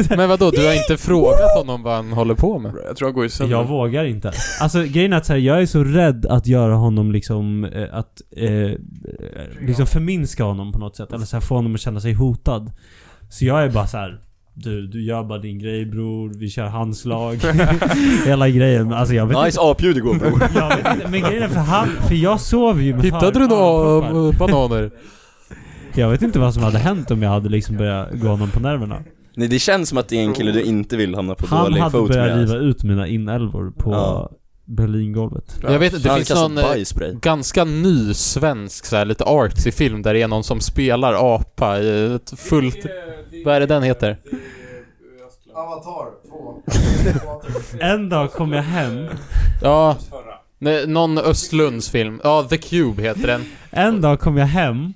S10: Men vadå, du har inte frågat honom vad han håller på med?
S6: Jag tror han går i sönder.
S2: Jag vågar inte. Alltså grejen är att så här, jag är så rädd att göra honom liksom, eh, att eh, liksom förminska honom på något sätt. Eller så här, få honom att känna sig hotad. Så jag är bara så här. Du, du gör bara din grej bror, vi kör handslag. Hela grejen. Alltså jag vet
S7: Nice
S2: inte.
S7: apljud igår, bror.
S2: jag vet inte, men grejen är för han, för jag sover ju med
S10: Hittade du några bananer?
S2: Jag vet inte vad som hade hänt om jag hade liksom börjat gå honom på nerverna.
S7: Nej, det känns som att det är en kille du inte vill hamna på
S2: Han
S7: dålig
S2: hade
S7: fot
S2: börjat
S7: med.
S2: riva ut mina inälvor på
S7: Ja.
S2: Berlingolvet.
S10: Jag vet inte, det
S7: Han
S10: finns
S7: kastar
S10: någon eh,
S7: bajsspray.
S10: ganska ny svensk så här, lite artsy film där det är någon som spelar apa i ett fullt... Vad är det den heter?
S18: Avatar 2.
S2: En dag kom jag hem
S10: Ja. Nej, någon Östlunds film. Ja, The Cube heter den.
S2: En dag kom jag hem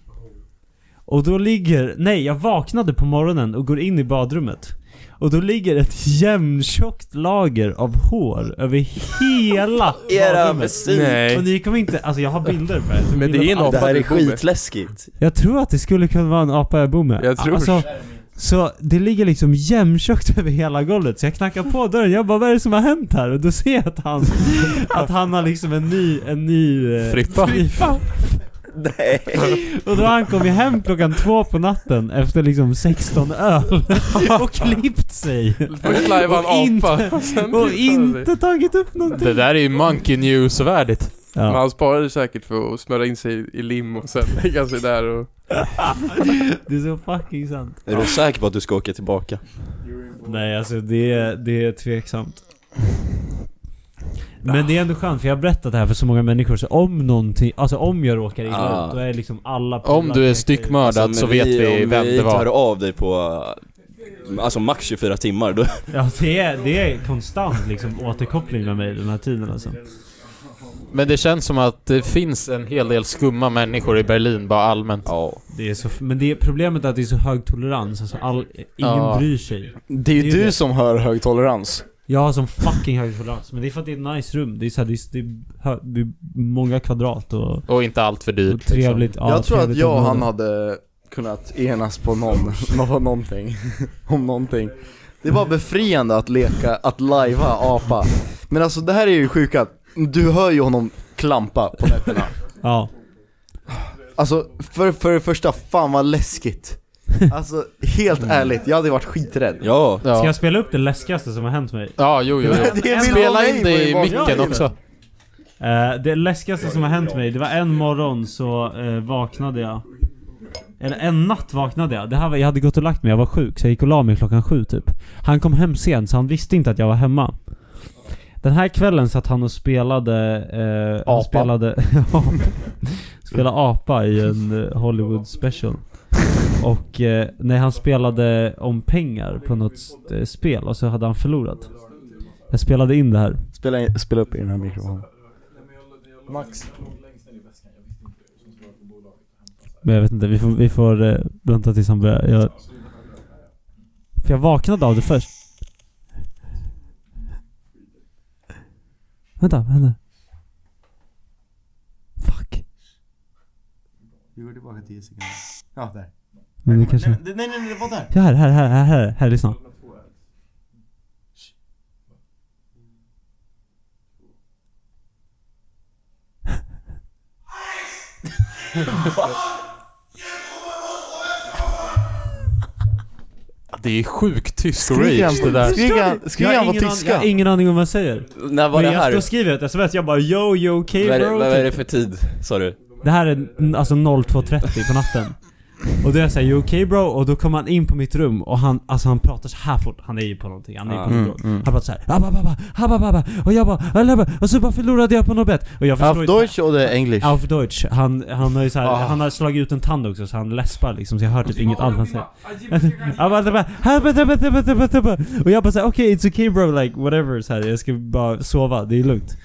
S2: och då ligger, nej jag vaknade på morgonen och går in i badrummet. Och då ligger ett jämntjockt lager av hår över hela
S7: Era
S2: badrummet.
S7: frisyr. Nej.
S2: Och ni kommer inte, alltså jag har bilder på det.
S7: Men det är en apa Det här är du bor med. skitläskigt.
S2: Jag tror att det skulle kunna vara en apa jag bor med.
S7: Jag tror
S2: alltså,
S7: det.
S2: så det ligger liksom jämntjockt över hela golvet, så jag knackar på dörren, jag bara 'Vad är det som har hänt här?' Och då ser jag att han, att han har liksom en ny, en ny... eh,
S10: Frippa.
S2: frippa. Och då har han kommit hem klockan två på natten efter liksom 16 öl och klippt sig.
S10: Först lajvar han
S2: Och
S10: apa,
S2: inte-
S10: sen
S2: Och
S10: klipper han sig.
S2: inte tagit upp någonting.
S10: Det där är ju Monkey News-värdigt.
S6: Men han sparade säkert för att smörja in sig i lim och sen lägga sig där och...
S2: Det är så fucking sant.
S7: Är du säker på att du ska åka tillbaka?
S2: Nej alltså det, är- det är tveksamt.
S10: Ah.
S2: Men det är ändå skönt för jag har berättat det här för så många människor så om någonting, alltså om jag råkar illa
S7: Ah.
S2: ut då är liksom alla
S10: Om du är styckmördad
S7: Alltså,
S10: så
S7: men
S10: vet vi
S7: om
S10: vem
S7: vi
S10: det var.
S7: tar av dig på, eh, alltså max 24 timmar då.
S2: Ja det är, det är konstant liksom återkoppling med mig den här tiden alltså.
S10: Men det känns som att det finns en hel del skumma människor i Berlin bara allmänt.
S7: Ja.
S2: Det är så, men det är problemet är att det är så hög tolerans, alltså all, ingen
S10: Ja.
S2: bryr sig.
S5: Det är ju
S2: det.
S5: du som har hög tolerans.
S2: Jag har som fucking hög tolerans, men det är för att det är ett nice rum. Det är, så här, det är, det är, hö- det är många kvadrat och...
S10: Och inte allt för dyrt. liksom.
S2: Och trevligt, ja,
S5: jag tror att
S2: trevligt
S5: jag och
S2: område.
S5: han hade kunnat enas på någon, nå- någonting. Om någonting.
S4: Det var befriande att leka, att lajva apa. Men alltså det här är ju sjukt att du hör ju honom klampa på nätterna.
S2: Ja.
S4: Alltså för, för det första, fan vad läskigt. Alltså helt
S2: Mm.
S4: ärligt, jag hade varit skiträdd.
S7: Ja.
S2: Ska jag spela upp det läskigaste som har hänt mig?
S10: Ja, jo, jo, jo.
S4: Det vill
S10: Spela
S4: vara
S10: in
S4: mig
S10: det i
S4: på imorgon.
S10: micken
S4: Ja, det är
S10: också.
S4: det.
S2: Eh, det läskigaste som har hänt mig, det var en morgon så eh, vaknade jag. Eller en natt vaknade jag. Det här var, jag hade gått och lagt mig, jag var sjuk. Så jag gick och la mig klockan sju typ. Han kom hem sent så han visste inte att jag var hemma. Den här kvällen satt han och spelade... Eh, Han
S4: Apa.
S2: spelade, spelade apa i en eh, Hollywood special. Och eh, när han spelade om pengar på något eh, spel och så hade han förlorat. Jag spelade in det här.
S19: Spela, in- spela upp i den här mikrofonen.
S20: Max.
S2: Men jag vet inte, vi får, vi får eh, vänta tills han börjar. Jag... För jag vaknade av det först. Vänta, vad händer?
S19: Du går tillbaka 10 sekunder. Ja, där.
S2: Men det kanske...
S19: Nej, nej, nej, det var där.
S2: Ja, här, här, här, här, här, här, lyssna.
S10: Det är sjukt tyst
S2: Skriker
S10: rage
S2: han-
S10: det där.
S2: skriker han- skriker Jag har han på ingen tyska? an- jag har ingen aning om vad jag säger.
S10: När var
S2: Men
S10: det
S2: jag
S10: här?
S2: står och skriver ett sms, jag bara yo, yo, okay
S10: vad, är det,
S2: bro.
S10: vad är det för tid, sa du?
S2: Det här är n- alltså 02.30 på natten. Och då är jag såhär, you okay bro? Och då kommer han in på mitt rum och han, alltså han pratar så här fort. Han är ju på någonting, han är ju på
S19: Ah. Mm,
S2: något.
S19: mm.
S2: Han pratar såhär, abababa, habababa. Och jag bara, alaba. Och så bara förlorade jag på något bett. Och jag förstår
S4: Auf Deutsch oder English?
S2: Auf Deutsch. Han, han har ju så här,
S4: Ah.
S2: han har slagit ut en tand också så han läspar liksom så jag hör typ inget allt han säger. Han bara- han bara, "Här, vänta, vänta, vänta, vänta, vänta." Och jag bara såhär okej it's okay bro like whatever så här, jag ska bara sova, det är lugnt.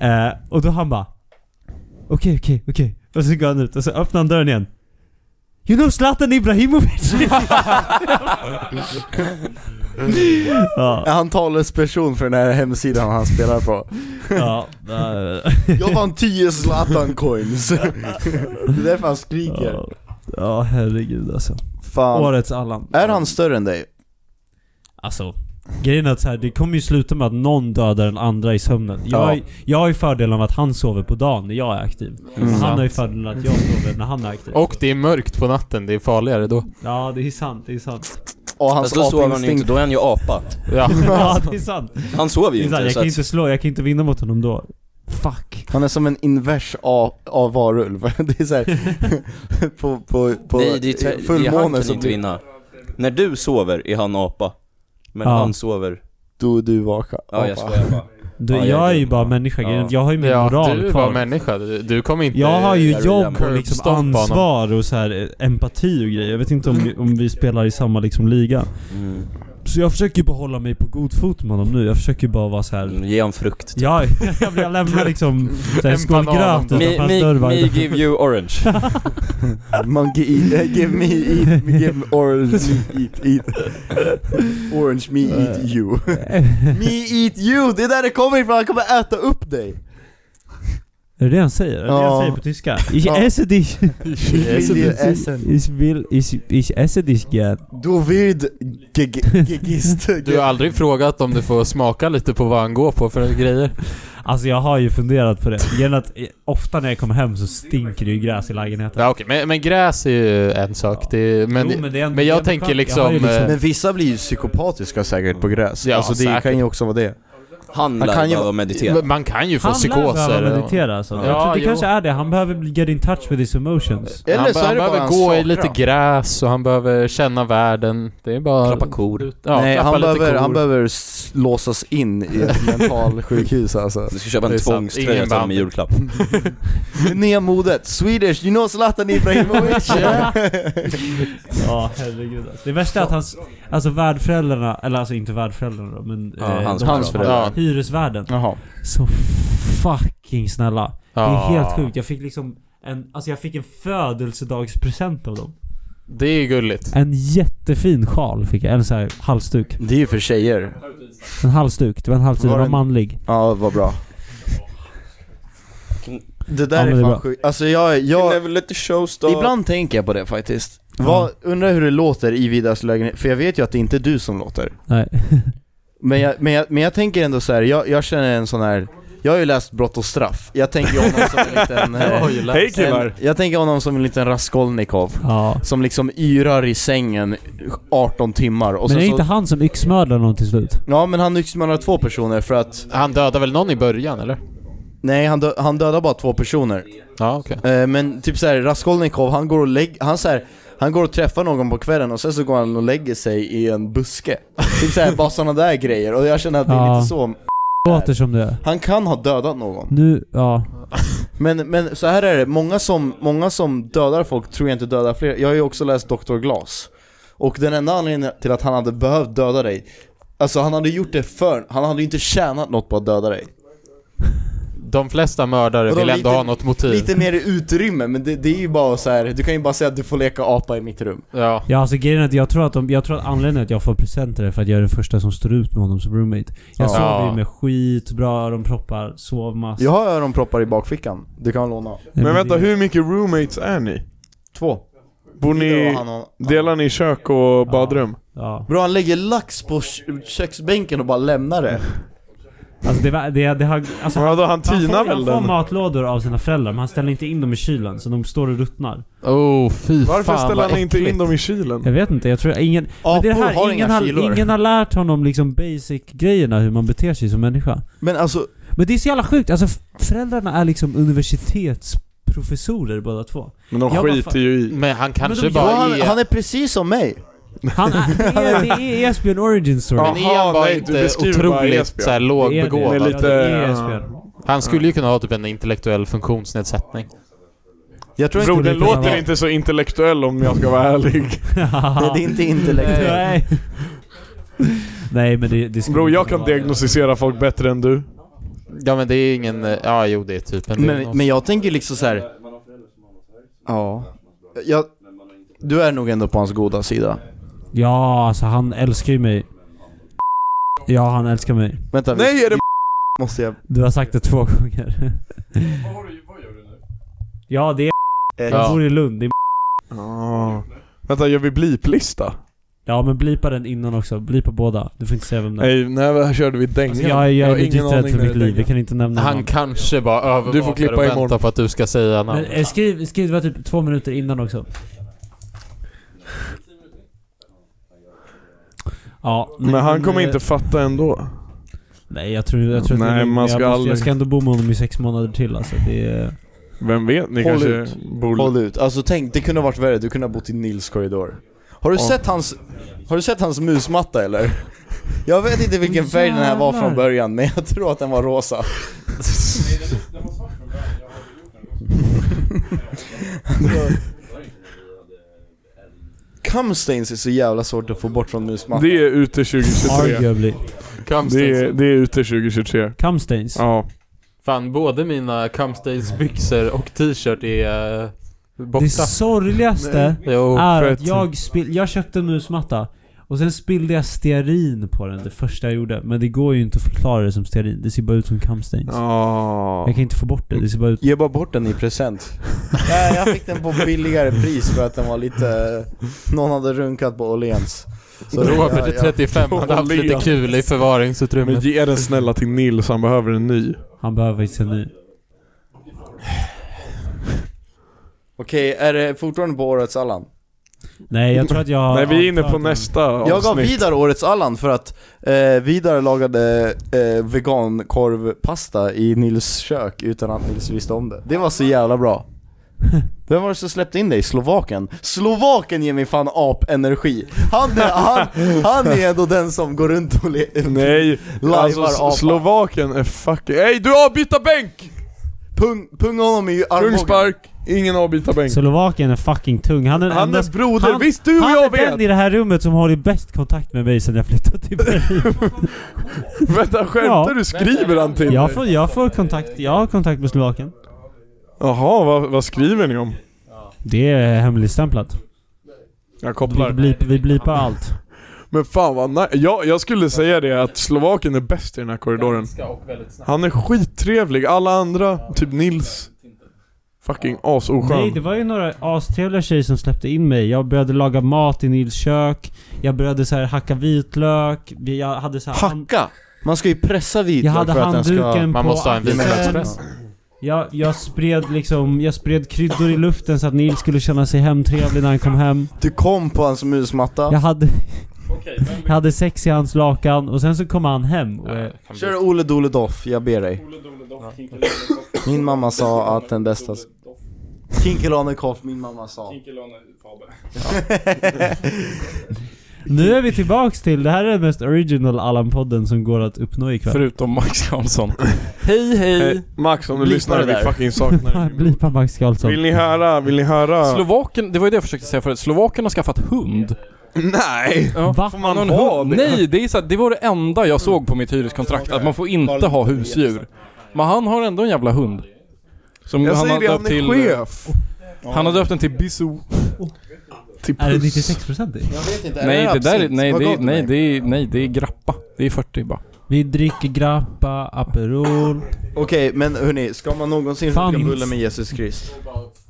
S2: Eh, och då han bara Okej okej okej. Och så går han ut och så öppnar han dörren igen. You know Zlatan Ibrahimovic?
S19: Är han talesperson för den här hemsidan han spelar på?
S2: ja.
S19: Jag vann 10 Zlatan coins. Det är därför han skriker.
S2: Ja herregud alltså.
S4: Fan.
S2: Årets Allan.
S4: Är han större än dig?
S2: Alltså, grejen är att så här, det kommer ju sluta med att någon dödar den andra i sömnen. Jag,
S4: Ja.
S2: har- jag har ju fördelen av att han sover på dagen när jag är aktiv.
S10: Mm.
S2: Men han har ju fördelen att jag sover när han är aktiv.
S10: Och det är mörkt på natten, det är farligare då.
S2: Ja, det är sant, det är sant.
S4: Och
S10: Fast då sover han ju inte, då är han ju apa.
S2: Ja. ja, det är sant.
S4: Han sover ju
S2: Det är sant,
S4: inte,
S2: Jag
S4: så
S2: kan
S4: att-
S2: inte slå, jag kan inte vinna mot honom då. Fuck.
S4: Han är som en invers av, av varulv. Det är såhär, på, på, på typ-
S7: Nej, det är, tvär- det är han
S4: fullmånen
S7: kan
S4: som
S7: inte vinna. När du sover är han apa. Men
S4: Ja.
S7: han sover...
S4: Då är du vaka.
S7: Ja, jag
S4: apa.
S7: skojar bara.
S2: Du,
S7: Ja, jag
S2: jag är
S7: är
S2: ju
S7: dum.
S2: bara människa, grejen är att
S10: Ja.
S2: jag har ju min
S10: Ja,
S2: moral
S10: du är
S2: kvar.
S10: bara människa. Du- du kommer inte-
S2: Jag har ju
S10: Där är
S2: jobb
S10: den
S2: och liksom
S10: curb-stomp på honom.
S2: ansvar och så här eh, empati och grejer. Jag vet inte om vi, om vi spelar i samma liksom liga.
S7: Mm.
S2: Så jag försöker ju bara hålla mig på god fot med honom nu. Jag försöker bara vara så här.
S7: Ge honom frukt.
S2: Ja, jag, jag lämnar liksom så här
S7: En
S2: skål
S7: banan.
S2: gröt
S7: Me-
S2: utanför hans
S7: me-
S2: dörr varje
S7: me
S2: dag.
S7: give you orange.
S4: Man gi- eh, give me eat, give me orange me eat eat. Orange me eat you. me eat you, det är där det kommer ifrån, han kommer äta upp dig.
S2: Är det det han säger? Är det det
S4: Ja.
S2: han säger på tyska? Ich
S4: Ja.
S2: esse dich!
S4: Ich will dir essen.
S2: Ich will, ich, ich esse dich gern.
S4: Du wird gegist.
S10: Du har aldrig frågat om du får smaka lite på vad han går på för grejer?
S2: Alltså jag har ju funderat på det. Genom att eh, ofta när jag kommer hem så stinker det ju gräs i lägenheten.
S10: Ja, okej. Men, men gräs är ju en sak. Det är, men,
S2: Jo, men
S10: men,
S2: det är ändå-
S10: jag
S2: det är ändå
S10: tänker
S2: skönt.
S10: liksom...
S2: Jag har ju liksom-
S10: eh,
S4: Men vissa blir ju psykopatiska säkert på gräs.
S10: Ja,
S4: alltså det
S10: säkert.
S4: kan ju också vara det.
S7: Han
S4: lär
S10: kan ju-
S4: behöva meditera.
S10: Man kan ju få
S2: Han lär
S10: psykoser.
S2: behöva meditera alltså.
S10: Ja,
S2: jag tror det
S10: jo.
S2: kanske är det. Han behöver bli- get in touch with his emotions.
S10: Eller han, han behöver gå i lite gräs och han behöver känna världen. Det är bara... Klappa
S7: kor.
S10: Ja,
S4: Nej,
S10: klappa
S4: han
S10: lite
S4: behöver,
S10: kor.
S4: han behöver s- låsas in i ett mentalsjukhus alltså.
S7: Du ska köpa en tvångströja till honom i julklapp.
S4: Det nya modet, Swedish, you know Zlatan Ibrahimovic?
S2: Ja, herregud alltså. Det värsta är att hans, alltså värdföräldrarna, eller alltså inte värdföräldrarna då, men eh,
S10: Ja, hans-
S2: de-
S10: hans föräldrar.
S2: hyresvärden. Så fucking snälla. Det
S10: Ja.
S2: är helt sjukt. Jag fick liksom en, alltså jag fick en födelsedagspresent av dem.
S10: Det är ju gulligt.
S2: En jättefin sjal fick jag, eller så här halsduk.
S4: Det är ju för tjejer.
S2: En halsduk, det var en halsduk,
S4: Var
S2: den var
S4: den-
S2: manlig.
S4: Ja, vad bra. Det
S2: Ja,
S4: där
S2: men det
S4: är
S2: är
S4: fan
S2: bra.
S4: sjukt. Alltså jag, jag...
S7: showstop.
S4: Ibland tänker jag på det faktiskt. Vad, undrar hur det låter i Vidars lägenhet, för jag vet ju att det inte är du som låter.
S2: Nej.
S4: Men jag, men jag, men jag tänker ändå så här. Jag, jag känner en sån här jag har ju läst Brott och straff, jag tänker ju honom som en liten... eh,
S2: Jag har ju läst. Hej, killar.
S4: en, jag tänker honom som en liten Raskolnikov.
S2: Ja.
S4: Som liksom yrar i sängen 18 timmar och
S2: men
S4: sen
S2: är
S4: så,
S2: inte han som yxmördar någon till slut?
S4: Ja men han lyxmördar två personer för att...
S10: Han dödar väl någon i början eller?
S4: Nej, han, dö- han dödar bara två personer.
S21: Ja, okej.
S4: Eh, Men typ såhär, Raskolnikov, han går och lägger, han såhär, han går och träffar någon på kvällen och sen så går han och lägger sig i en buske. Typ såhär, bara sådana där grejer. Och jag känner att det är
S5: Ja.
S4: lite så
S5: Låter som det.
S4: Han kan ha dödat någon.
S5: Nu, ja.
S4: Men, men så här är det, många som, många som dödar folk tror jag inte dödar fler. Jag har ju också läst Dr. Glass. Och den enda anledningen till att han hade behövt döda dig, alltså han hade gjort det för, han hade ju inte tjänat något på att döda dig.
S21: De flesta mördare
S4: Vadå,
S21: vill ändå
S4: lite-
S21: ha något motiv.
S10: Typ.
S4: Lite mer utrymme, men det, det är ju bara så här. du kan ju bara säga att du får leka apa i mitt rum.
S21: Ja.
S5: Ja alltså grejen är att jag tror att, de, jag tror att anledningen att jag får presenter är för att jag är den första som står ut med honom som roommate. Jag
S4: Ja.
S5: sover ju med skitbra öronproppar, sovmask.
S4: Jag har öronproppar i bakfickan, du kan låna.
S8: Men vänta, hur mycket roommates är ni?
S4: Två.
S8: Bor ni...
S4: Ja, han har-
S8: Delar ni kök och badrum?
S5: Ja.
S4: Bro han lägger lax på kö- köksbänken och bara lämnar det.
S5: Alltså det, var, det, det har... Alltså,
S8: Ja, då han tinar
S5: får,
S8: väl
S5: han får
S8: den?
S5: matlådor av sina föräldrar men han ställer inte in dem i kylen så de står och ruttnar.
S21: Oh, fy
S8: Varför ställer han inte in dem i kylen?
S5: Jag vet inte, jag tror ingen... men det är det
S8: Apor har
S5: här, ingen,
S8: inga
S5: har,
S8: kylor.
S5: ingen har lärt honom liksom basic-grejerna hur man beter sig som människa.
S4: Men alltså...
S5: Men det är så jävla sjukt, alltså f- föräldrarna är liksom universitetsprofessorer båda två.
S8: Men de
S5: Jag bara,
S8: skiter
S5: fan-
S8: ju i.
S21: Men han
S5: kanske Men de- bara
S4: han,
S5: är-
S4: han är precis som mig.
S5: Han är, det, är, E det är Esbjörn Origin Story.
S21: Men Ian var inte otroligt så här lågbegåvad.
S5: Det är, E det är Esbjörn.
S21: Han skulle ju kunna ha typ en intellektuell funktionsnedsättning.
S4: Jag
S8: Bro, den låter inte så intellektuell om jag ska vara ärlig.
S4: Nej, det är inte intellektuellt.
S5: Nej. Nej men det, det skulle
S8: Bro, jag
S5: inte
S8: kan
S5: vara det.
S8: diagnostisera folk bättre än du.
S21: Ja men det är ingen... eh, Ja jo det är typ en...
S4: Men, men jag tänker liksom så här. Ja. Jag, du är nog ändå på hans goda sida.
S5: Ja, alltså han älskar ju mig. Ja, han älskar mig.
S4: Vänta,
S8: Nej, är det
S4: måste jag...
S5: Du har sagt det två gånger. Ja, det är Jag bor i Lund, det är
S8: Ja. Vänta, gör vi bliplista?
S5: Ja, men blipa den innan också. Blipa båda. Du får inte säga vem det är.
S8: Nej, nej, här körde vi dängan.
S5: Alltså, jag, jag är
S8: har
S5: legit
S8: ingen
S5: rädd
S8: aning
S5: för
S8: när
S5: mitt
S8: det är
S5: liv. Vi
S8: dängan.
S5: kan inte nämna
S21: Han
S5: någon.
S21: kanske bara
S8: Du får
S21: övervakar
S8: klippa
S21: och väntar
S8: imorgon.
S21: på att du ska säga namn.
S5: Men, eh, skriv, skriv det var typ två minuter innan också. Ja, eh,
S8: Men han kommer inte fatta ändå.
S5: Nej, jag tror, jag tror att det är
S8: Nej,
S5: lugnt,
S8: man
S5: men
S8: ska
S5: jag, måste-
S8: aldrig-
S5: jag ska ändå bo med honom i sex månader till alltså. Det är...
S8: Vem vet, ni
S4: Håll
S8: kanske
S4: ut.
S8: bor...
S4: Håll ut. Alltså tänk, det kunde ha varit värre. Du kunde ha bott i Nils korridor. Har du
S8: Ja.
S4: sett hans... Har du sett hans musmatta eller? Jag vet inte vilken färg den här var från
S5: Jävlar.
S4: början, men jag tror att den var rosa. Kamstains är så jävla svårt att få bort från musmattan.
S8: Det är ute 2023.
S5: Arguably.
S8: Det är, det är ute 2023.
S5: Kamstains?
S8: Ja.
S21: Fan både mina Cumstains byxor och t-shirt är eh, borta.
S5: Det sorgligaste
S21: Jo,
S5: är
S21: för
S5: att jag, spill, jag köpte en musmatta och sen spillde jag stearin på den det första jag gjorde. Men det går ju inte att förklara det som stearin. Det ser bara ut som kamstains.
S8: Ja.
S5: Jag kan inte få bort det. Det ser bara ut...
S4: Ge bara bort den i present. Nej, jag fick den på billigare pris för att den var lite... Någon hade runkat på Åhléns. Så
S21: Robert är
S4: jag- jag-
S21: 35, han har haft lite kul i
S8: Men
S21: förvaringsutrymmet.
S8: ge den snälla till Nils, han behöver en ny.
S5: Han behöver inte en ny.
S4: Okej, är det fortfarande på årets Allan?
S5: Nej, jag tror att jag...
S8: Nej, vi är inne på
S5: avklarat den.
S8: nästa
S4: Jag gav
S8: avsnitt.
S4: Vidar årets Allan för att eh, Vidar lagade eh, vegankorvpasta i Nils kök utan att Nils visste om det. Det var så jävla bra. Vem var det som släppte in dig? Slovaken? Slovaken ger mig fan apenergi! Han, är- han, han är ändå den som går runt och le-
S8: Nej, alltså
S4: Lajvar apa.
S8: S- Slovakien är fucking... Ey du avbyta bänk!
S4: Pung, punga honom i armbågen.
S8: Pungspark, ingen avbyta bänk.
S5: Slovakien är fucking tung. Han är den
S8: Han
S5: enda-
S8: är broder,
S5: han-
S8: visst du och
S5: han
S8: jag
S5: är den i
S8: vet!
S5: det här rummet som håller bäst kontakt med mig sen jag flyttade till Berlin.
S8: Vänta, skämtar
S5: Ja.
S8: du? Skriver han till
S5: jag,
S8: dig?
S5: får, jag får kontakt, jag har kontakt med Slovakien.
S8: Jaha, vad, vad skriver ni om?
S5: Det är hemligstämplat.
S8: Jag
S5: Vi,
S8: kopplar.
S5: blip, vi blipar allt.
S8: Men fan vad nej. Jag, jag skulle säga det att Slovakien är bäst i den här korridoren. Han är skittrevlig, alla andra, typ Nils. Fucking
S5: Nej, det
S8: asoskön.
S5: var ju några astrevliga tjejer som släppte in mig. Jag började laga mat i Nils kök. Jag började så här hacka vitlök. Vi- Jag hade så här hand-
S4: Hacka! Man ska ju pressa
S5: jag
S4: vitlök
S5: hade
S4: för att den ska...
S5: handduken på
S21: Man måste ha en
S5: axeln.
S21: vitlökspress.
S5: Jag, jag spred liksom, jag spred kryddor i luften så att Nils skulle känna sig hemtrevlig när han kom hem.
S4: Du kom på hans musmatta.
S5: Jag hade... Jag hade sex i hans lakan och sen så kom han hem och jag...
S4: Kör Ole Dole Doff, jag ber dig. Min mamma sa att den bästa... Kinkelonekoff, min mamma sa.
S5: Nu är vi tillbaks till, det här är den mest original Allan-podden som går att uppnå ikväll.
S15: Förutom Max Karlsson.
S2: Hej
S8: Hej, Eh, Max, om du lyssnar, vi fucking saknar dig.
S5: Blipa Max Karlsson.
S8: Vill ni höra, vill ni höra?
S15: Slovaken, det var ju det jag försökte säga förut. Slovaken har skaffat hund.
S8: Nej!
S15: Ja.
S8: Får man
S15: Någon
S8: ha
S15: hund-
S8: det?
S15: Nej, det, är så här, det var det enda jag såg på mitt hyreskontrakt. Att man får inte ha husdjur. Men han har ändå en jävla hund. Som
S8: Jag säger
S15: har
S8: det,
S15: döpt
S8: han är chef.
S15: Han har döpt den till Bisou. Till
S5: Är det
S15: Puss.
S5: 96%?
S15: Jag vet inte. Nej, det där är, nej, det, är- nej, det är, nej, det är grappa. Det är 40 bara.
S5: Vi dricker grappa, Aperol...
S4: Okej, men hörni, ska man någonsin runka
S15: Fanns.
S4: bulle med Jesus Krist?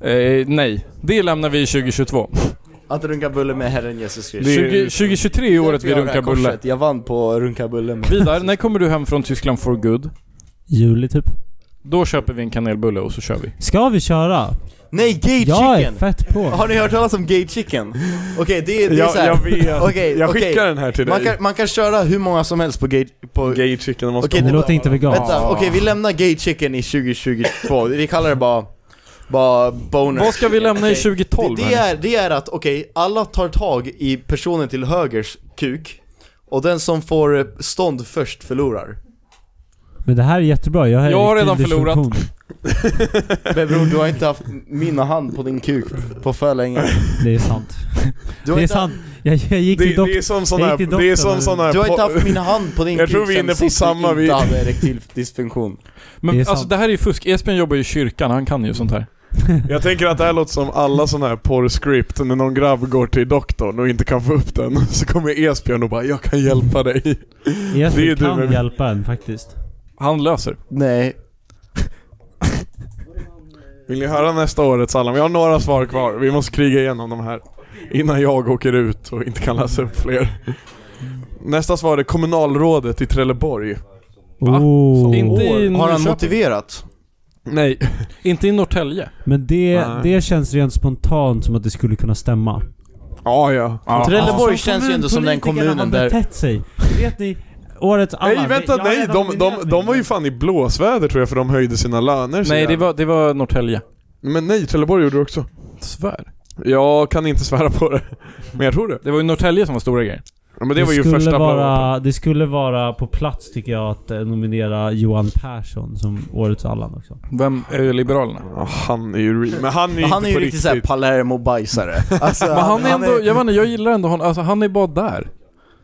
S15: Eh, nej, det lämnar vi 2022.
S4: Att runka bulle med Herren Jesus Krist.
S15: 20, 2023 är året vi
S4: Jag gör det här
S15: runkar bulle.
S4: korset. Jag vann på runka bulle med...
S15: Vidar, när kommer du hem från Tyskland for good?
S5: Juli typ.
S15: Då köper vi en kanelbulle och så kör vi.
S5: Ska vi köra?
S4: Nej, gay
S5: Jag är
S4: chicken!
S5: fett på.
S4: Har ni hört talas om gay chicken? Okej, det är, det är
S8: Jag-
S4: så här.
S8: jag vet.
S4: Okej,
S8: Jag
S4: okej.
S8: skickar den här till
S4: man
S8: dig.
S4: Kan, man kan köra hur många som helst på gay... På...
S8: Gay chicken, måste
S4: Okej,
S8: vara-
S4: det-
S8: låter inte veganskt.
S4: Vänta,
S8: Ah.
S4: okej vi lämnar gay chicken i 2022. Vi kallar det bara... Bara boner.
S15: Vad ska vi lämna i
S4: Okej.
S15: 2012
S4: Det, det,
S15: här?
S4: är, det är att, okej, alla tar tag i personen till högers kuk. Och den som får eh, stånd först förlorar.
S5: Men det här är jättebra, jag har
S4: Jag har redan
S5: erektil
S4: förlorat.
S5: dysfunktion.
S4: Men bror, du har inte haft min hand på din kuk på för länge.
S5: Det är sant.
S4: Du har
S5: Det är
S4: inte-
S5: sant. Jag, jag gick
S4: Det-
S5: till dokt-
S4: det är som sån
S5: jag gick
S4: här-
S5: till
S4: det är
S5: doktorn
S4: som
S5: och-
S4: sån här Du har inte po- haft min hand på din
S8: Jag tror vi är inne på samma
S4: vi-
S8: vi-
S4: hade erektil dysfunktion.
S15: Men
S8: Det är
S15: alltså
S8: sant.
S15: det här är ju fusk. Esbjörn jobbar ju i kyrkan, han kan ju sånt här.
S8: Jag tänker att det här låter som alla sådana här porrscript när någon grabb går till doktorn och inte kan få upp den. Så kommer Esbjörn och bara 'Jag kan hjälpa dig'
S5: Jesper
S8: Det är du
S5: kan
S8: med-
S5: hjälpa en faktiskt.
S15: Han löser.
S4: Nej.
S8: Vill ni höra nästa årets alla? Vi har några svar kvar. Vi måste kriga igenom de här. Innan jag åker ut och inte kan läsa upp fler. Nästa svar är kommunalrådet i Trelleborg.
S5: Oh.
S4: Har han motiverat?
S8: Nej.
S15: Inte i Norrtälje.
S5: Men det,
S15: Nej.
S5: det känns rent spontant som att det skulle kunna stämma.
S8: Ja, ja.
S4: Trelleborg
S5: Alltså,
S4: känns ju ändå som den
S5: kommunpolitikerna
S4: kommunen
S5: har
S4: där-
S5: betett sig. Vet ni, årets alla...
S8: Nej vänta,
S5: Jag har
S8: nej!
S5: redan
S8: De,
S5: nominerat
S8: de,
S5: mig.
S8: de var ju fan i blåsväder tror jag för de höjde sina löner så
S15: Nej, det
S8: jävla-
S15: var, det var Norrtälje.
S8: Men nej, Trelleborg gjorde det också.
S15: Svär.
S8: Jag kan inte svära på det. Men jag tror det.
S15: Det var ju Norrtälje som var stora grejer.
S8: Ja, men det, var ju
S5: skulle
S8: första vara...
S5: vara, Det skulle vara på plats tycker jag att eh, nominera Johan Persson som årets Allan också.
S15: Vem är Liberalerna?
S8: han är ju re- Men han är ju
S4: Han
S8: inte
S4: är ju
S8: på
S4: riktigt såhär Palermo-bajsare. Alltså,
S15: Men han är ändå, jag vet inte, jag gillar ändå honom. Alltså han är bara där.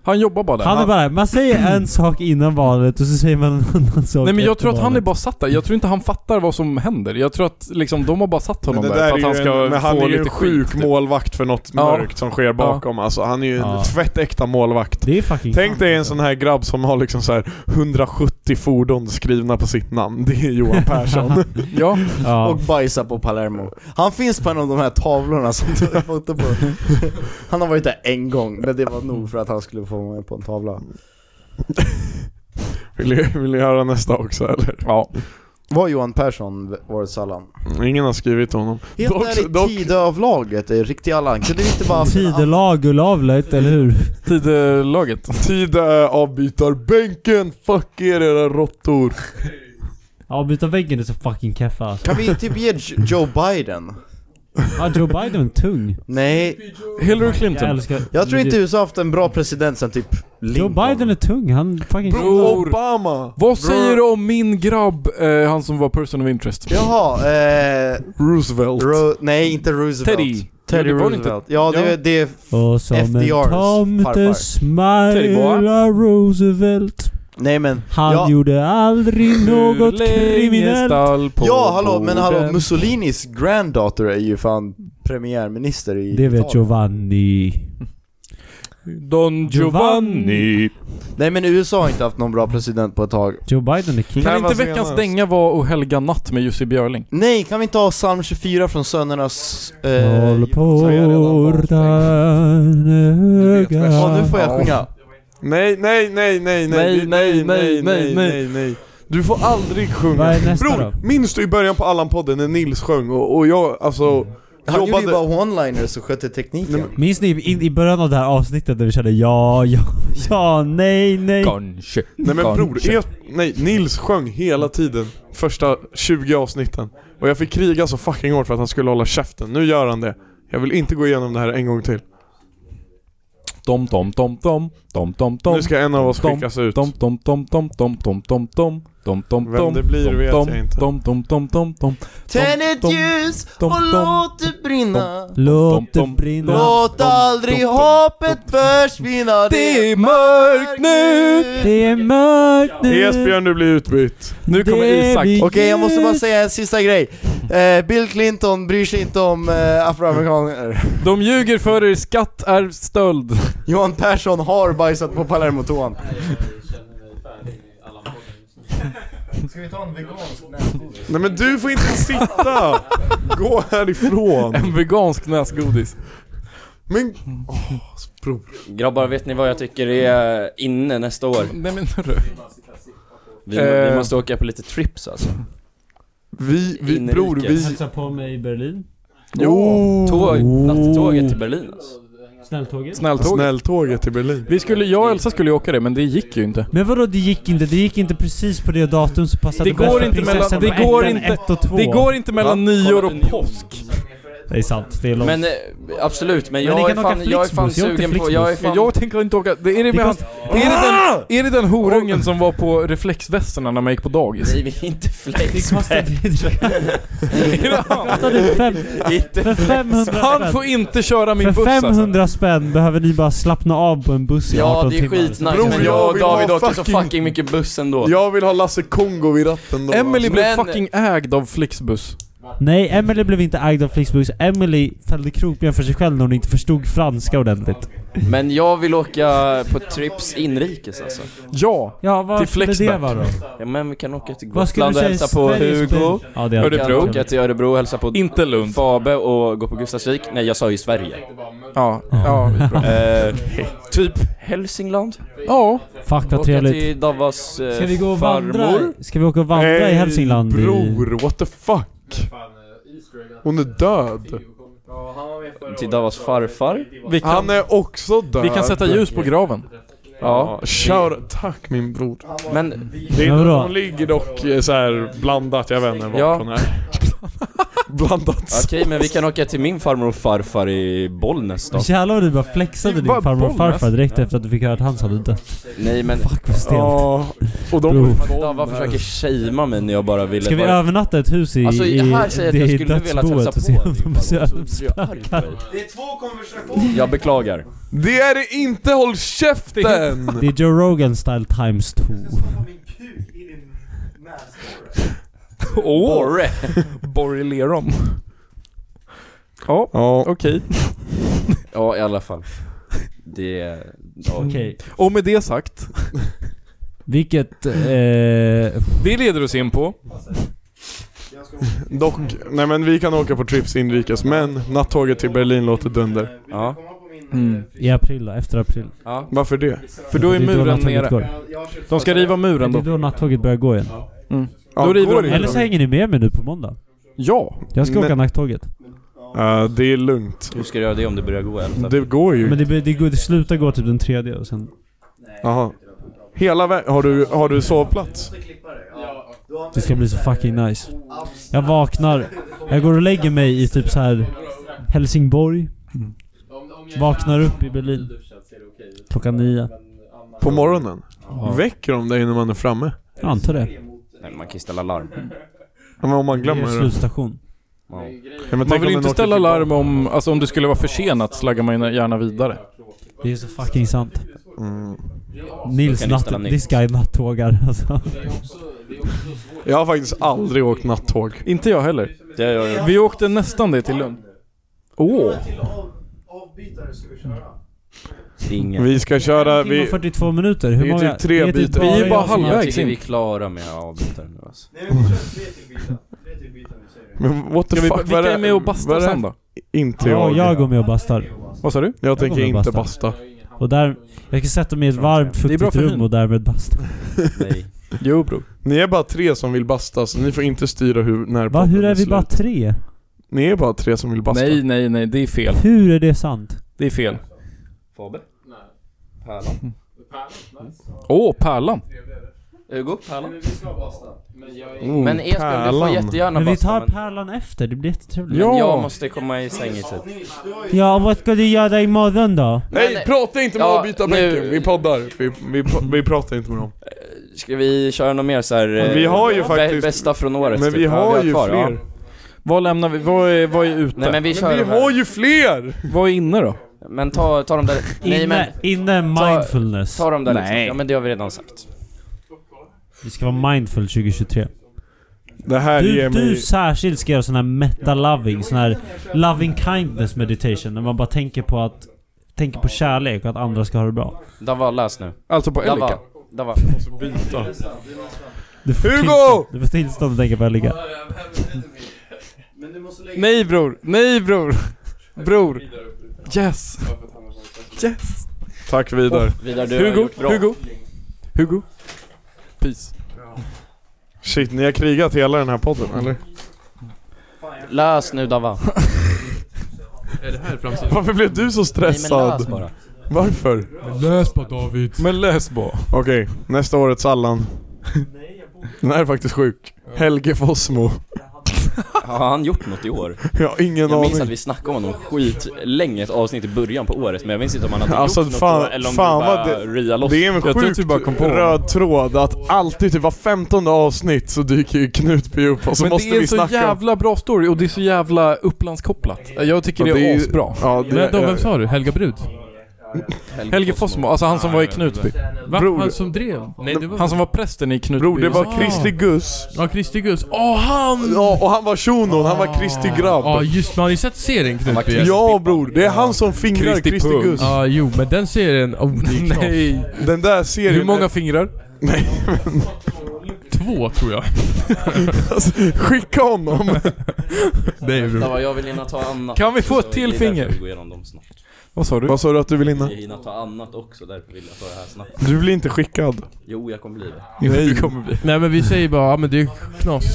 S15: Han jobbar bara där.
S5: Han är bara, man säger en sak innan valet och så säger man en annan sak
S15: Nej men jag
S5: efter
S15: tror att han är
S5: valet.
S15: bara satt där. Jag tror inte han fattar vad som händer. Jag tror att liksom de har bara satt honom
S8: Men det
S15: där,
S8: där
S15: för
S8: är
S15: att han
S8: ju
S15: ska
S8: en, men
S15: få
S8: han är ju
S15: lite
S8: en
S15: skit.
S8: sjuk målvakt för något
S15: Ja.
S8: mörkt som sker bakom alltså. Han är ju en
S15: Ja.
S8: tvättäkta målvakt.
S5: Det är fucking
S8: Tänk dig en sån här grabb som har liksom så här 170 fordon skrivna på sitt namn. Det är Johan Persson.
S15: ja.
S4: Och bajsar på Palermo. Han finns på en av de här tavlorna som du har foto på. Han har varit där en gång, men det var nog för att han skulle få vara med på en tavla.
S8: Vill ni, vill ni höra nästa också eller?
S15: Ja.
S4: Var Johan Persson årets Allan?
S8: Ingen har skrivit honom.
S4: Helt ärligt, Tidöavlaget är riktig Allan. Kunde vi inte bara...
S5: Tidelag och lavlet, eller hur?
S15: Tidelaget.
S8: Tide avbytarbänken! Fuck er era råttor!
S5: Avbyta väggen är så fucking keffa alltså.
S4: Kan vi typ ge J- Joe Biden?
S5: Ja, Joe Biden är tung.
S4: Nej.
S15: Hillary
S5: Clinton. Jag älskar-
S4: Jag tror inte USA haft en bra president sen typ
S5: Joe
S4: Lincoln.
S5: Biden är tung, han fucking...
S15: Bror.
S8: Obama!
S15: Vad säger du om min grabb, eh, han som var person of interest?
S4: Jaha, eh...
S8: Roosevelt.
S4: Ro nej, inte Roosevelt.
S15: Teddy.
S4: Teddy
S15: Jo, det var det
S4: Roosevelt. Ja, det,
S15: Ja.
S4: det är
S5: Och som en
S4: FDRs
S5: tomte
S4: farfar.
S5: smilar Roosevelt.
S4: Nej men,
S5: Han
S4: ja,
S5: gjorde aldrig något kriminellt.
S4: ja hallå, men hallå Mussolinis granddaughter är ju fan premiärminister i
S5: Det vet
S4: Italien.
S5: Giovanni.
S15: Don Giovanni.
S4: Nej men USA har inte haft någon bra president på ett tag.
S5: Joe Biden är king.
S15: Kan inte veckans dänga vara och helga natt med Jussi Björling?
S4: Nej, kan vi inte ha psalm 24 från Sönernas... Eh,
S5: Håll portan öga.
S4: ja, nu får jag sjunga.
S8: Nej, nej, nej, nej, nej,
S15: Nej,
S8: nej,
S15: nej,
S8: nej, nej,
S15: nej,
S8: nej, nej. Du får aldrig sjunga.
S5: Vad är nästa
S8: Bror, minns du i början på Allan-podden när Nils sjöng och, och jag, alltså...
S4: Han gjorde ju bara one-liners och skötte tekniken.
S5: Minns ni i, i början av det här avsnittet när vi körde ja, ja, ja, nej, nej?
S8: Kanske. Nej men bror, es, nej, Nils sjöng hela tiden första 20 avsnitten. Och jag fick kriga så fucking hårt för att han skulle hålla käften. Nu gör han det. Jag vill inte gå igenom det här en gång till.
S15: Tom, tom, tom, tom, tom, tom, tom.
S8: Nu ska en av oss
S15: tom,
S8: skickas ut.
S15: Tom, tom, tom, tom, tom, tom, tom, tom. Tom, tom,
S8: Vem
S15: tom,
S8: det blir
S15: tom,
S8: vet
S15: tom,
S8: jag inte.
S15: Tom, tom, tom, tom, tom.
S4: Tänd ett ljus
S15: tom,
S4: och
S15: tom,
S4: låt det brinna.
S5: Låt det brinna.
S4: Låt aldrig hoppet försvinna. Det är mörkt nu.
S5: Det är mörkt
S4: nu.
S8: Esbjörn, du blir utbytt.
S15: Nu
S8: kommer Isak.
S4: Okej, jag måste bara säga en sista grej. Eh, Bill Clinton bryr sig inte om eh, afroamerikaner.
S15: De ljuger för er, skatt är stöld.
S4: Johan Persson har bajsat på Palermo-toan.
S22: Ska vi ta en vegansk
S8: Nej men du får inte sitta! Gå härifrån!
S15: En vegansk näsgodis.
S8: Men...
S7: Grabbar, vet ni vad jag tycker är inne nästa år?
S15: Nej men
S7: Vi, vi
S8: Eh.
S7: måste åka på lite trips alltså.
S8: Vi, vi
S7: Inrikes.
S8: bror, vi...
S5: Hälsa på mig i Berlin.
S8: Jo!
S7: Tåg,
S8: Oh.
S7: nattåget till Berlin alltså.
S5: Snälltåget.
S15: Snälltåget.
S8: Snälltåget till Berlin.
S15: Vi skulle, jag och Elsa skulle ju åka det, men det gick ju inte.
S5: Men vadå det gick inte? Det gick inte precis på det datum som passade
S15: Det går
S5: bäst för
S15: inte mellan,
S5: prinsessan
S15: det
S5: på
S15: går
S5: ettan,
S15: inte,
S5: ett och två.
S15: det går inte mellan nyår och påsk.
S5: Det är sant, det är långt.
S7: Men eh, absolut,
S5: Men
S7: men
S5: ni
S7: jag är
S5: kan åka
S7: fan, jag är fan
S5: Flixbus, jag åkte
S7: sugen på, jag är
S5: Flixbus.
S7: fan...
S15: Jag tänker inte åka, det är det
S7: Det
S15: med han,
S7: kost-
S15: det är det den, är det den horungen som var på reflexvästarna när man gick på dagis?
S7: Nej, vi är inte flex.
S5: Kostade fem-
S7: Inte
S5: för 500 spänn.
S15: Han får inte köra min
S5: För
S15: buss alltså.
S5: 500 spänn behöver ni bara slappna av på en buss i 18
S7: Ja, det är
S5: timmar.
S7: skitnice,
S8: Bror,
S7: men
S8: jag
S7: jag och
S8: vill
S7: David
S8: ha
S7: åkte så
S8: fucking-
S7: fucking mycket buss ändå.
S8: Jag vill ha Lasse Kongo vid ratten då.
S15: Emily blev
S7: Men-
S15: fucking ägd av Flixbus.
S5: Nej, Emily blev inte ägd av Flixbus. Emily fällde krokben för sig själv när hon inte förstod franska ordentligt.
S7: Men jag vill åka på trips inrikes alltså.
S15: Ja,
S5: Ja, vad
S7: till
S5: skulle det
S7: Flexback.
S5: vara då?
S7: Ja, men vi kan åka till
S5: Vad skulle
S7: Gotland
S5: du
S7: och
S5: säga,
S7: hälsa på
S5: Sveriges
S7: Hugo.
S5: bästa- Ja, det är
S7: Vi
S15: Örebro.
S7: kan åka till Örebro och hälsa på
S15: Inte Lund.
S7: Fabe och gå på Gustavsvik. Nej, jag sa ju Sverige.
S15: Ja, ja. bra.
S7: Eh, typ Hälsingland.
S15: Ja.
S5: Fuck vad
S7: Åka
S5: trevligt.
S7: till Davas eh,
S5: Ska vi gå och vandra?
S7: farmor.
S5: Ska vi åka och vandra i Hälsingland? i-
S8: bror, what the fuck? Hon är död.
S7: Till Davas farfar.
S15: Vi kan,
S8: Han är också död.
S15: vi kan sätta ljus på graven.
S7: Ja.
S8: Kör, tack min bror.
S7: Men
S8: Det är,
S5: Men vadå?
S8: hon ligger dock eh, så här blandat, jag vet inte vart
S7: Ja.
S8: hon är. blandat.
S7: Okej, men vi kan åka till min farmor och farfar i Bollnäs då.
S5: Jävlar vad du bara flexade din
S15: Bara
S5: farmor och
S15: boll,
S5: farfar
S15: alltså.
S5: direkt efter att du fick höra att hans hade dött.
S7: Nej men
S5: Fuck vad stelt.
S8: Ja, och de...
S5: Bror.
S7: Dava försöker shamea mig när jag bara ville
S5: Ska vi
S7: bara...
S5: övernatta ett hus i,
S7: Alltså,
S5: i
S7: här säger jag att
S5: det
S7: jag
S5: i
S7: skulle velat hälsa
S5: dödsboet
S7: på
S5: och se om
S7: dig, Alltså,
S5: de spökar?
S7: Farfar.
S23: Det är två konversationer!
S7: Jag beklagar.
S8: Det är det inte, håll käften!
S5: Det är Joe Rogan style times two.
S15: Åh!
S7: Borre!
S15: Borrelerum. Ja,
S8: Ja,
S15: okej.
S7: Ja, i alla fall. Det är... ja, Okej.
S5: Okej.
S15: Och med det sagt,
S5: Vilket... Eh,
S15: det leder oss in på...
S8: Dock, Mm. nej men vi kan åka på trips inrikes, men nattåget till Berlin låter dunder.
S7: Ja.
S5: I april då, efter april.
S8: Varför det?
S15: För då är
S5: Det
S15: muren
S5: nattåget
S15: nere.
S5: går.
S15: De ska riva muren
S5: Det är
S15: då.
S5: då nattåget börjar gå igen.
S8: Ja,
S15: Då river
S8: går
S15: de
S8: inte
S5: Eller så hänger ni med mig nu på måndag.
S15: Ja.
S5: Jag ska
S8: Men-
S5: åka nattåget.
S8: Ja, det är lugnt.
S7: Hur ska du göra det om det börjar gå eller?
S8: Det går ju.
S5: Men det, det, går- det slutar gå typ den tredje och sen...
S8: Jaha. Hela vägen, har du, har du sovplats?
S5: Det ska bli så fucking nice. Jag vaknar, jag går och lägger mig i typ så här Helsingborg.
S15: Mm.
S5: Vaknar upp i Berlin. Klockan nio.
S8: På morgonen? Väcker de dig när man är framme?
S5: Jag antar det.
S7: Nej, men man kan ju ställa larm.
S8: Ja, men om man
S5: Det är
S8: glömmer det.
S5: slutstation.
S7: Ja.
S8: Ja, men tänk
S15: Man
S8: om
S15: vill ju
S8: den
S15: inte
S8: åker
S15: ställa
S8: tillbaka.
S15: larm om... Alltså om du skulle vara försenat slaggar man gärna vidare.
S5: Det är så fucking sant.
S8: Mm.
S5: Nils
S7: kan ni ställa
S5: natt...
S7: nytt.
S5: This guy nattågar alltså.
S8: Jag har faktiskt aldrig åkt nattåg.
S15: Inte jag heller.
S7: Det gör jag.
S15: Vi åkte nästan det till Lund. Åh!
S22: Avbytare ska vi köra.
S7: Ingen.
S8: Vi ska köra...
S5: En timme och
S8: Vi,
S5: 42 minuter. Hur
S8: det är typ
S5: många?
S8: tre
S5: det typ
S8: bitar.
S5: bara
S15: Vi är bara
S5: jag som gör-
S7: Jag
S15: halvvägs
S7: tycker
S15: in.
S7: vi är klara med avbytare nu alltså.
S22: Nej men vi kör tre till byta. Tre till byta, vi säger det.
S8: men what the
S15: Ska vi,
S8: fuck, vad
S15: vilka
S8: det-
S15: är med och
S8: vad
S15: bastar
S8: det-
S15: sen då?
S8: Inte
S5: Ja,
S8: jag.
S5: jag
S8: Jag,
S5: går med och bastar.
S15: Vad sa du?
S8: tänker
S5: kommer
S8: inte
S5: basta.
S8: basta.
S5: Och där... Jag ska sätta mig i ett varmt
S15: Det är bra
S5: fuktigt
S15: för
S5: rum
S15: hyn.
S5: och därmed basta.
S7: Nej.
S15: Jo bror.
S8: Ni är bara tre som vill basta, så ni får inte styra hur... När
S5: Va? Hur
S8: podden
S5: är vi
S8: slut.
S5: bara tre?
S8: Ni är bara tre som vill basta.
S4: Nej, nej, nej. Det är fel.
S2: Hur är det sant?
S4: Det är fel.
S7: Faber? Nej. Pärlan?
S4: Åh, Pärlan.
S7: Hugo? Pärlan?
S4: Oh,
S7: Men Esbjörn, du får
S4: Pärlan.
S7: jättegärna
S2: Men vi
S7: basta,
S2: tar
S7: men-
S2: pärlan efter, det blir jättetrevligt.
S7: Men jag måste komma i säng i tid.
S2: Ja, vad ska du göra imorgon då?
S8: Nej, prata inte med
S7: ja,
S8: att byta
S7: nu-
S8: bänken. Vi poddar. Vi, vi, vi pratar inte med dem.
S7: Ska vi köra något mer så här, eh,
S8: Vi har ju
S7: bä-
S8: faktiskt-
S7: Bästa från året
S8: Men
S7: typ.
S8: vi
S7: Ja,
S8: har ju
S7: kvar, ja.
S8: fler.
S4: Vad lämnar vi? Vad är, vad är ute?
S7: Nej men vi kör de här.
S8: ju fler!
S4: Vad är inne då?
S7: Men ta, ta de där... Nej, men,
S2: inne mindfulness.
S7: Ta, ta de där liksom.
S2: Nej.
S7: Ja men det har vi redan sagt.
S2: Vi ska vara mindful 2023.
S8: Det här
S2: du,
S8: ger
S2: du
S8: mig-
S2: särskilt ska göra sån här meta-loving, sån här loving kindness meditation. När man bara tänker på att... Tänker på kärlek och att andra ska ha det bra.
S7: Dava, läs nu.
S4: Alltså på
S2: Elika?
S7: Dava.
S8: byta.
S2: Du får
S4: Hugo!
S2: tillstånd- Du får tillstånd att tänka på Elika.
S4: Nej bror, nej bror. Bror. Yes. Yes.
S8: Tack Vidar.
S4: Åh, Vidar, du har Hugo, gjort bra. Hugo. Hugo. Peace.
S8: Shit, ni har krigat hela den här podden eller?
S7: Läs nu Dava.
S24: Är det här framsidan?
S8: Varför blev du så stressad?
S24: läs bara.
S8: Varför?
S25: Läs bara David.
S8: Men läs bara. Okej, nästa årets Allan. Den här är faktiskt sjuk. Helge Fossmo.
S7: Har han gjort något i år?
S8: Ja, ingen
S7: jag Jag minns
S8: aning.
S7: att vi snackade om honom skitlänge, ett avsnitt i början på året, men jag minns inte om han hade
S8: Alltså
S7: gjort
S8: fan,
S7: något då, eller om
S8: fan
S7: det bara
S8: vad
S7: ria
S8: det,
S7: loss. typ
S8: det är en
S4: typ
S8: sjukt röd tråd att alltid typ var femtonde avsnitt så dyker ju Knutby upp och så
S4: Men
S8: måste
S4: det är
S8: vi
S4: så
S8: snacka om-
S4: jävla bra story och det är så jävla Upplandskopplat. Jag tycker
S8: Ja,
S4: det
S8: det
S4: är
S8: är-
S4: asbra.
S8: ja, det-
S4: men då, vem
S6: sa du? Helga Brud?
S4: Helge Fossmo, alltså han som var i Knutby.
S6: Va? Han som drev? Nej, det var...
S4: Han som var prästen i Knutby.
S8: Bror, det var Kristi Guss.
S6: Ja, Kristi Guss. Åh,
S8: han! Ja, och han var shunon, han var Kristi grabb.
S6: Ja Ah. just men har ni sett serien Knutby?
S8: Ja bror, det är han som fingrar
S6: Kristi
S8: Kristi
S6: Pung. Ah.
S8: Guss.
S6: Ja jo, men den serien... Oh, Nej.
S8: Den där serien...
S6: Hur många
S4: fingrar?
S8: Nej men...
S6: Två tror jag.
S8: alltså, skicka honom!
S6: Nej
S7: Dava, jag vill gärna ta annat.
S4: Kan vi få
S7: också.
S4: ett till
S7: Det är därför
S4: finger?
S7: Vi går igenom dem snabbt.
S4: Vad sa du?
S8: Vad sa du att du vill
S7: Jag
S8: hinna?
S7: vill hinna ta annat också, därför vill jag ta det här snabbt.
S8: Du blir inte skickad.
S7: Jo, jag kommer bli det.
S8: Nej. Du kommer bli.
S6: Nej men vi säger bara, ja men det är knas.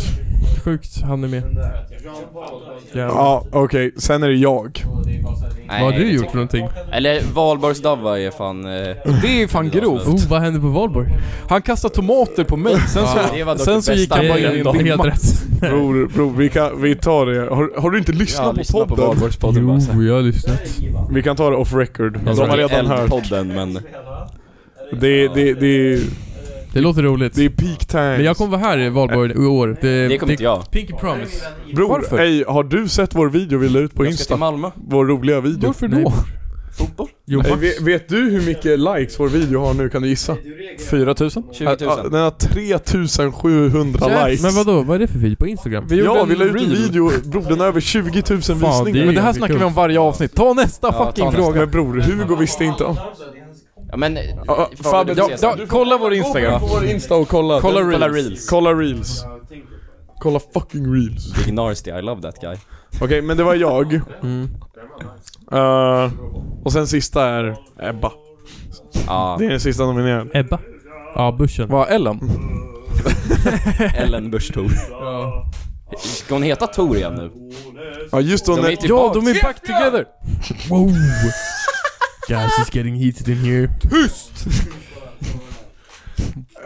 S6: Sjukt, han är med.
S8: Ja, okej. Sen är det jag.
S7: Nej, det tycker jag inte. Eller Valborgs-Dava är fan... Eh,
S4: Det är fan grovt.
S6: Oh, vad hände på Valborg?
S4: Han kastade tomater på mig, sen så,
S7: Ja, det var dock
S4: sen
S7: det
S4: så gick
S7: bästa
S4: han bara in i
S7: grejen
S4: en
S7: då.
S4: dimma.
S7: Helt rätt.
S8: Bror, bror vi, kan, vi tar det. Har, har du inte lyssnat
S7: Jag
S8: på
S7: lyssnar på
S8: podden?
S7: Valborgspodden bara så här.
S6: jag har lyssnat.
S8: Vi kan ta det off record.
S7: Jag
S8: De
S7: tror
S8: har
S7: det är
S8: redan hört.
S7: Eldpodden, men...
S8: Det, det, det,
S6: Det låter roligt.
S8: Det är peak times.
S6: Men jag kommer vara här i Valborg i år. Det,
S8: Det kommer inte jag.
S6: Pinky Promise.
S8: Bror, ej, har du sett vår video vi la ut på
S7: Jag ska
S8: Insta?
S7: till Malmö.
S15: Äh,
S8: Vår roliga video.
S6: Varför då?
S7: Fotboll?
S6: Jo,
S8: Ej,
S6: Max.
S8: vet, vet du hur mycket likes vår video har nu? Kan du gissa?
S4: 4000?
S15: äh,
S7: 20 000.
S8: Ja, Den har 3700 likes.
S6: Men vadå, vad är det för video på Instagram?
S8: Vi ja, vi la ut en video. Bror, den har över 20 000 visningar.
S4: Men det här snackar vi om varje avsnitt. Ta nästa
S7: Ja,
S4: fucking
S7: ta nästa.
S4: fråga.
S8: Men bror, Hugo visste inte om.
S7: Ja men...
S8: Ja,
S7: Fabian,
S8: Fabbe,
S7: du
S8: ja,
S7: ses.
S4: Ja, kolla vår Instagram.
S8: Gå på vår Insta och kolla.
S4: Kolla
S8: Den-
S4: reels.
S8: Kolla reels. Kolla fucking reels.
S7: Big Narsty, I love that guy.
S8: Okej, men det var jag.
S4: Mm.
S8: Eh, och sen sista är Ebba.
S7: Ja,
S8: Det är den sista nominerade.
S6: Ebba? Ja, bussen.
S4: Vad, Ellen?
S7: Ellen Busch Thor. Ska hon heta Thor igen nu?
S8: Ja, just då
S7: De
S8: när-
S7: är tillbaka.
S4: De är back together!
S6: Wow! Guys, it's getting heated in here. Tyst!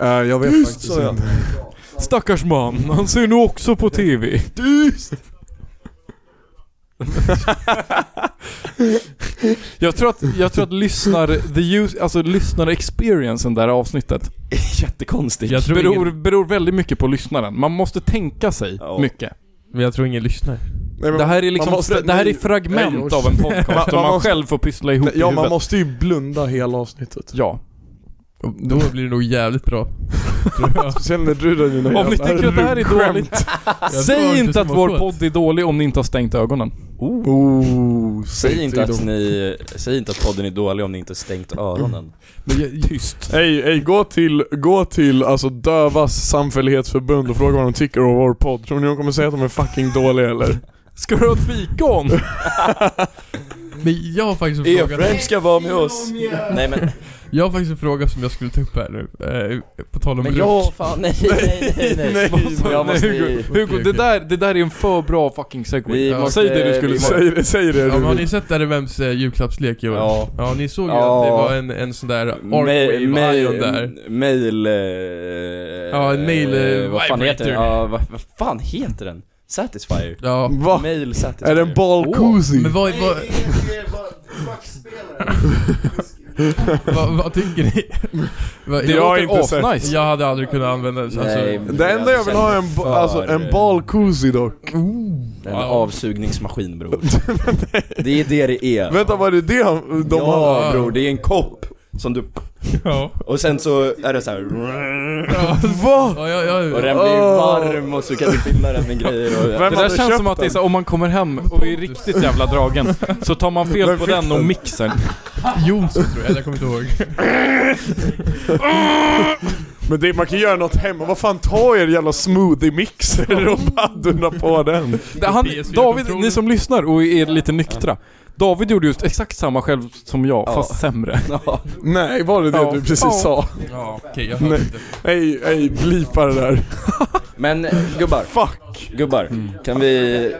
S8: Eh, jag vet
S4: Tyst,
S8: faktiskt
S4: sa jag.
S8: inte.
S4: Stackars man, han ser nu också på TV.
S8: Tyst!
S4: Jag tror att, jag tror att lyssnar, the use, alltså lyssnar-experiencen där i avsnittet
S7: Jättekonstigt.
S6: Jag tror
S4: beror,
S6: ingen,
S4: beror väldigt mycket på lyssnaren. Man måste tänka sig
S7: Ja.
S4: mycket.
S6: men jag tror ingen lyssnar.
S8: Nej, men
S4: Det här är
S8: man
S4: liksom,
S8: måste-
S4: det här är
S8: nej. Nej,
S4: fragment
S8: Josh.
S4: av en podcast
S8: Man-
S4: som
S8: man
S4: man
S8: måste-
S4: själv får pyssla ihop
S8: Nej,
S4: i
S8: ja, man
S4: huvudet.
S8: måste ju blunda hela avsnittet.
S4: Ja.
S6: Då blir det nog jävligt bra.
S8: Speciellt när du drar dina
S4: Om ni
S8: jävla
S4: tycker att det här är
S8: ruggskämt.
S4: dåligt,
S6: Jag tror
S4: säg inte
S6: det
S4: att
S6: var
S4: vår
S6: skönt.
S4: podd är dålig om ni inte har stängt ögonen.
S8: Oh,
S7: Säg inte
S8: då.
S7: att ni... Säg inte att podden är dålig om ni inte stängt öronen.
S4: Tyst.
S8: Ey, ey, gå till, gå till alltså Dövas samfällighetsförbund och fråga vad de tycker om vår podd. Tror ni de kommer säga att de är fucking dåliga eller?
S4: Ska du ha ett fikon?
S6: Men jag har faktiskt en
S7: Er
S6: fråga.
S7: friend ska vara med oss. Nej men,
S6: Jag har faktiskt en fråga som jag skulle ta upp här nu, eh, på tal om
S23: Men
S6: runk.
S23: jag- fan, nej, nej, nej, nej.
S6: Vad sa
S23: Jag
S6: du?
S23: måste-
S6: Hugo?
S23: Okej,
S15: Hugo, det där, det där är en för bra fucking segway.
S6: Vi måste-
S15: säg det du skulle
S6: vi-
S15: säga. det- Säg det
S6: Ja, men har ni
S15: du
S6: sett RMMs eh, julklappslek i år?
S7: Ja.
S6: ja ni såg ju
S7: Ja.
S6: att det var en, en sån där
S7: Ma-
S6: Arcwave Ion där
S7: ma- Mail... eh,
S6: Ja, en mail, eh,
S7: Vad fan heter den?
S6: vibrator.
S7: Ja, vad, vad fan heter den? Satisfyer?
S6: Ja.
S7: Va? Mail Satisfyer. Åh.
S6: Men vad, vad... vad, vad tycker ni? Vad-
S8: Det
S6: jag
S8: har
S6: låter
S8: inte
S6: off-
S8: sett.
S6: nice. Jag hade aldrig kunnat använda det. så Alltså.
S8: Det enda jag vill ha är en, ba- alltså, en balkoozie dock.
S7: En avsugningsmaskin bror. det är det det är.
S8: Vänta, var det det han- de
S7: ja,
S8: har?
S7: bror, det är en kopp som du... Och sen så är det så här.
S8: Va?
S6: Ja, ja, ja.
S7: Och den blir varm och så kan du fylla den med grejer och...
S15: det där känns som att det är så, här, om man kommer hem och är riktigt jävla dragen så tar man fel
S6: Vem
S15: på
S6: fick
S15: den och
S6: den?
S15: mixen.
S6: Jonsson tror jag, eller jag kommer inte ihåg.
S8: Men det, man kan göra något hemma, vad fan ta er jävla smoothie-mixer och baddorna på den?
S15: Det- Han, David, ni som lyssnar och är lite nyktra. David gjorde just exakt samma själv som jag,
S8: Ja.
S15: fast sämre.
S8: Nej, var det det
S15: Ja.
S8: du precis
S15: Ja.
S8: sa?
S6: Ja, okej, jag
S8: Nej, nej, nej, blipa det där.
S7: Men eh, gubbar, Fuck. gubbar, kan vi,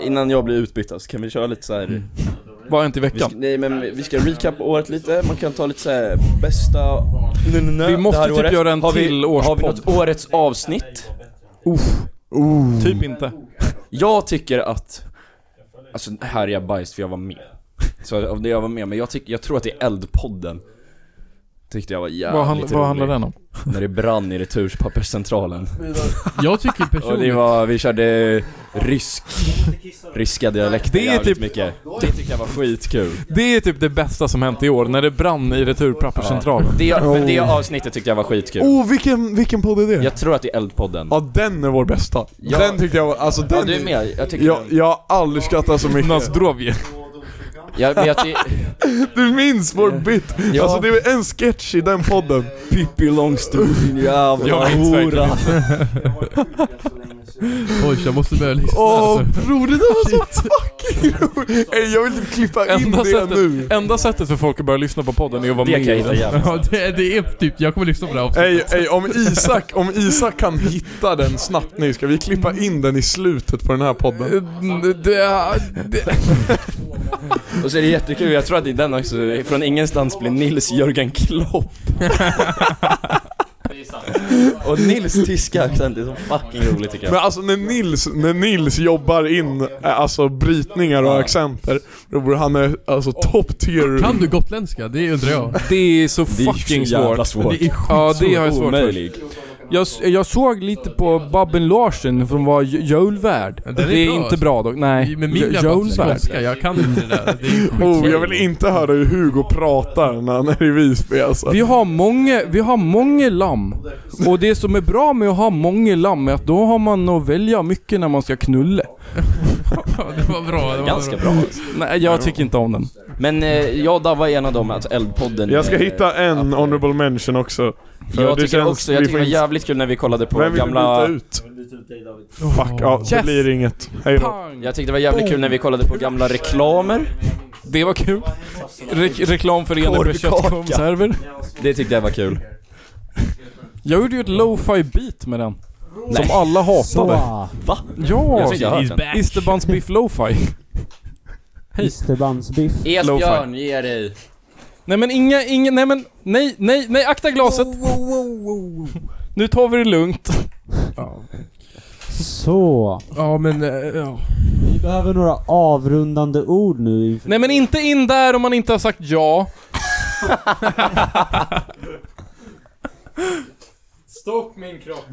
S7: innan jag blir utbytt alltså, kan vi köra lite så här.
S15: Vad har hänt i veckan?
S7: Vi ska, nej men vi ska recap året lite, man kan ta lite så här bästa... Nu, nu, nu,
S15: Vi måste
S7: det här
S15: typ
S7: året.
S15: göra en
S7: har vi,
S15: till
S7: Har vi
S15: årspodd.
S7: något årets avsnitt?
S15: Typ inte.
S7: Jag tycker att, alltså här är jag bajs för jag var med. Så av det jag var med, men jag, tyck, jag tror att det är Eldpodden. Tyckte jag var jävligt
S15: Vad handl- vad
S7: rolig.
S15: handlar den om?
S7: När det brann i returspapperscentralen.
S6: Jag tycker
S7: Och det
S6: personligt...
S7: var, vi körde rysk, ryska dialekter
S15: Det är
S7: jävligt
S15: typ-
S7: mycket. Det tyckte jag var skitkul.
S15: Det är typ det bästa som hänt i år, när det brann i returpapperscentralen.
S7: Det, men det avsnittet tyckte jag var skitkul.
S8: Oh, vilken, vilken podd är det?
S7: Jag tror att det är Eldpodden.
S8: Ja, den är vår bästa.
S7: Ja.
S8: Den tyckte jag var, alltså den...
S7: du är med. Jag tycker
S8: jag,
S7: den-
S8: jag har aldrig skrattat så mycket.
S15: Nasdrovje.
S7: Jag, men jag ty-
S8: Du minns vår bit?
S7: Ja.
S8: Alltså det är en sketch i den podden.
S7: Pippi Långstrump din jävla
S8: Jag minns verkligen
S7: hora.
S6: Oj, jag måste börja lyssna
S8: Åh
S6: alltså.
S8: bror, det där var så fucking roligt! Ey, Jag vill typ klippa in
S15: Enda
S8: det nu.
S15: sättet, enda sättet för folk att börja lyssna på podden är att vara
S7: Det
S15: med
S7: kan jag
S15: i
S7: inte
S15: den.
S7: jävla-
S6: Ja, det, det är typ, jag kommer lyssna på det här avsnittet.
S8: Ey, ey, om Isak, om Isak kan hitta den snabbt nu, ska vi klippa in den i slutet på den här podden?
S7: Och så är det jättekul, jag tror att det är den också. Från ingenstans blir Nils Jörgen Klopp. Och Nils tyska accent är så fucking rolig tycker
S8: Men
S7: jag.
S8: alltså när Nils, när Nils jobbar in eh, alltså brytningar och accenter, då borde han är alltså top tier.
S6: Kan du gotländska? Det undrar jag.
S15: Det är så
S7: Det är
S15: fucking
S7: så jävla
S15: svårt.
S7: svårt.
S6: Det är skitsvårt.
S15: Ja, det har jag svårt för.
S7: Omöjlig.
S15: Jag, jag såg lite på Babben Larsen som var j- julvärd.
S6: Den
S15: Det
S6: är
S15: är
S6: bra,
S15: inte
S6: alltså.
S15: bra dock. Nej.
S6: Men min
S15: J-
S6: grabbar
S15: julvärd.
S6: skånska, jag kan inte det där. Det är
S8: Oh,
S6: skitsvårt.
S8: jag vill inte höra hur Hugo pratar när han är i Visby alltså.
S15: Vi har många, vi har många lamm. Och det som är bra med att ha många lamm är att då har man att välja mycket när man ska knulla.
S6: Ja, det var bra. Det var
S7: Ganska bra.
S15: Nej, jag tycker inte om den.
S7: Men eh, jag och Dabba är en av dem, alltså Eldpodden.
S8: Jag ska
S7: eh,
S8: hitta en honorable mention också. För
S7: Jag
S8: det
S7: tycker
S8: känns-
S7: också, jag
S8: vi
S7: tycker
S8: får
S7: det var
S8: inte-
S7: jävligt kul när vi kollade på
S8: Vem vill
S7: gamla...
S8: du byta ut? Fuck, ja, det
S15: Yes.
S8: blir inget. Hej då.
S15: Pang!
S7: Jag tyckte det var jävligt kul när vi kollade på gamla reklamer.
S15: Det var kul. Re- reklam för Eneby
S7: Korvkaka.
S15: köttkonserver.
S7: Det tyckte jag var kul.
S15: Jag gjorde ju ett lo-fi beat med den. Som alla hatade.
S7: Va? Jag
S15: Ja!
S7: tyckte jag hört den.
S15: Isterbandsbiff lo-fi.
S5: Isterbandsbiff.
S7: Esbjörn, ge dig.
S15: Nej men inga, inga, nej men, nej, nej, nej, akta glaset! Nu tar vi det lugnt.
S5: Så.
S6: Ja, men... eh, Ja.
S5: Vi behöver några avrundande ord nu inför...
S15: Nej men inte in där om man inte har sagt ja.
S10: Stopp min kropp.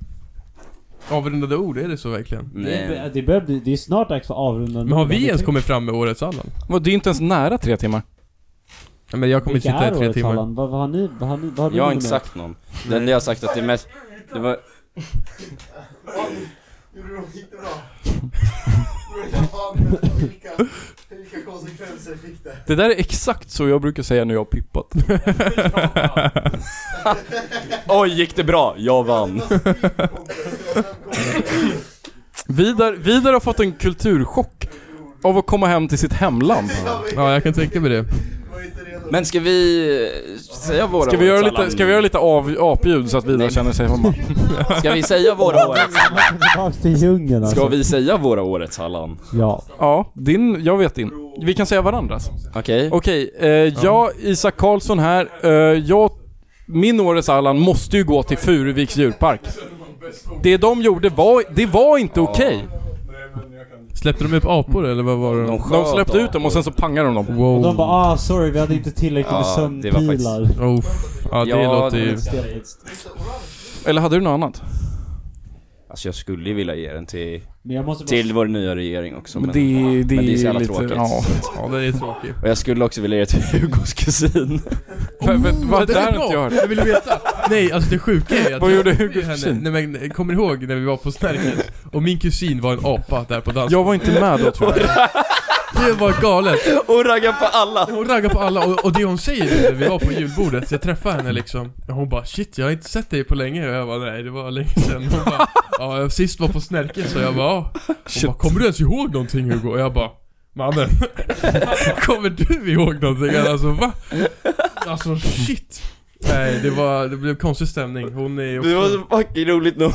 S6: Avrundade ord, är det så verkligen?
S5: Det,
S7: Nej.
S5: det, börjar bli, det är snart dags för avrundande
S6: Men har
S5: ord.
S6: vi ens
S5: Det-
S6: kommit fram med årets Allan?
S15: Vad, Det är inte ens nära tre timmar.
S6: Ja, men jag kommer
S5: Vilka
S6: sitta
S5: är
S6: i tre
S5: årets
S6: timmar.
S5: Allan? Vad, vad har ni? Vad har ni? Vad har du
S7: Jag har
S5: med?
S7: inte sagt någon. Det enda jag har sagt att det mest... Det var...
S23: Vilka konsekvenser fick det?
S15: Det där är exakt så jag brukar säga när jag har pippat.
S7: Oj, gick det bra? Jag vann.
S15: Vidar, Vidar har fått en kulturchock av att komma hem till sitt hemland.
S6: Ja, jag kan tänka mig det.
S5: Men ska vi eh, säga våra
S8: Ska vi göra
S5: årets
S8: lite,
S5: alla?
S8: ska vi göra lite av, apljud så att Vidar känner sig hemma?
S5: Ska vi säga våra årets...
S2: Tillbaks till djungeln alltså.
S5: Ska vi säga våra årets Allan?
S2: Ja.
S8: Ja, din, jag vet din. Vi kan säga varandras.
S5: Okej.
S8: Okej, eh, jag, Isak Karlsson här. Eh, jag, min årets Allan måste ju gå till Furuviks djurpark. Det de gjorde var, det var inte okej.
S6: Släppte de upp apor eller vad var det?
S8: De, släppte ut dem och sen så pangade de dem.
S2: Och de bara ah sorry vi hade inte tillräckligt med sömnpilar.
S6: Ja, det låter ju...
S8: Eller hade du något annat?
S7: Alltså jag skulle ju vilja ge den till,
S2: Men jag måste bara-
S7: till vår nya regering också
S8: Men
S7: men,
S8: det- det
S7: men det är så jävla
S8: är lite-
S7: tråkigt.
S8: ja. Ja, det är tråkigt.
S7: Och jag skulle också vilja ge det till Hugos kusin.
S6: det är bra. Jag vill veta. Nej, alltså det sjuka är att...
S8: Vad gjorde Hugos
S6: henne-
S8: kusin?
S6: Nej men, kommer ni ihåg när vi var på Snärket? Och min kusin var en apa där på dansen.
S8: Jag var inte med då tror jag.
S6: Det var galet.
S7: Hon raggar på alla.
S6: Hon raggar på alla och, och det hon säger nu när vi var på julbordet, så jag träffade henne liksom. Och hon bara 'Shit, jag har inte sett dig på länge' och jag bara 'Nej, det var länge sedan' Hon bara 'Ja, jag sist var på Snärket' så jag bara 'Ja' Hon bara 'Kommer du ens ihåg någonting Hugo?' Och jag bara 'Mannen, kommer du ihåg någonting?' Alltså va? Alltså shit! Nej, det var, det blev konstig stämning. Hon är också...
S7: Det var så fucking roligt när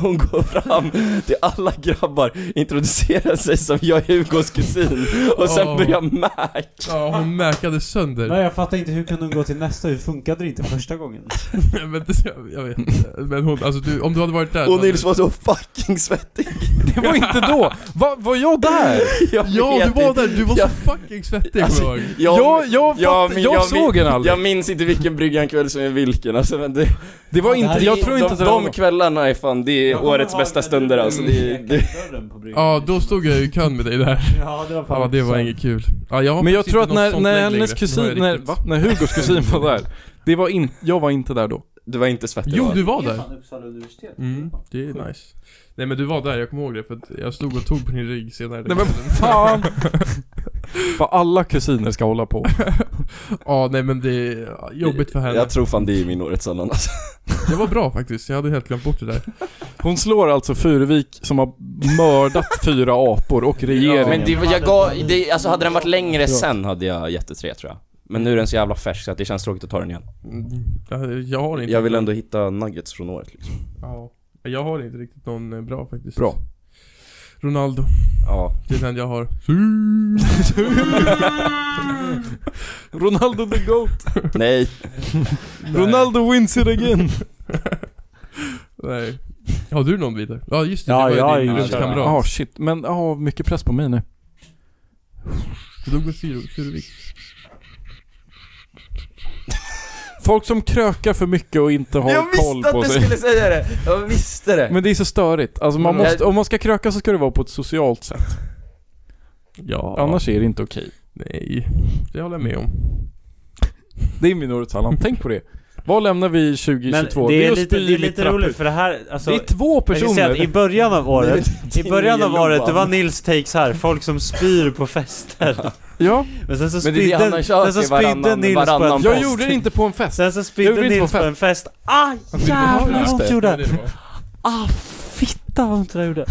S7: hon går fram till alla grabbar, introducerar sig som jag är Hugos kusin och sen
S6: Ja.
S7: börjar Mac.
S6: Ja, hon mäkade sönder.
S2: Nej jag fattar inte hur kunde de gå till nästa? Hur funkade det inte första gången?
S6: Nej, men det, jag, jag vet inte. Men hon, alltså du, om du hade varit där...
S7: Och Nils var så
S6: fucking svettig.
S8: Det var inte då! Va, var jag där?
S7: Jag
S6: ja,
S7: vet
S6: du var
S7: inte.
S6: där. Du var
S7: Jag-
S6: så fucking svettig
S7: Alltså,
S6: kommer jag ihåg.
S7: min- min- Jag minns inte vilken bryggankväll som är vilken alltså, men det,
S8: det var
S6: inte- jag tror inte att
S7: de,
S6: det
S7: de,
S6: var-
S7: kvällarna är fan, det är årets bästa stunder alltså det, det,
S6: Ja, då stod jag i kön med dig där.
S2: Ja, det var
S6: Ja, det var inget kul. Ja, jag har
S8: Men jag
S6: faktiskt
S8: tror att
S6: inte något
S8: när,
S6: sånt
S8: när
S6: längre.
S8: hennes
S6: Nu har
S8: kusin,
S6: jag
S8: när,
S6: riktigt-
S8: va? när Hugos kusin var där, det var in, jag var inte där då.
S7: Du var inte svettig
S6: Jo, du var där.
S2: Uppsala universitet.
S6: Mm, det är nice. Nej men du var där, jag kommer ihåg det för att jag stod och tog på din rygg senare.
S8: Nej men fan! Vad alla kusiner ska hålla på.
S6: Ja, nej men det är jobbigt för henne.
S7: Jag tror fan det är min årets annan alltså.
S6: Det var bra faktiskt, jag hade helt glömt bort det där.
S8: Hon slår alltså Furuvik som har mördat fyra apor och regeringen.
S7: Men det
S5: var- jag gav- det- alltså, hade den varit längre
S7: sen hade jag gett det tre tror jag. Men nu är den så jävla färsk så att det känns tråkigt att ta den igen.
S6: Mm, Jag, jag har inte...
S7: Jag vill ändå hitta nuggets från året liksom.
S6: Ja. Jag har inte riktigt någon eh, bra faktiskt.
S7: Bra.
S6: Ronaldo.
S7: Ja.
S6: Det är den jag har.
S8: Ronaldo the GOAT!
S7: Nej.
S8: Ronaldo wins it again!
S6: Nej. Har du någon vidare? Ja just det,
S8: Ja,
S6: det var ju
S8: jag är
S6: din
S8: ju
S6: rumskamrat.
S8: Ja, shit. Men, ja, mycket press på mig nu.
S6: Du dog med fyra, fyra vikt.
S8: Folk som krökar för mycket och inte har
S7: Jag
S8: koll
S7: visste
S8: på
S7: att du
S8: sig.
S7: skulle säga det! Jag visste det!
S8: Men det är så störigt. Alltså man
S7: Men-
S8: måste, om man ska kröka så ska det vara på ett socialt sätt.
S6: Ja.
S8: Annars är det inte okej.
S6: Nej, det håller jag med om.
S8: Det är min årets Allan, tänk på det. Vad lämnar vi 2022?
S2: Men det, är
S8: att
S2: lite,
S8: spy
S2: det är
S8: i mitt
S2: lite
S8: trapphus.
S2: roligt för det här, alltså,
S8: Det är två
S2: Jag kan
S8: personer.
S2: säga att i början av året, i början av året, det var Nils takes här, folk som spyr på fester.
S8: Ja.
S2: Men sen så
S8: Men det är det
S2: spydde,
S8: han har kört
S2: sen så
S8: i
S2: spydde
S8: varannan-
S2: Nils på
S8: varannan
S2: en
S8: Jag
S2: fest.
S8: gjorde det inte på en fest.
S2: Sen så
S8: Jag gjorde
S2: spydde
S8: det inte
S2: Nils
S8: på
S2: på
S8: en
S2: en fest. Ah jävlar vad ont det gjorde! Ah fitta vad ont det där gjorde!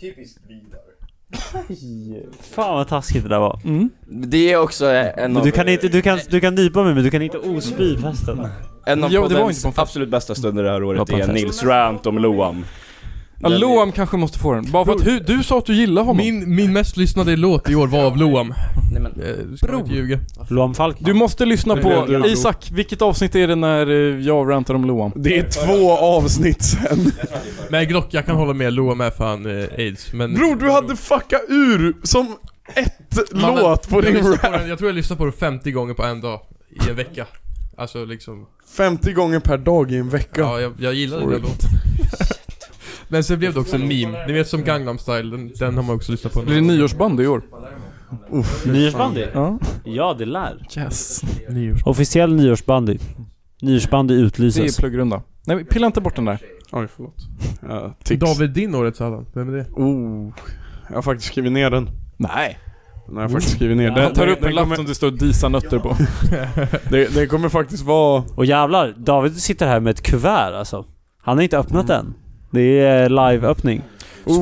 S26: Typiskt vidare.
S2: Aj, Fan vad taskigt det där var.
S7: Det är också en
S2: Men
S7: av...
S2: du kan inte, du kan, du kan nypa mig men du kan inte ospy festen.
S7: En av
S2: Jo, det var
S7: poddens
S2: inte på en fest.
S7: absolut bästa stunder det här
S2: Det var
S7: året
S2: på en
S7: är
S2: fest.
S7: Nils rant om Loam.
S8: Ja, Loam kanske måste få den. Bara för att hu- du sa att du gillar honom.
S6: Min, min mest lyssnade låt i år var av Loam.
S7: Nej men,
S6: du ska inte ljuga.
S2: Loam Falk.
S8: Du måste lyssna på...
S6: Nej, det-
S8: Isak, vilket avsnitt är det när eh, jag rantar om Loam?
S27: Det är två avsnitt sen.
S6: Men Glock, jag kan hålla med. Loam är fan eh, aids. Men...
S27: Bror du hade fucka ur som ett
S6: Mannen,
S27: låt på
S6: jag
S27: din
S8: liksom
S6: lyssnar
S27: rap.
S6: den- Jag tror jag lyssnade på den 50 gånger på en dag. I en vecka. Alltså liksom...
S27: 50 gånger per dag i en vecka.
S6: Ja, jag, jag gillade den
S27: Sorry.
S6: låten. Men sen blev det också en meme. Ni vet som Gangnam style, den, den har man också lyssnat på.
S8: Blir det nyårsband i år?
S27: Uff,
S2: Nyårsbandy?
S8: Ja.
S2: Ja det lär.
S8: Yes.
S2: Officiell nyårsbandy. Nyårsbandy
S8: Det
S2: utlyses.
S8: är pluggrunda. Nej, men pilla inte bort den där.
S27: Oj, förlåt. Ja,
S6: David, din årets Allan. Vem är det?
S27: Oh, jag har faktiskt skrivit ner den.
S8: Nej.
S27: Nej, jag har faktiskt skrivit ner den.
S8: Jag tar
S27: Den-
S8: upp en
S27: den
S8: lapp
S27: kommer-
S8: som det står disa nötter på.
S27: det, det kommer faktiskt vara...
S2: Och jävlar, David sitter här med ett kuvert alltså. Han har inte öppnat
S8: Mm.
S2: än. Det är liveöppning.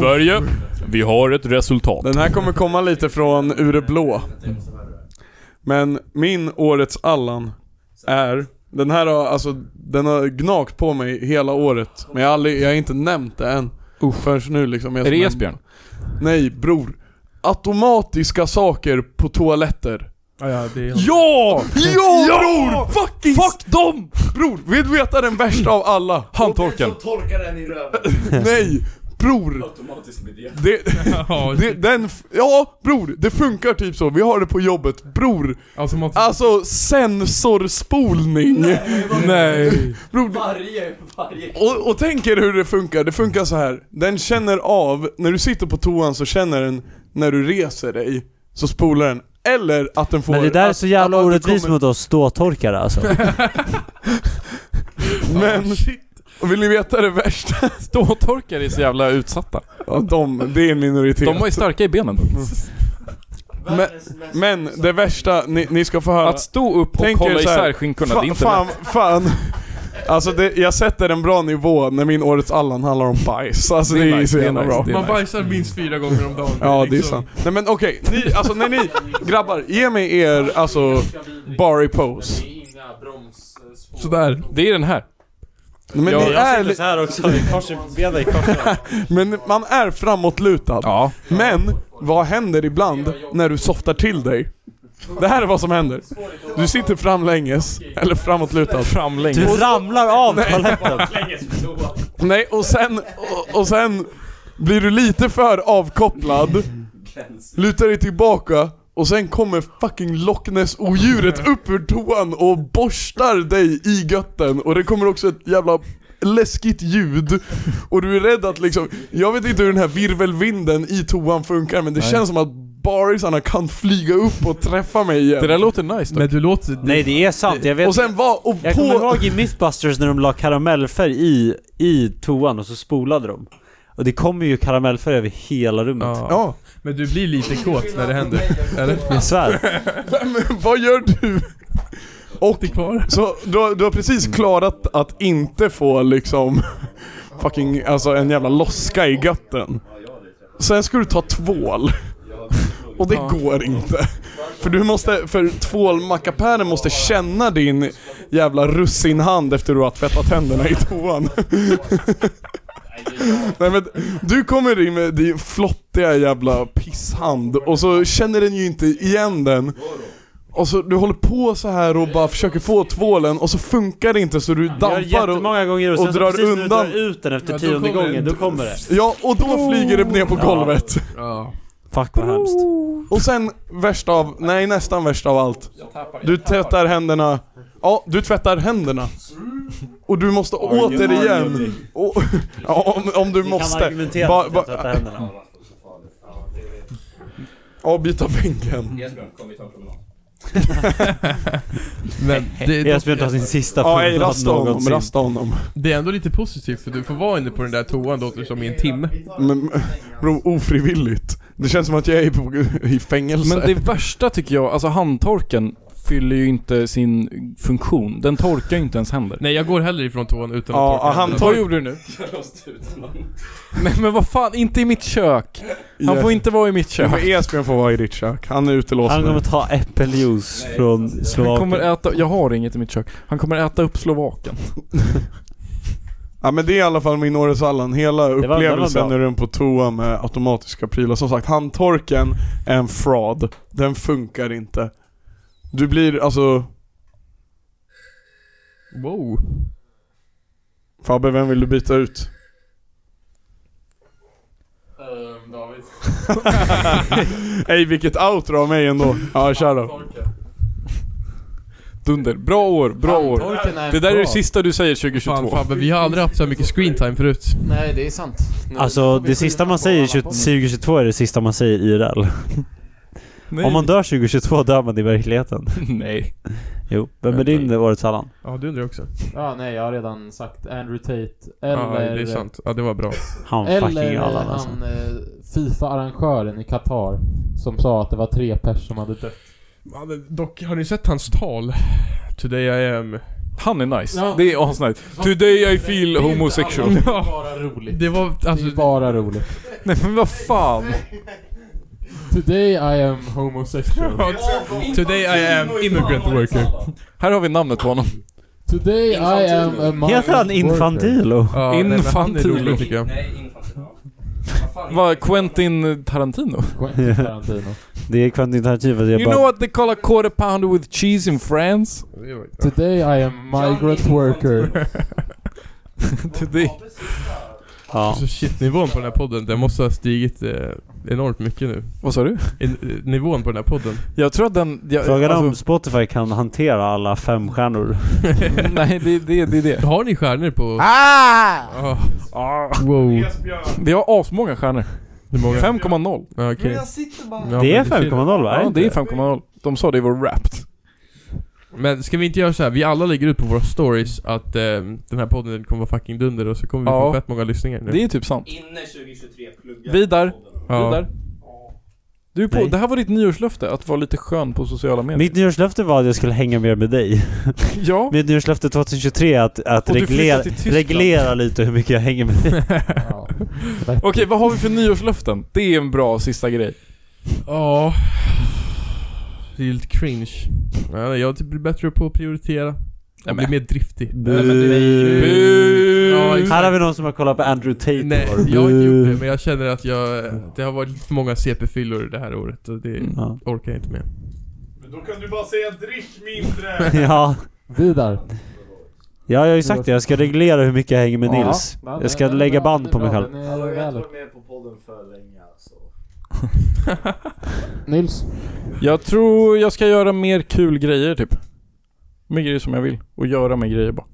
S8: Sverige, vi har ett resultat.
S27: Den här kommer komma lite från ur det blå.
S8: Men min årets Allan är, den här har, alltså, den har gnagt på mig hela året. Men jag har, aldrig, jag har inte nämnt det än. Förrän nu liksom. Jag
S15: Är det
S8: som en-
S15: Esbjörn?
S8: Nej, bror. Automatiska saker på toaletter.
S14: ja, det är
S8: Ja! Ja,
S14: Ja!
S8: bror! Fucking Fuck dem! Bror, vill du veta den värsta av alla? Handtorken.
S23: Torka den i röven.
S8: Nej, bror.
S23: Automatiskt blir det.
S8: Det, det, den, f- ja bror, det funkar typ så. Vi har det på jobbet. Bror, alltså sensorspolning. Nej. Bror,
S28: Varje, varje.
S8: och, och tänk er hur det funkar. Det funkar så här. Den känner av, när du sitter på toan så känner den, när du reser dig, så spolar den. Eller att den får...
S2: Men det där är
S8: att-
S2: så jävla
S8: att man inte
S2: orättvist mot oss ståtorkare alltså.
S8: Men, och vill ni veta det värsta?
S15: Ståtorkare är så jävla utsatta.
S8: Ja, de, det är en minoritet.
S15: De var ju starka i benen.
S8: Men, men det värsta, ni, ni ska få höra...
S15: Att stå upp och hålla
S8: er så här,
S15: isär skinkorna,
S8: fa-
S15: det är inte
S8: Fan,
S15: lätt.
S8: fan. Alltså det, jag sätter en bra nivå när min Årets Allan handlar om bajs. Alltså det är, så jävla bra.
S14: Man bajsar minst fyra gånger om dagen.
S8: Ja, det är
S6: Liksom.
S8: sant. Nej men okej, ni, alltså när ni, grabbar, ge mig er, alltså, bar i pose.
S14: Sådär.
S15: Det är den här.
S8: Men
S2: Ja,
S8: ni
S2: jag
S8: är...
S2: sitter
S8: li-
S2: så här också, i kors i benen i kors.
S8: Men man är framåtlutad. Men, vad händer ibland när du softar till dig? Det här är vad som händer. Du sitter framlänges, eller framåtlutad.
S15: Framlänges.
S2: Du ramlar av
S8: Nej.
S2: toaletten.
S8: Nej, och sen, och, och sen blir du lite för avkopplad, lutar dig tillbaka och sen kommer fucking Loch Ness-odjuret upp ur toan och borstar dig i götten och det kommer också ett jävla läskigt ljud och du är rädd att liksom, jag vet inte hur den här virvelvinden i toan funkar men det
S15: Nej.
S8: känns som att barisarna kan flyga upp och träffa mig igen.
S15: Det där låter nice dock.
S14: Men du låter...
S2: Nej det är sant, jag vet
S8: Och sen var, och
S2: Jag
S8: på...
S2: kommer ihåg i Mythbusters när de la karamellfärg i, i toan och så spolade de. Och det kommer ju karamellfärg över hela rummet.
S8: Ja.
S14: Men du blir lite kåt när det händer. Eller?
S2: Jag svär.
S8: Men vad gör du? Och så du, har- du har precis klarat att inte få liksom fucking, alltså en jävla loska i götten. Sen ska du ta tvål. Och det går inte. För du måste, för tvålmackapären måste känna din jävla russinhand efter du har tvättat händerna i toan. Nej men du kommer in med din flottiga jävla pisshand och så känner den ju inte igen den. Och så du håller på så här och bara försöker få tvålen och så funkar det inte så du
S2: Jag gör
S8: dampar
S2: jättemånga gånger och sen
S8: och
S2: så
S8: drar
S2: precis när du
S8: undan.
S2: drar ut den efter
S8: Ja, då
S2: tionde
S8: kommer
S2: gången,
S8: det.
S2: då kommer det.
S8: Ja, och då flyger det ner på golvet.
S14: Ja.
S2: Fuck vad hemskt.
S8: Och sen värst av, nej nästan värst av allt. Du tvättar händerna, ja du tvättar händerna. Och du måste återigen, och, ja, om, om du
S2: Ni
S8: måste.
S2: kan argumentera
S8: Ba-
S2: ba,
S8: ba-
S2: tvätta händerna.
S8: Ja, byta bänken.
S14: Men det,
S2: Esbjörn tar sin sista
S8: Ja, ej, rasta honom, rasta honom.
S14: Det är ändå lite positivt för du får vara inne på den där toan låter det som i en timme.
S8: Men bro, ofrivilligt. Det känns som att jag är på, i fängelse.
S15: Men det värsta tycker jag, alltså handtorken fyller ju inte sin funktion. Den torkar ju inte ens händer.
S14: Nej jag går hellre ifrån toan utan
S15: Ja,
S14: att torka
S15: han
S14: händerna.
S15: tor- Vad gjorde du nu?
S23: Jag låste ut honom.
S15: Nej men vad fan, inte i mitt kök! Han
S8: Ja.
S15: får inte vara i mitt kök.
S8: Ja, men Esbjörn får vara i ditt kök. Han är utelåst
S15: Han
S8: nu.
S15: kommer
S2: ta äppeljuice från
S15: Han kommer äta, jag har inget i mitt kök. Han kommer äta upp Slovaken.
S8: Ja men det är i alla fall min årets Allan. Hela
S15: var
S8: upplevelsen
S15: bra.
S8: när den på toa med automatiska prylar. Som sagt, handtorken är en fraud. Den funkar inte. Du blir alltså...
S14: Wow.
S8: Fabbe, vem vill du byta ut?
S14: David.
S8: Ey vilket outro av mig ändå. Ja kör då.
S15: Dunder. Bra år, bra år.
S10: Handtorken är
S15: Det där är
S10: bra.
S15: det sista du säger 2022.
S14: Fan Fabbe, vi har aldrig haft så här mycket screentime förut.
S10: Nej, det är sant.
S2: Alltså det sista man säger 20- 2022 är det sista man säger IRL.
S15: Nej.
S2: Om man dör 2022 dör man i verkligheten.
S15: Nej.
S2: Jo, vem är din årets Allan?
S14: Ja, du undrar också.
S10: Ja, nej, jag har redan sagt Andrew Tate.
S14: Ja,
S10: Eller...
S14: det är sant. Ja, det var bra.
S2: Han
S10: Eller
S2: fucking
S10: eh,
S2: Allan alltså.
S10: han eh, Fifa-arrangören i Qatar som sa att det var tre pers som hade dött.
S14: Ja, men dock, har ni sett hans tal? Today I am...
S15: Han är nice.
S10: Ja.
S15: Det är asnice. Today I feel homosexual.
S14: Det
S5: Ah.
S14: är
S10: bara roligt.
S14: Det var alltså...
S10: bara roligt.
S15: Nej men vad fan.
S5: Today I am homosexual.
S29: Today I am immigrant worker.
S4: Här har vi namnet på honom.
S5: Today I am a migrant
S2: Heter han Infantilo?
S5: worker.
S4: Ja, Infantilo. Vad, Quentin Tarantino?
S5: Quentin Tarantino.
S2: Det är Quentin Tarantino fast jag
S4: You
S2: bara...
S4: know what they call a quarter pounder with cheese in France?
S6: Typ
S5: Today I am migrant worker.
S4: Today.
S2: Ja.
S6: Så shitnivån på den här podden, den måste ha stigit eh, enormt mycket nu. eh,
S4: Vad sa du?
S6: nivån på den här podden.
S4: Jag tror att den... Jag,
S2: Frågan är om
S4: alltså-
S2: Spotify kan hantera alla fem stjärnor.
S4: Nej, det, det, det är det.
S6: Har ni stjärnor på...
S4: Ah!
S6: Ah.
S4: Wow. Vi har asmånga stjärnor.
S6: många?
S4: 5,0.
S6: Ja,
S4: okej.
S6: Ja, Det är men det är 5,0 va? Är
S4: Ja,
S6: inte
S4: det är
S6: det?
S4: 5,0. De sa det var wrapped.
S6: Men ska vi inte göra så här? vi alla lägger ut på våra stories att eh, den här podden kommer vara fucking dunder och så kommer vi
S4: Ja.
S6: få fett många lyssningar nu.
S4: Det är typ sant.
S7: Inne 2023 pluggar
S4: Vidar.
S6: Ja.
S4: Vidar. Du är på,
S2: Nej.
S4: det här var ditt nyårslöfte, att vara lite skön på sociala medier.
S2: Mitt nyårslöfte var att jag skulle hänga mer med dig.
S4: Ja.
S2: Mitt nyårslöfte 2023 är att, att
S4: Och du
S2: reglera,
S4: flyttar till Tyskland.
S2: reglera lite hur mycket jag hänger med dig.
S4: Okej, vad har vi för nyårslöften? Det är en bra sista grej.
S6: Ja... Det är lite cringe. Ja, jag typ blir bättre på att prioritera. Jag blir mer driftig. Nej, men det är- Ja, exakt.
S2: Här har vi någon som har kollat på Andrew Tate
S6: Nej,
S2: igår.
S6: jag har inte gjort det,
S2: Bu.
S6: men jag känner att jag... Det har varit lite för många CP-fyllor det här året och det
S4: Mm.
S6: orkar jag inte med.
S29: Men då kan du bara säga drick mindre!
S2: Ja.
S5: Vidar.
S2: Ja, jag har ju sagt det. Jag ska reglera hur mycket jag hänger med
S5: Ja.
S2: Nils.
S5: Ja,
S2: Jag ska
S5: den är
S2: lägga
S5: bra, den
S2: band
S5: är
S2: på mig
S5: bra,
S2: själv.
S5: den är
S10: Hallå, jag har
S5: väl-
S10: inte varit med på podden för länge alltså.
S5: Nils.
S4: Jag tror jag ska göra mer kul grejer typ. Mer grejer som jag vill. Och göra mer grejer bara.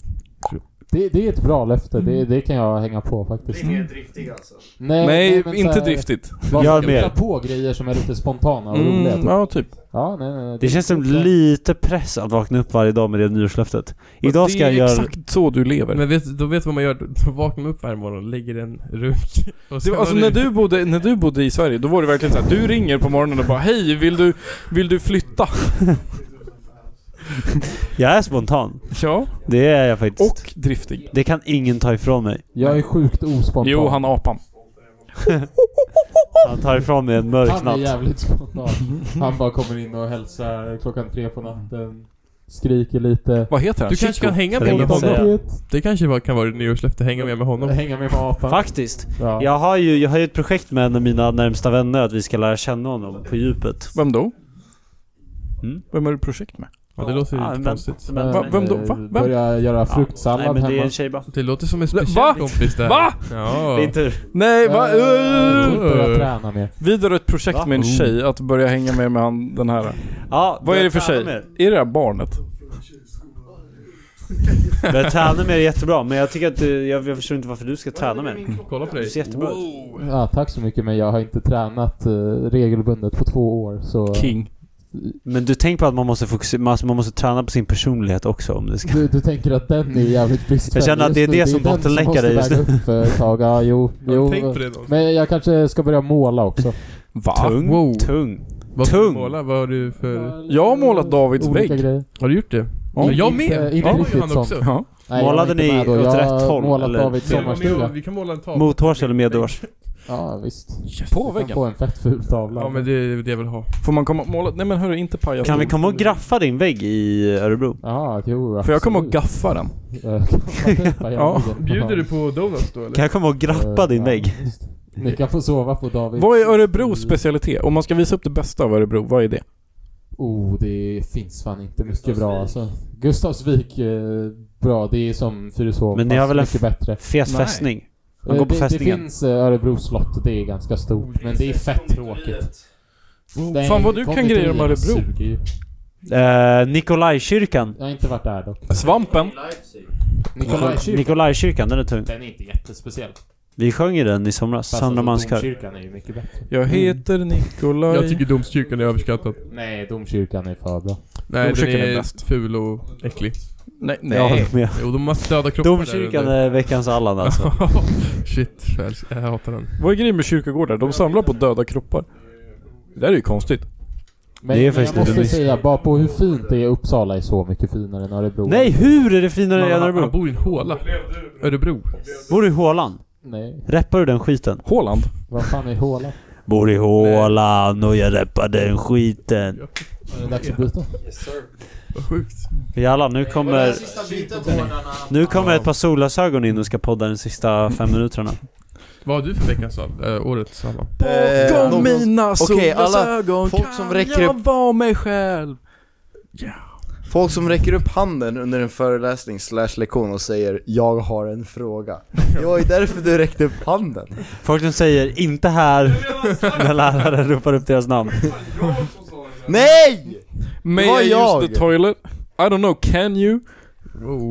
S5: Det, det är ett bra löfte, det,
S2: Mm.
S5: det kan jag hänga på faktiskt.
S10: Bli mer driftig alltså.
S5: Nej,
S4: Nej,
S5: men
S4: inte
S5: så här-
S4: driftigt.
S5: Vad
S2: Gör
S5: ska vi
S2: mer.
S5: ta på grejer som är lite spontana och
S2: Mm,
S5: roliga? Typ.
S4: Ja, typ.
S5: Ja, nej, nej, nej.
S2: Det känns som lite press att vakna upp varje dag med det nyårslöftet. Idag ska jag göra...
S4: så du lever.
S6: Men vet, då vet du vad man gör? Då vaknar man upp varje morgon och lägger en runk. Och
S4: Det
S6: sen
S4: var, alltså
S6: har
S4: när du, bodde, när du bodde i Sverige, då var det verkligen så här. Du ringer på morgonen och bara Hej, vill du, vill du flytta?
S2: Jag är spontan.
S4: Ja.
S2: Det är jag faktiskt. Och
S4: driftig.
S2: Det kan ingen ta ifrån mig.
S5: Jag är sjukt ospontan.
S4: Jo, han apan.
S2: Han tar ifrån mig en mörk
S5: Han är
S2: natt.
S5: jävligt spontan. Han bara kommer in och hälsar klockan tre på natten. Skriker lite.
S4: Vad heter
S6: Du kanske kan hänga med med honom? Det kanske var- kan vara ditt nyårslöfte, hänga med med honom.
S5: Hänga med med apan.
S2: Faktiskt.
S5: Ja.
S2: Jag har ju, jag har ju ett projekt med en av mina närmsta vänner att vi ska lära känna honom på djupet.
S4: Vem då?
S2: Mm.
S4: Vem har du projekt med?
S6: Ja, det låter ju
S2: Ja,
S6: lite
S2: men-
S6: konstigt.
S2: men- Va- vem då? Va? Vem?
S5: Börja göra fruktsallad
S2: Nej men det är
S5: hemma.
S2: en tjej bara.
S6: Det låter som en speciell
S4: Va?
S6: kompis där.
S4: Va?
S6: Ja.
S2: Din tur.
S4: Nej, va?
S6: Eh,
S2: Eh.
S5: börja
S6: Uh.
S5: träna mer.
S4: Vidare ett projekt med en tjej att börja hänga med med han, den här.
S2: Ja,
S4: Vad är det för
S2: träna
S4: tjej?
S2: mer.
S4: Är det det här barnet?
S2: Börja träna mer är jättebra, men jag tycker att du, jag, jag förstår inte varför du ska träna mer.
S6: Kolla på dig.
S2: Du ser jättebra ut.
S5: Ja, tack så mycket men jag har inte tränat eh, regelbundet på två år så...
S4: King.
S2: Men du tänk på att man måste fokusera, man man måste träna på sin personlighet också om det ska...
S5: Du, du tänker att den är jävligt bristfällig
S2: Jag känner att det är
S5: just nu.
S2: det
S5: ju
S2: som
S5: den
S2: dotterlänkar
S5: måste
S2: dig just
S5: väga
S2: nu.
S5: upp ett tag. Ja, jo, jo.
S6: tänk på det då.
S5: Men jag kanske ska börja måla också.
S4: Eh, Va?
S2: Tung,
S6: Wow.
S2: tung.
S6: Vad
S2: Tung.
S6: Måla, vad har du för...
S4: Jag har målat Davids
S5: Eh, Olika
S4: vägg.
S5: grejer.
S6: Har du gjort det?
S4: Ja.
S6: jag
S5: Inte-
S6: med!
S5: inte
S6: ja,
S5: riktigt
S6: Johan
S5: sånt.
S6: också.
S4: Ja.
S5: Nej,
S2: Målade
S5: jag var inte
S2: ni
S5: med då.
S2: åt
S5: jag
S2: rätt
S5: har
S2: håll,
S5: målat
S2: eller?
S5: Davids sommarstuga.
S6: Vi kan måla en tavla.
S2: Mothårs eller medhårs?
S5: Ja, visst.
S4: På
S5: Jag kan
S4: väggen.
S5: få en fett ful tavla.
S6: Ja men det är det jag vill ha.
S4: Får man komma och måla? Nej men hörru, inte paja.
S2: Kan vi komma och graffa din vägg i Örebro?
S5: Ja, jo,
S4: Får jag komma och
S5: absolut.
S4: gaffa den?
S5: Eh, kan man peppa
S4: Ja.
S5: jävla väggen?
S6: Bjuder du på donuts då eller?
S2: Kan jag komma och grappa
S5: Eh,
S2: din
S5: ja,
S2: vägg?
S5: visst. Ni kan få sova på Davids...
S4: Vad är Örebros specialitet? Om man ska visa upp det bästa av Örebro, vad är det?
S5: Oh, det finns fan inte mycket bra alltså. Gustavsvik, eh, bra. Det är som Fyrishov,
S2: Men ni
S5: fast
S2: har väl en
S5: mycket bättre.
S2: Fet
S4: Nej.
S2: fästning. Man går
S5: Eh,
S2: på
S5: det, Det
S2: fästningen.
S5: finns eh, Örebro slott, det är ganska
S6: Oh,
S5: stort. Men det är fett tråkigt. Nej,
S4: Fan vad du kan grejer om
S5: konditorierna
S4: Örebro.
S5: suger ju.
S2: Eh, Nikolajkyrkan.
S5: Jag har inte varit där dock.
S4: Svampen.
S5: Nikolajkyrkan,
S2: Nikolajkyrkan, den är tung.
S5: den är inte jättespeciell. Fast
S2: Vi sjöng ju den i somras,
S5: alltså,
S2: Sandra Manskör.
S5: Domkyrkan är ju mycket bättre.
S2: Mm.
S4: Jag heter Nikolaj.
S6: Jag tycker domskyrkan är överskattad.
S5: Nej, domkyrkan är för bra.
S6: Nej den
S4: Domkyrkan
S6: är,
S4: är bäst.
S6: ful och äcklig.
S4: Nej,
S2: Jag
S4: nej.
S2: håller med.
S6: Jo de har massa döda kroppar
S2: Domkyrkan
S6: där
S2: är veckans Allan alltså.
S6: under. Shit, jag, älskar- jag hatar den.
S4: Vad är grejen med kyrkogårdar? De samlar på döda kroppar. Det där är ju konstigt.
S5: Men,
S2: Det är
S5: men
S2: faktiskt
S5: jag måste
S2: lite
S5: säga bara på hur fint det är. Uppsala är så mycket finare än Örebro.
S2: Nej, hur är det finare
S6: Men
S2: än
S6: han, han
S2: Örebro?
S6: bor i en håla. Örebro.
S2: Bor du i Hålan?
S5: Nej,
S2: Reppar du den skiten?
S4: Håland?
S5: vad fan är håla? Bor i hålan och jag rappar den skiten.
S10: Är det dags att byta?
S5: Vad sjukt. Jalla, nu kommer... Nu kommer ett par solglasögon in och ska podda de sista fem minuterna.
S6: Vad har du för veckans av? Eh, årets salva?
S4: Eh, någon- Okej, alla- folk
S6: kan
S4: som räcker upp-
S6: vara mig själv?
S4: Folk som räcker upp handen under en föreläsning slash lektion och säger 'Jag har en fråga' Det var ju därför du räckte upp handen
S2: Folk som säger inte här när läraren ropar upp deras namn.
S4: Nej!
S15: May
S4: Det var
S15: I
S4: jag.
S15: use the toilet? I don't know, can you?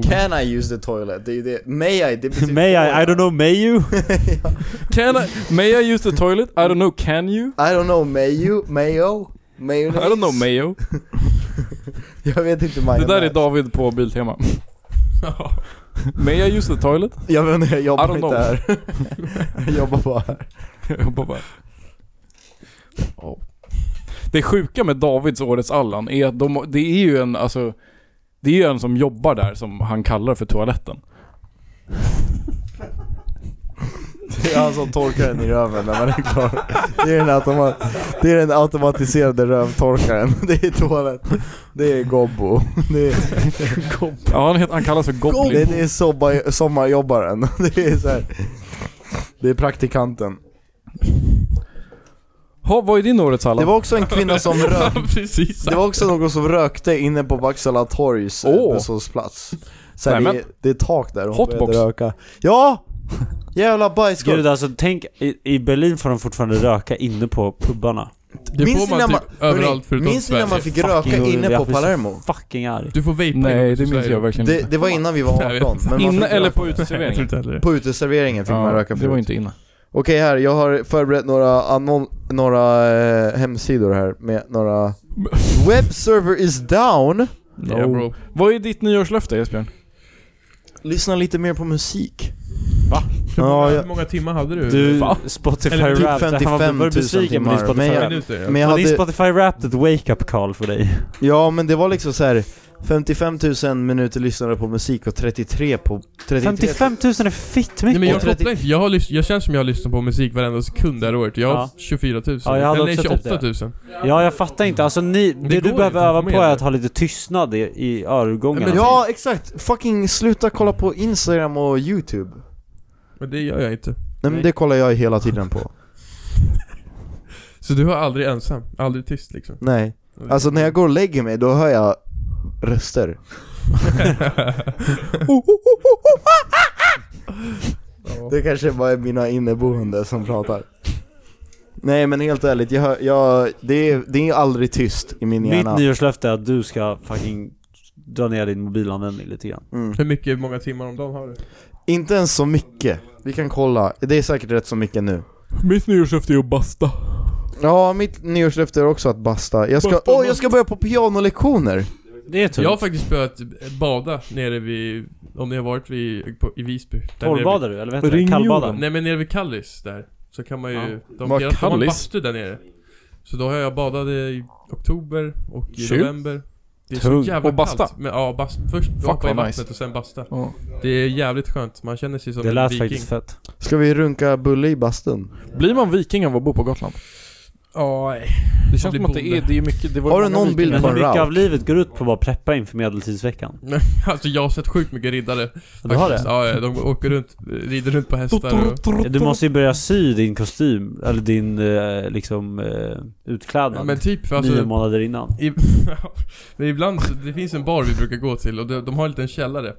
S4: Can I use the toilet? Det är ju det, may I? Det betyder
S2: May I? I don't know, may you?
S15: Can I, may I use the toilet? I don't know, can you?
S4: I don't know, may you? Mayo? Mayonnaise?
S15: I don't know, mayo.
S4: Jag vet inte
S15: Det
S4: majonnäs
S15: där är David på Biltema. May I use the toilet?
S4: Jag vet inte, jag
S15: I
S4: jobbar
S15: don't
S4: inte
S15: know.
S4: här Jag jobbar bara här
S15: Jag jobbar bara. Det sjuka med Davids Årets Allan är att de, det är ju en, alltså, det är ju en som jobbar där som han kallar för toaletten.
S4: Det är han som torkar den i röven när man är klar Det är den, automa- det är den automatiserade rövtorkaren Det är toalett Det är gobbo Det är gobbo
S15: Ja, han, heter, han kallas för Goblin.
S4: Det, det är sobba, sommarjobbaren Det är så här. Det är praktikanten
S15: Ha, vad är din Årets Allan?
S4: Det var också en kvinna som rök
S15: Precis.
S4: Det var också någon som rökte inne på Vaksala torgs
S15: Åh.
S4: busshållplats Så här,
S2: Nej,
S4: det,
S2: men-
S4: det är tak där hon
S2: Hotbox.
S4: började röka Ja! Jävla bajskorv!
S2: Gud alltså tänk, i, i Berlin får de fortfarande röka inne på pubbarna.
S4: Det Minns får man ni när typ man- överallt hörni, förutom minns ni när man Sverige. fick röka
S2: Fucking
S4: inne på
S2: jag blir så
S4: Palermo?
S2: Fucking arg.
S6: Du får vapa
S15: Nej, det minns jag verkligen
S4: Det, det var innan vi var 18 men man fick
S15: Inne
S4: röka.
S15: eller på uteserveringen?
S4: På uteserveringen fick
S15: Ja,
S4: man röka
S15: det
S4: förut.
S15: var inte inne.
S4: Okej här, jag har förberett några, annon- några eh, hemsidor här med några... Web server is down!
S15: No. Vad är ditt nyårslöfte Esbjörn?
S4: Lyssna lite mer på musik.
S2: Va?
S6: Hur många,
S4: Ja,
S6: hur många timmar hade du?
S2: Du,
S6: Va?
S2: Spotify
S6: Eller typ
S2: Wrapped,
S4: 55 000
S2: var besviken på din
S4: timmar.
S2: Spotify
S4: Men jag-
S2: Wrapped?
S4: men jag
S2: Var din
S4: hade-
S2: Spotify Wrapped ett wake-up call för dig?
S4: Ja men det var liksom så här 55 000 minuter lyssnade på musik och 33 på... 33
S2: 55 000 är fitt mycket!
S6: Nej men jag kopplar inte, jag, har lyssn- jag känns som jag har lyssnat på musik varenda sekund det här året. Jag har
S2: Ja.
S6: 24 000.
S2: Ja, jag hade
S6: Eller
S2: också typ
S6: 28 000.
S2: Ja, jag fattar inte. Alltså ni, det,
S6: går
S2: du
S6: inte
S2: behöver
S6: att
S2: öva
S6: få
S2: på
S6: med
S2: är
S6: det.
S2: att ha lite tystnad i, i örgångarna.
S4: Ja exakt! Fucking sluta kolla på Instagram och YouTube.
S6: Men det gör jag inte.
S4: Nej men det kollar jag hela tiden på.
S6: Så du har aldrig ensam? Aldrig tyst liksom?
S4: Nej. Alltså när jag går och lägger mig då hör jag röster. Det kanske bara är mina inneboende som pratar. Nej men helt ärligt, jag, hör- jag, det, är, det är aldrig tyst i min hjärna.
S2: Mitt nyårslöfte är att du ska fucking dra ner din mobilanvändning lite grann.
S4: Mm.
S6: Hur mycket, hur många timmar om dagen har
S15: Typ.
S6: du?
S4: Inte ens så mycket. Vi kan kolla. Det är säkert rätt så mycket nu.
S15: Mitt nyårslöfte är att basta.
S4: Ja, mitt nyårslöfte är också att basta. Jag ska,
S6: Basta,
S4: åh, jag ska börja på pianolektioner!
S2: Det är
S6: Jag har faktiskt börjat bada nere vid, om ni har varit vid, på, i Visby. Där nere vid-
S2: Torrbadar du, eller vad heter det? Kallbadar?
S6: Nej men nere vid Kallis där. Så kan man ju,
S2: Ja.
S6: de,
S2: Var
S6: deras, de har en
S2: Kallis?
S6: bastu där nere. Så då har jag badat i oktober och i
S15: Chill.
S6: november. Det är
S15: Tung.
S6: så jävla
S15: Och basta.
S6: kallt. Men, ja, bast, först hoppa i
S15: vad
S6: vattnet
S15: nice.
S6: och sen basta.
S15: Ja.
S6: Det är jävligt skönt, man känner sig som
S2: Det
S6: en
S2: lät
S6: viking.
S2: faktiskt fett.
S4: Ska vi runka bulle i bastun?
S15: Blir man viking av att bo på Gotland?
S6: Ja, nej.
S15: Det
S6: Man
S15: känns
S6: blir
S15: som att det är,
S6: bonde.
S15: det är mycket, det var ju många vikingar.
S2: Men hur mycket av livet går ut på att bara preppa inför medeltidsveckan?
S6: Alltså jag har sett sjukt mycket riddare.
S2: Du har det?
S6: Faktiskt. Ja, ja, de åker runt, rider runt på hästar och...
S2: Du måste ju börja sy din kostym, eller din eh, liksom eh, utklädnad.
S6: Ja, men typ, för alltså-
S2: Nio månader innan.
S6: I, men ibland, så- det finns en bar vi brukar gå till och de, de har en liten källare.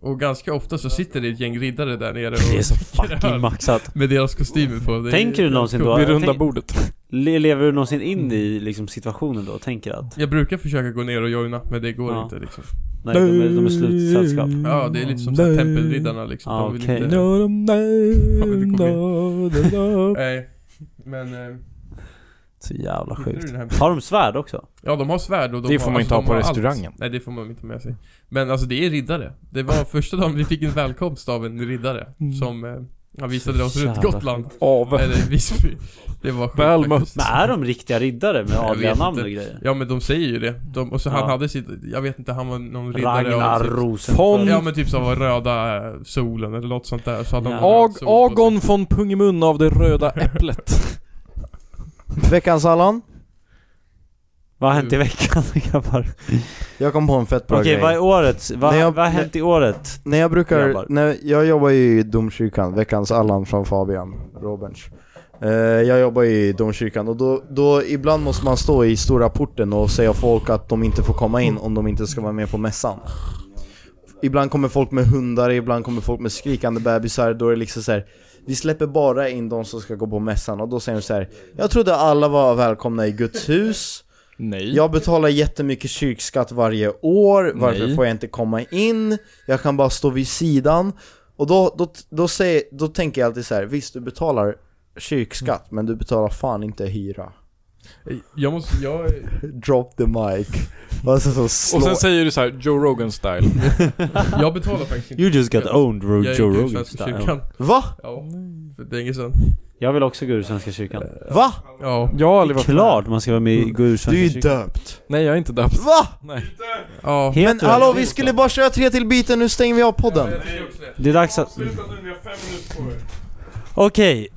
S6: Och ganska ofta så sitter det ett gäng riddare där nere och
S2: Det är så
S6: dricker
S2: fucking
S6: öl
S2: maxat.
S6: Med deras kostymer på. Det är-
S2: Tänker du någonsin då?
S6: Vid
S2: tänk-
S15: bordet.
S2: Le- Lever du någonsin in i liksom, situationen då? Tänker att...
S6: Jag brukar försöka gå ner och joina, men det går
S2: Ja.
S6: inte liksom.
S2: Nej, de är, de är slutsällskap.
S6: Ja, det är lite som så här tempelriddarna liksom.
S2: Ah,
S6: de vill
S2: okej.
S6: inte... Nej, men... eh,
S2: Så jävla
S6: Hittar du
S2: sjukt.
S6: den här?
S2: Har de svärd också?
S6: Ja, de har svärd och de
S2: Det får man inte
S6: de
S2: ha på
S6: allt.
S2: restaurangen.
S6: Nej, det får man inte med sig. Men alltså det är riddare. Det var första dagen vi fick en välkomst av en riddare som eh, han visade oss runt
S2: Jävlar.
S6: Gotland.
S15: Av.
S6: Eller Visby. Det var sjukt
S15: Väl
S6: faktiskt.
S15: mött.
S2: Men är de riktiga riddare med
S6: Jag
S2: adliga
S6: vet
S2: namn
S6: inte.
S2: och grejer?
S6: Ja men de säger ju det. De, och så
S2: Ja.
S6: han hade sitt, jag vet inte, han var någon riddare av
S2: Ragnar
S6: typ-
S2: Rosenfeldt.
S6: Ja men typ som var röda eh, solen eller något sånt där. Så hade de
S15: Ag,
S6: röd sol på sig.
S15: Agon von Pungemun av det röda äpplet.
S4: Veckans Allan?
S2: Vad har hänt i veckan grabbar?
S4: Jag kom på en fett bra
S2: Okej,
S4: grej.
S2: vad är årets? Vad,
S4: När jag-
S2: vad har hänt i året?
S4: När jag brukar,
S2: grabbar?
S4: när jag jobbar ju i domkyrkan, veckans Allan från Fabian Roberts. Eh, Jag jobbar ju i domkyrkan och då, då ibland måste man stå i stora porten och säga folk att de inte får komma in om de inte ska vara med på mässan. Ibland kommer folk med hundar, ibland kommer folk med skrikande bebisar, då är det liksom så här. Vi släpper bara in de som ska gå på mässan och då säger de så här. Jag trodde alla var välkomna i Guds hus
S6: Nej.
S4: Jag betalar jättemycket kyrkskatt varje år, varför
S6: Nej.
S4: får jag inte komma in? Jag kan bara stå vid sidan Och då, då, då, säger, då tänker jag alltid så här. visst du betalar kyrkskatt men du betalar fan inte hyra
S6: Eh,
S30: Jag måste, jag...
S4: Drop the mic alltså, så slå...
S6: Och sen säger du så här, Joe Rogan style.
S30: Jag betalar faktiskt inte
S2: You just got
S30: kyrkan.
S2: owned Joe
S30: Jag gick ur
S2: Rogan
S30: Svenska
S2: style.
S30: kyrkan.
S4: Va?
S30: Ja, för länge sedan.
S2: Jag vill också gå ur Svenska kyrkan.
S4: Va?
S30: Ja.
S6: Jag har aldrig varit
S2: Klart man ska vara med i gå ur Svenska
S4: Du är ju
S2: kyrkan.
S4: döpt.
S6: Nej, jag är inte döpt.
S4: Va?
S6: Nej.
S30: Ja.
S2: Heter
S4: Men hallå vi skulle bara köra tre till biten, nu stänger vi av podden
S2: Det är dags att... Okej.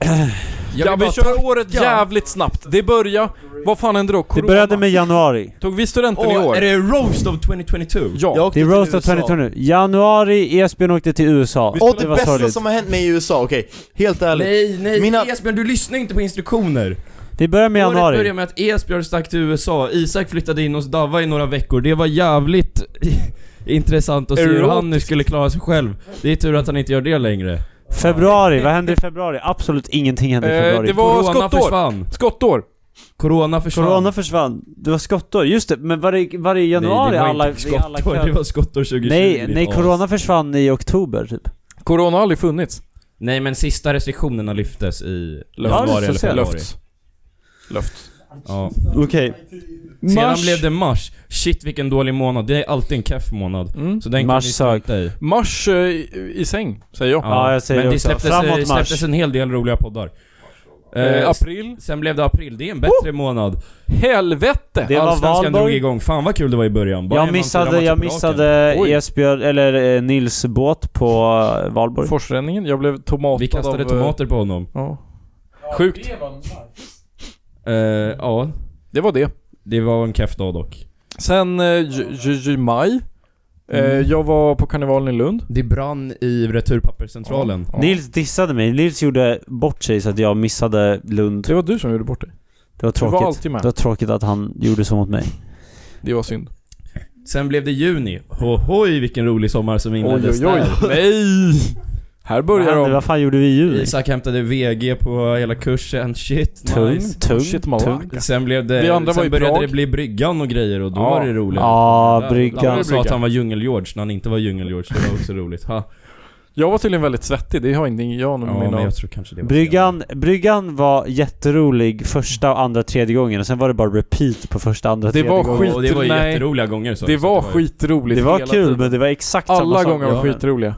S6: Ja, vi kör året jävligt snabbt. Det börjar... Vad fan hände då?
S2: Det
S6: Corona.
S2: började med januari.
S6: Tog vi studenten i
S2: Åh,
S6: år?
S2: är
S7: det roast of 2022?
S6: Ja.
S2: Det är Roast of 2020 nu. Januari, Esbjörn åkte till USA.
S4: Och det, bästa
S2: sorgligt.
S4: som har hänt mig i USA, okej, helt ärligt
S7: Nej, nej
S4: Mina-
S7: Esbjörn du lyssnar inte på instruktioner.
S2: Det börjar med januari.
S7: Året börjar med att Esbjörn stack till USA, Isak flyttade in hos Dava i några veckor, det var jävligt intressant att se hur han nu skulle klara sig själv. Det är tur att han inte gör det längre.
S2: Februari, vad hände i februari? Absolut ingenting hände i
S7: Eh,
S2: februari.
S7: det var Corona skottår.
S2: försvann.
S6: Skottår!
S7: Corona försvann.
S2: Corona försvann. Det var skottår, just det. Men var det, var det i
S7: nej,
S2: januari
S7: det var
S2: alla...
S7: inte
S2: vi alla
S7: skottår,
S2: klädde-
S7: det var skottår 2020.
S2: Nej,
S7: ditt
S2: nej
S7: as.
S2: Corona försvann i oktober typ.
S6: Corona har aldrig funnits.
S7: Nej men sista restriktionerna lyftes i
S6: Löfts.
S7: januari eller
S6: Löfts.
S7: februari.
S6: Löfts. Löfts.
S7: Ja.
S2: Okej.
S7: Sedan
S6: Mars.
S7: blev det mars. Shit vilken dålig månad, det är alltid en keff månad.
S6: Mm.
S7: Så den
S6: Mars
S7: kan ni strunta i.
S6: Mars eh, i, i säng, säger jag.
S7: Men det släpptes, det släpptes en hel del roliga poddar.
S6: Eh,
S7: s-
S6: april.
S7: Sen blev det april, det är en bättre månad.
S6: Helvete!
S7: Det Allsvenskan
S6: valborg.
S7: drog igång, fan vad kul det var i början. Bara en
S2: Jag
S7: man fyra
S2: missade,
S7: matcher
S2: jag
S7: på
S2: missade
S7: raken. Oj.
S2: Esbjörn, eller eh, Nils båt på eh, Valborg.
S6: Forsränningen, jag blev tomatad
S7: Vi kastade
S6: av, eh,
S7: tomater på honom.
S6: Ja. Sjukt.
S7: Eh, ja.
S6: Det var det.
S7: Det var en keff dag dock.
S6: Sen eh, j- j- j- maj. Eh,
S7: Mm.
S6: Jag var på karnevalen i Lund.
S7: Det brann i returpapperscentralen.
S6: Ja.
S2: Nils dissade mig. Nils gjorde bort sig så att jag missade Lund.
S6: Det var du som gjorde bort dig.
S2: Det var
S6: Du var
S2: tråkigt.
S6: alltid med.
S2: Det var tråkigt att han gjorde så mot mig.
S6: Det var synd.
S7: Sen blev det juni. Hohoj vilken rolig sommar som inleddes
S6: Oj, oj, oj.
S7: där.
S6: Nej! Här
S2: Vad
S6: börjar
S2: hände?
S6: de.
S2: Vad fan gjorde vi i juli?
S7: Isak hämtade VG på hela kursen, shit
S2: Tung,
S7: nice.
S2: tung,
S6: Shit, Malaka.
S2: tung.
S7: Sen blev
S6: Vi
S7: det,
S6: andra var i
S7: sen började
S6: Prag.
S7: det bli bryggan och grejer och då
S6: Ja.
S7: var det roligt.
S2: Ja,
S7: Där-
S2: bryggan.
S7: Han sa att
S6: Bryggan.
S7: han var djungel-George när han inte var djungel-George, det var också roligt. Ha.
S6: Jag var tydligen väldigt svettig, det har ingenting jag någon
S7: Ja,
S6: minne
S7: men
S6: av.
S7: jag tror kanske det var
S2: Bryggan, bryggan var jätterolig första och andra tredje gången och sen var det bara repeat på första andra
S6: Det
S2: tredje
S6: var
S2: gången.
S6: skit,
S7: Och det var ju
S6: nej.
S7: jätteroliga gånger så
S6: Det
S7: så
S6: var
S7: ju-
S6: skitroligt
S2: Det var
S6: hela
S2: kul
S6: tiden.
S2: men det var exakt samma
S6: Alla
S2: sak.
S6: gånger var
S2: Ja.
S6: skitroliga.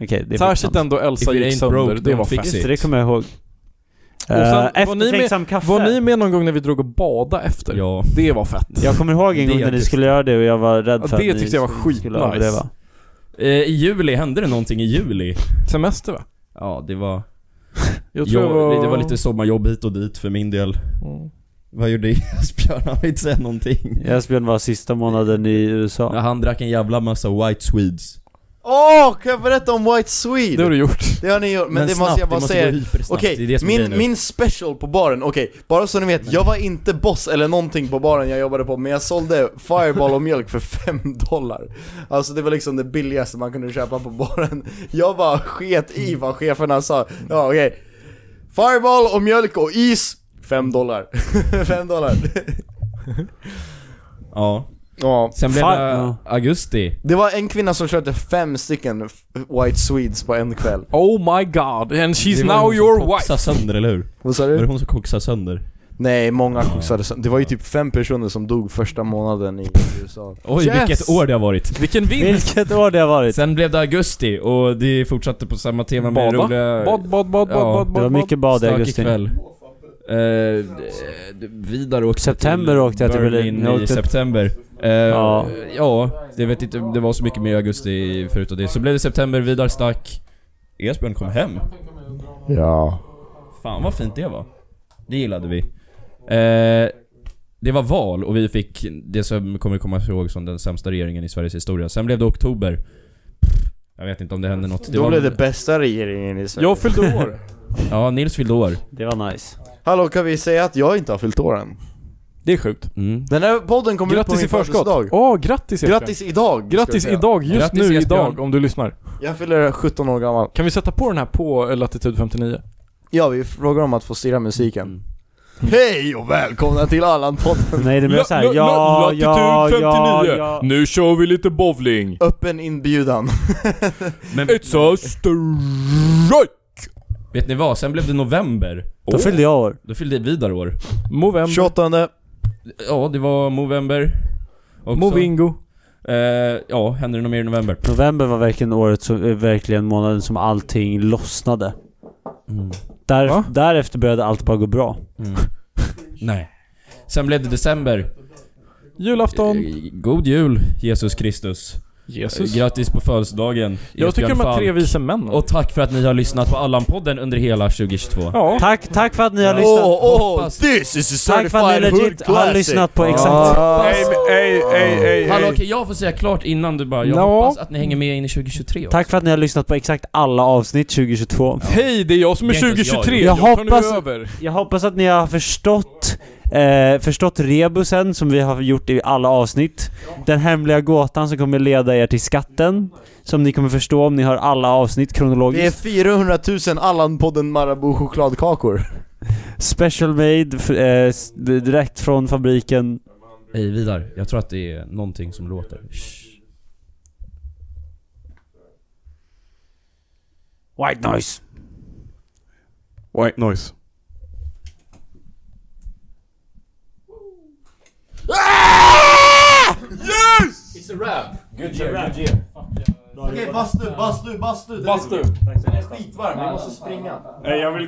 S2: Okej, det är
S6: Särskilt
S2: sant.
S6: den då Elsa
S7: If it
S6: gick
S7: ain't
S6: sönder,
S7: broke,
S6: det
S7: don't
S6: var
S7: fix
S6: fett.
S7: it.
S2: Just det, det kommer jag ihåg.
S6: Och
S2: Eh,
S6: sen, var, ni
S2: Eftertänksam
S6: med,
S2: kaffe.
S6: var ni med någon gång när vi drog och badade efter?
S7: Ja.
S6: Det var fett.
S2: Jag kommer ihåg en gång
S7: Det
S2: när ni
S7: tyckte-
S2: skulle göra det och jag var rädd
S6: Ja,
S2: för
S6: det
S2: att ni
S6: tyckte jag var
S2: skulle- skulle
S6: skitnice.
S2: överleva.
S7: Eh, I juli, hände det någonting i juli?
S6: Semester va?
S7: Ja, det var...
S6: Jag tror
S7: Jag,
S6: jag var...
S7: Det var lite sommarjobb hit och dit för min del.
S6: Mm.
S7: Vad gjorde Esbjörn? Han vill inte säga någonting.
S2: Esbjörn var sista månaden i
S7: Ja,
S2: USA.
S7: han drack en jävla massa white swedes.
S4: Åh, kan jag berätta om White Swede?
S6: Det har du gjort.
S4: Det har ni gjort, men, det måste jag bara säga Okej, min, min special på baren, okej, bara så ni vet, jag var inte boss eller någonting på baren jag jobbade på, men jag sålde Fireball och mjölk för 5 dollar Alltså det var liksom det billigaste man kunde köpa på baren Jag bara sket i vad cheferna sa, ja okej Fireball och mjölk och is, 5 dollar 5 dollar
S7: Ja.
S4: Ja,
S7: Sen blev
S2: Fan,
S7: det
S2: ja.
S7: augusti.
S4: det var en kvinna som köpte fem stycken f- White Swedes på en kväll
S6: Oh my god, and she's
S7: Det var
S6: now
S7: hon som
S6: your
S7: koksade
S6: wife.
S7: sönder, eller hur?
S4: Vad sa
S7: Var det
S4: du?
S7: hon som koksade sönder?
S4: Nej, många koksade sönder. Det var ju typ fem personer som dog första månaden i USA
S7: Oj,
S6: Yes!
S7: vilket år det har varit.
S6: Vilken vinst!
S2: Vilket år det har varit.
S7: Sen blev det augusti och det fortsatte på samma tema med
S6: Bada.
S7: roliga...
S6: Bad, bad, bad, bad,
S7: Ja,
S6: bad, bad.
S2: Det var mycket bad i
S7: Stökig
S2: augusti.
S7: kväll. Eh, d- vidare åkte
S2: September
S7: till
S2: åkte jag till
S7: Berlin
S2: Berlin.
S7: i
S2: Jag åkte-
S7: september. Eh,
S2: Ja.
S7: ja. det vet inte, det var så mycket mer i augusti förutom det. Så blev det september, Vidar stack. Esbjörn kom hem.
S4: Ja
S7: Fan vad fint det var. Det gillade vi. Eh, det var val och vi fick det som kommer komma ihåg som den sämsta regeringen i Sveriges historia. Sen blev det oktober. Pff, Jag vet inte om det hände något.
S4: Då
S7: var-
S4: blev det bästa regeringen i Sverige.
S7: Jag fyllde år. Ja, Nils fyllde år.
S4: Det var nice. Hallå, kan vi säga att jag inte har fyllt år än?
S5: Det är sjukt.
S7: Mm.
S4: Den här podden kommer ut på min födelsedag.
S5: Åh, grattis Esbjörn.
S4: Grattis idag!
S5: Grattis
S4: ska jag
S5: idag,
S4: säga.
S5: just nu idag om du lyssnar.
S4: Jag fyller 17 år gammal.
S5: Kan vi sätta på den här på eh, Latitud 59?
S4: Ja, vi frågar om att få styra musiken.
S5: Mm.
S4: Hej och välkomna till Allan-podden!
S2: Nej, det blir såhär, ja, ja,
S5: typ
S2: ja, ja, ja.
S5: Nu kör vi lite bowling.
S4: Öppen inbjudan.
S7: Men,
S5: It's a strike!
S7: Vet ni vad? Sen blev det november.
S4: Då fyllde
S2: jag år.
S7: Då fyllde Vidar år.
S5: Movember.
S4: 28
S7: Ja, det var Movember. också.
S5: Movingo.
S7: Eh, ja, händer det något mer i november?
S2: November var verkligen året som, eh, verkligen månaden som allting lossnade. Där, därefter började allt bara gå bra.
S7: Nej. Sen blev det december. Eh,
S5: Julafton.
S7: God jul, Jesus Kristus.
S5: Jesus.
S7: Eh, Grattis på födelsedagen.
S5: Jag tycker
S7: Esbjörn
S5: de här
S7: Falk.
S5: tre vise männen.
S7: Och tack för att ni har lyssnat på Allan-podden under hela 2022.
S2: Tack, tack för att ni har
S7: Ja.
S2: lyssnat.
S7: Åh, åh,
S4: this is a
S2: Tack för att ni
S7: certified
S2: legit
S7: hood
S2: har
S7: classic.
S2: lyssnat på
S7: Ja.
S2: exakt.
S7: Hallå, okej, jag får säga klart innan du bara. Jag
S2: Ja.
S7: hoppas att ni hänger med in i 2023 också.
S2: Tack för att ni har lyssnat på exakt alla avsnitt 2022.
S5: Hej, det är jag som är
S7: Det är inte ens jag.
S5: 2023.
S2: Jag,
S5: tar nu
S2: hoppas,
S5: över.
S2: jag hoppas att ni har förstått, eh, förstått rebusen som vi har gjort i alla avsnitt. Den hemliga gåtan som kommer leda er till skatten. Som ni kommer förstå om ni hör alla avsnitt
S4: Det är
S2: kronologiskt.
S4: 400 000 Allan-podden Marabou chokladkakor.
S2: Special made, f- eh, s- direkt från fabriken.
S7: Hej Vidar, jag tror att det är någonting som låter. Shh.
S2: White noise.
S8: White noise.
S31: Yes!
S7: It's a rap!
S31: Good
S7: year, good
S31: year.
S4: Okej, bastu, bastu, bastu! Den är skitvarm, vi måste springa.
S31: Nej, jag vill gå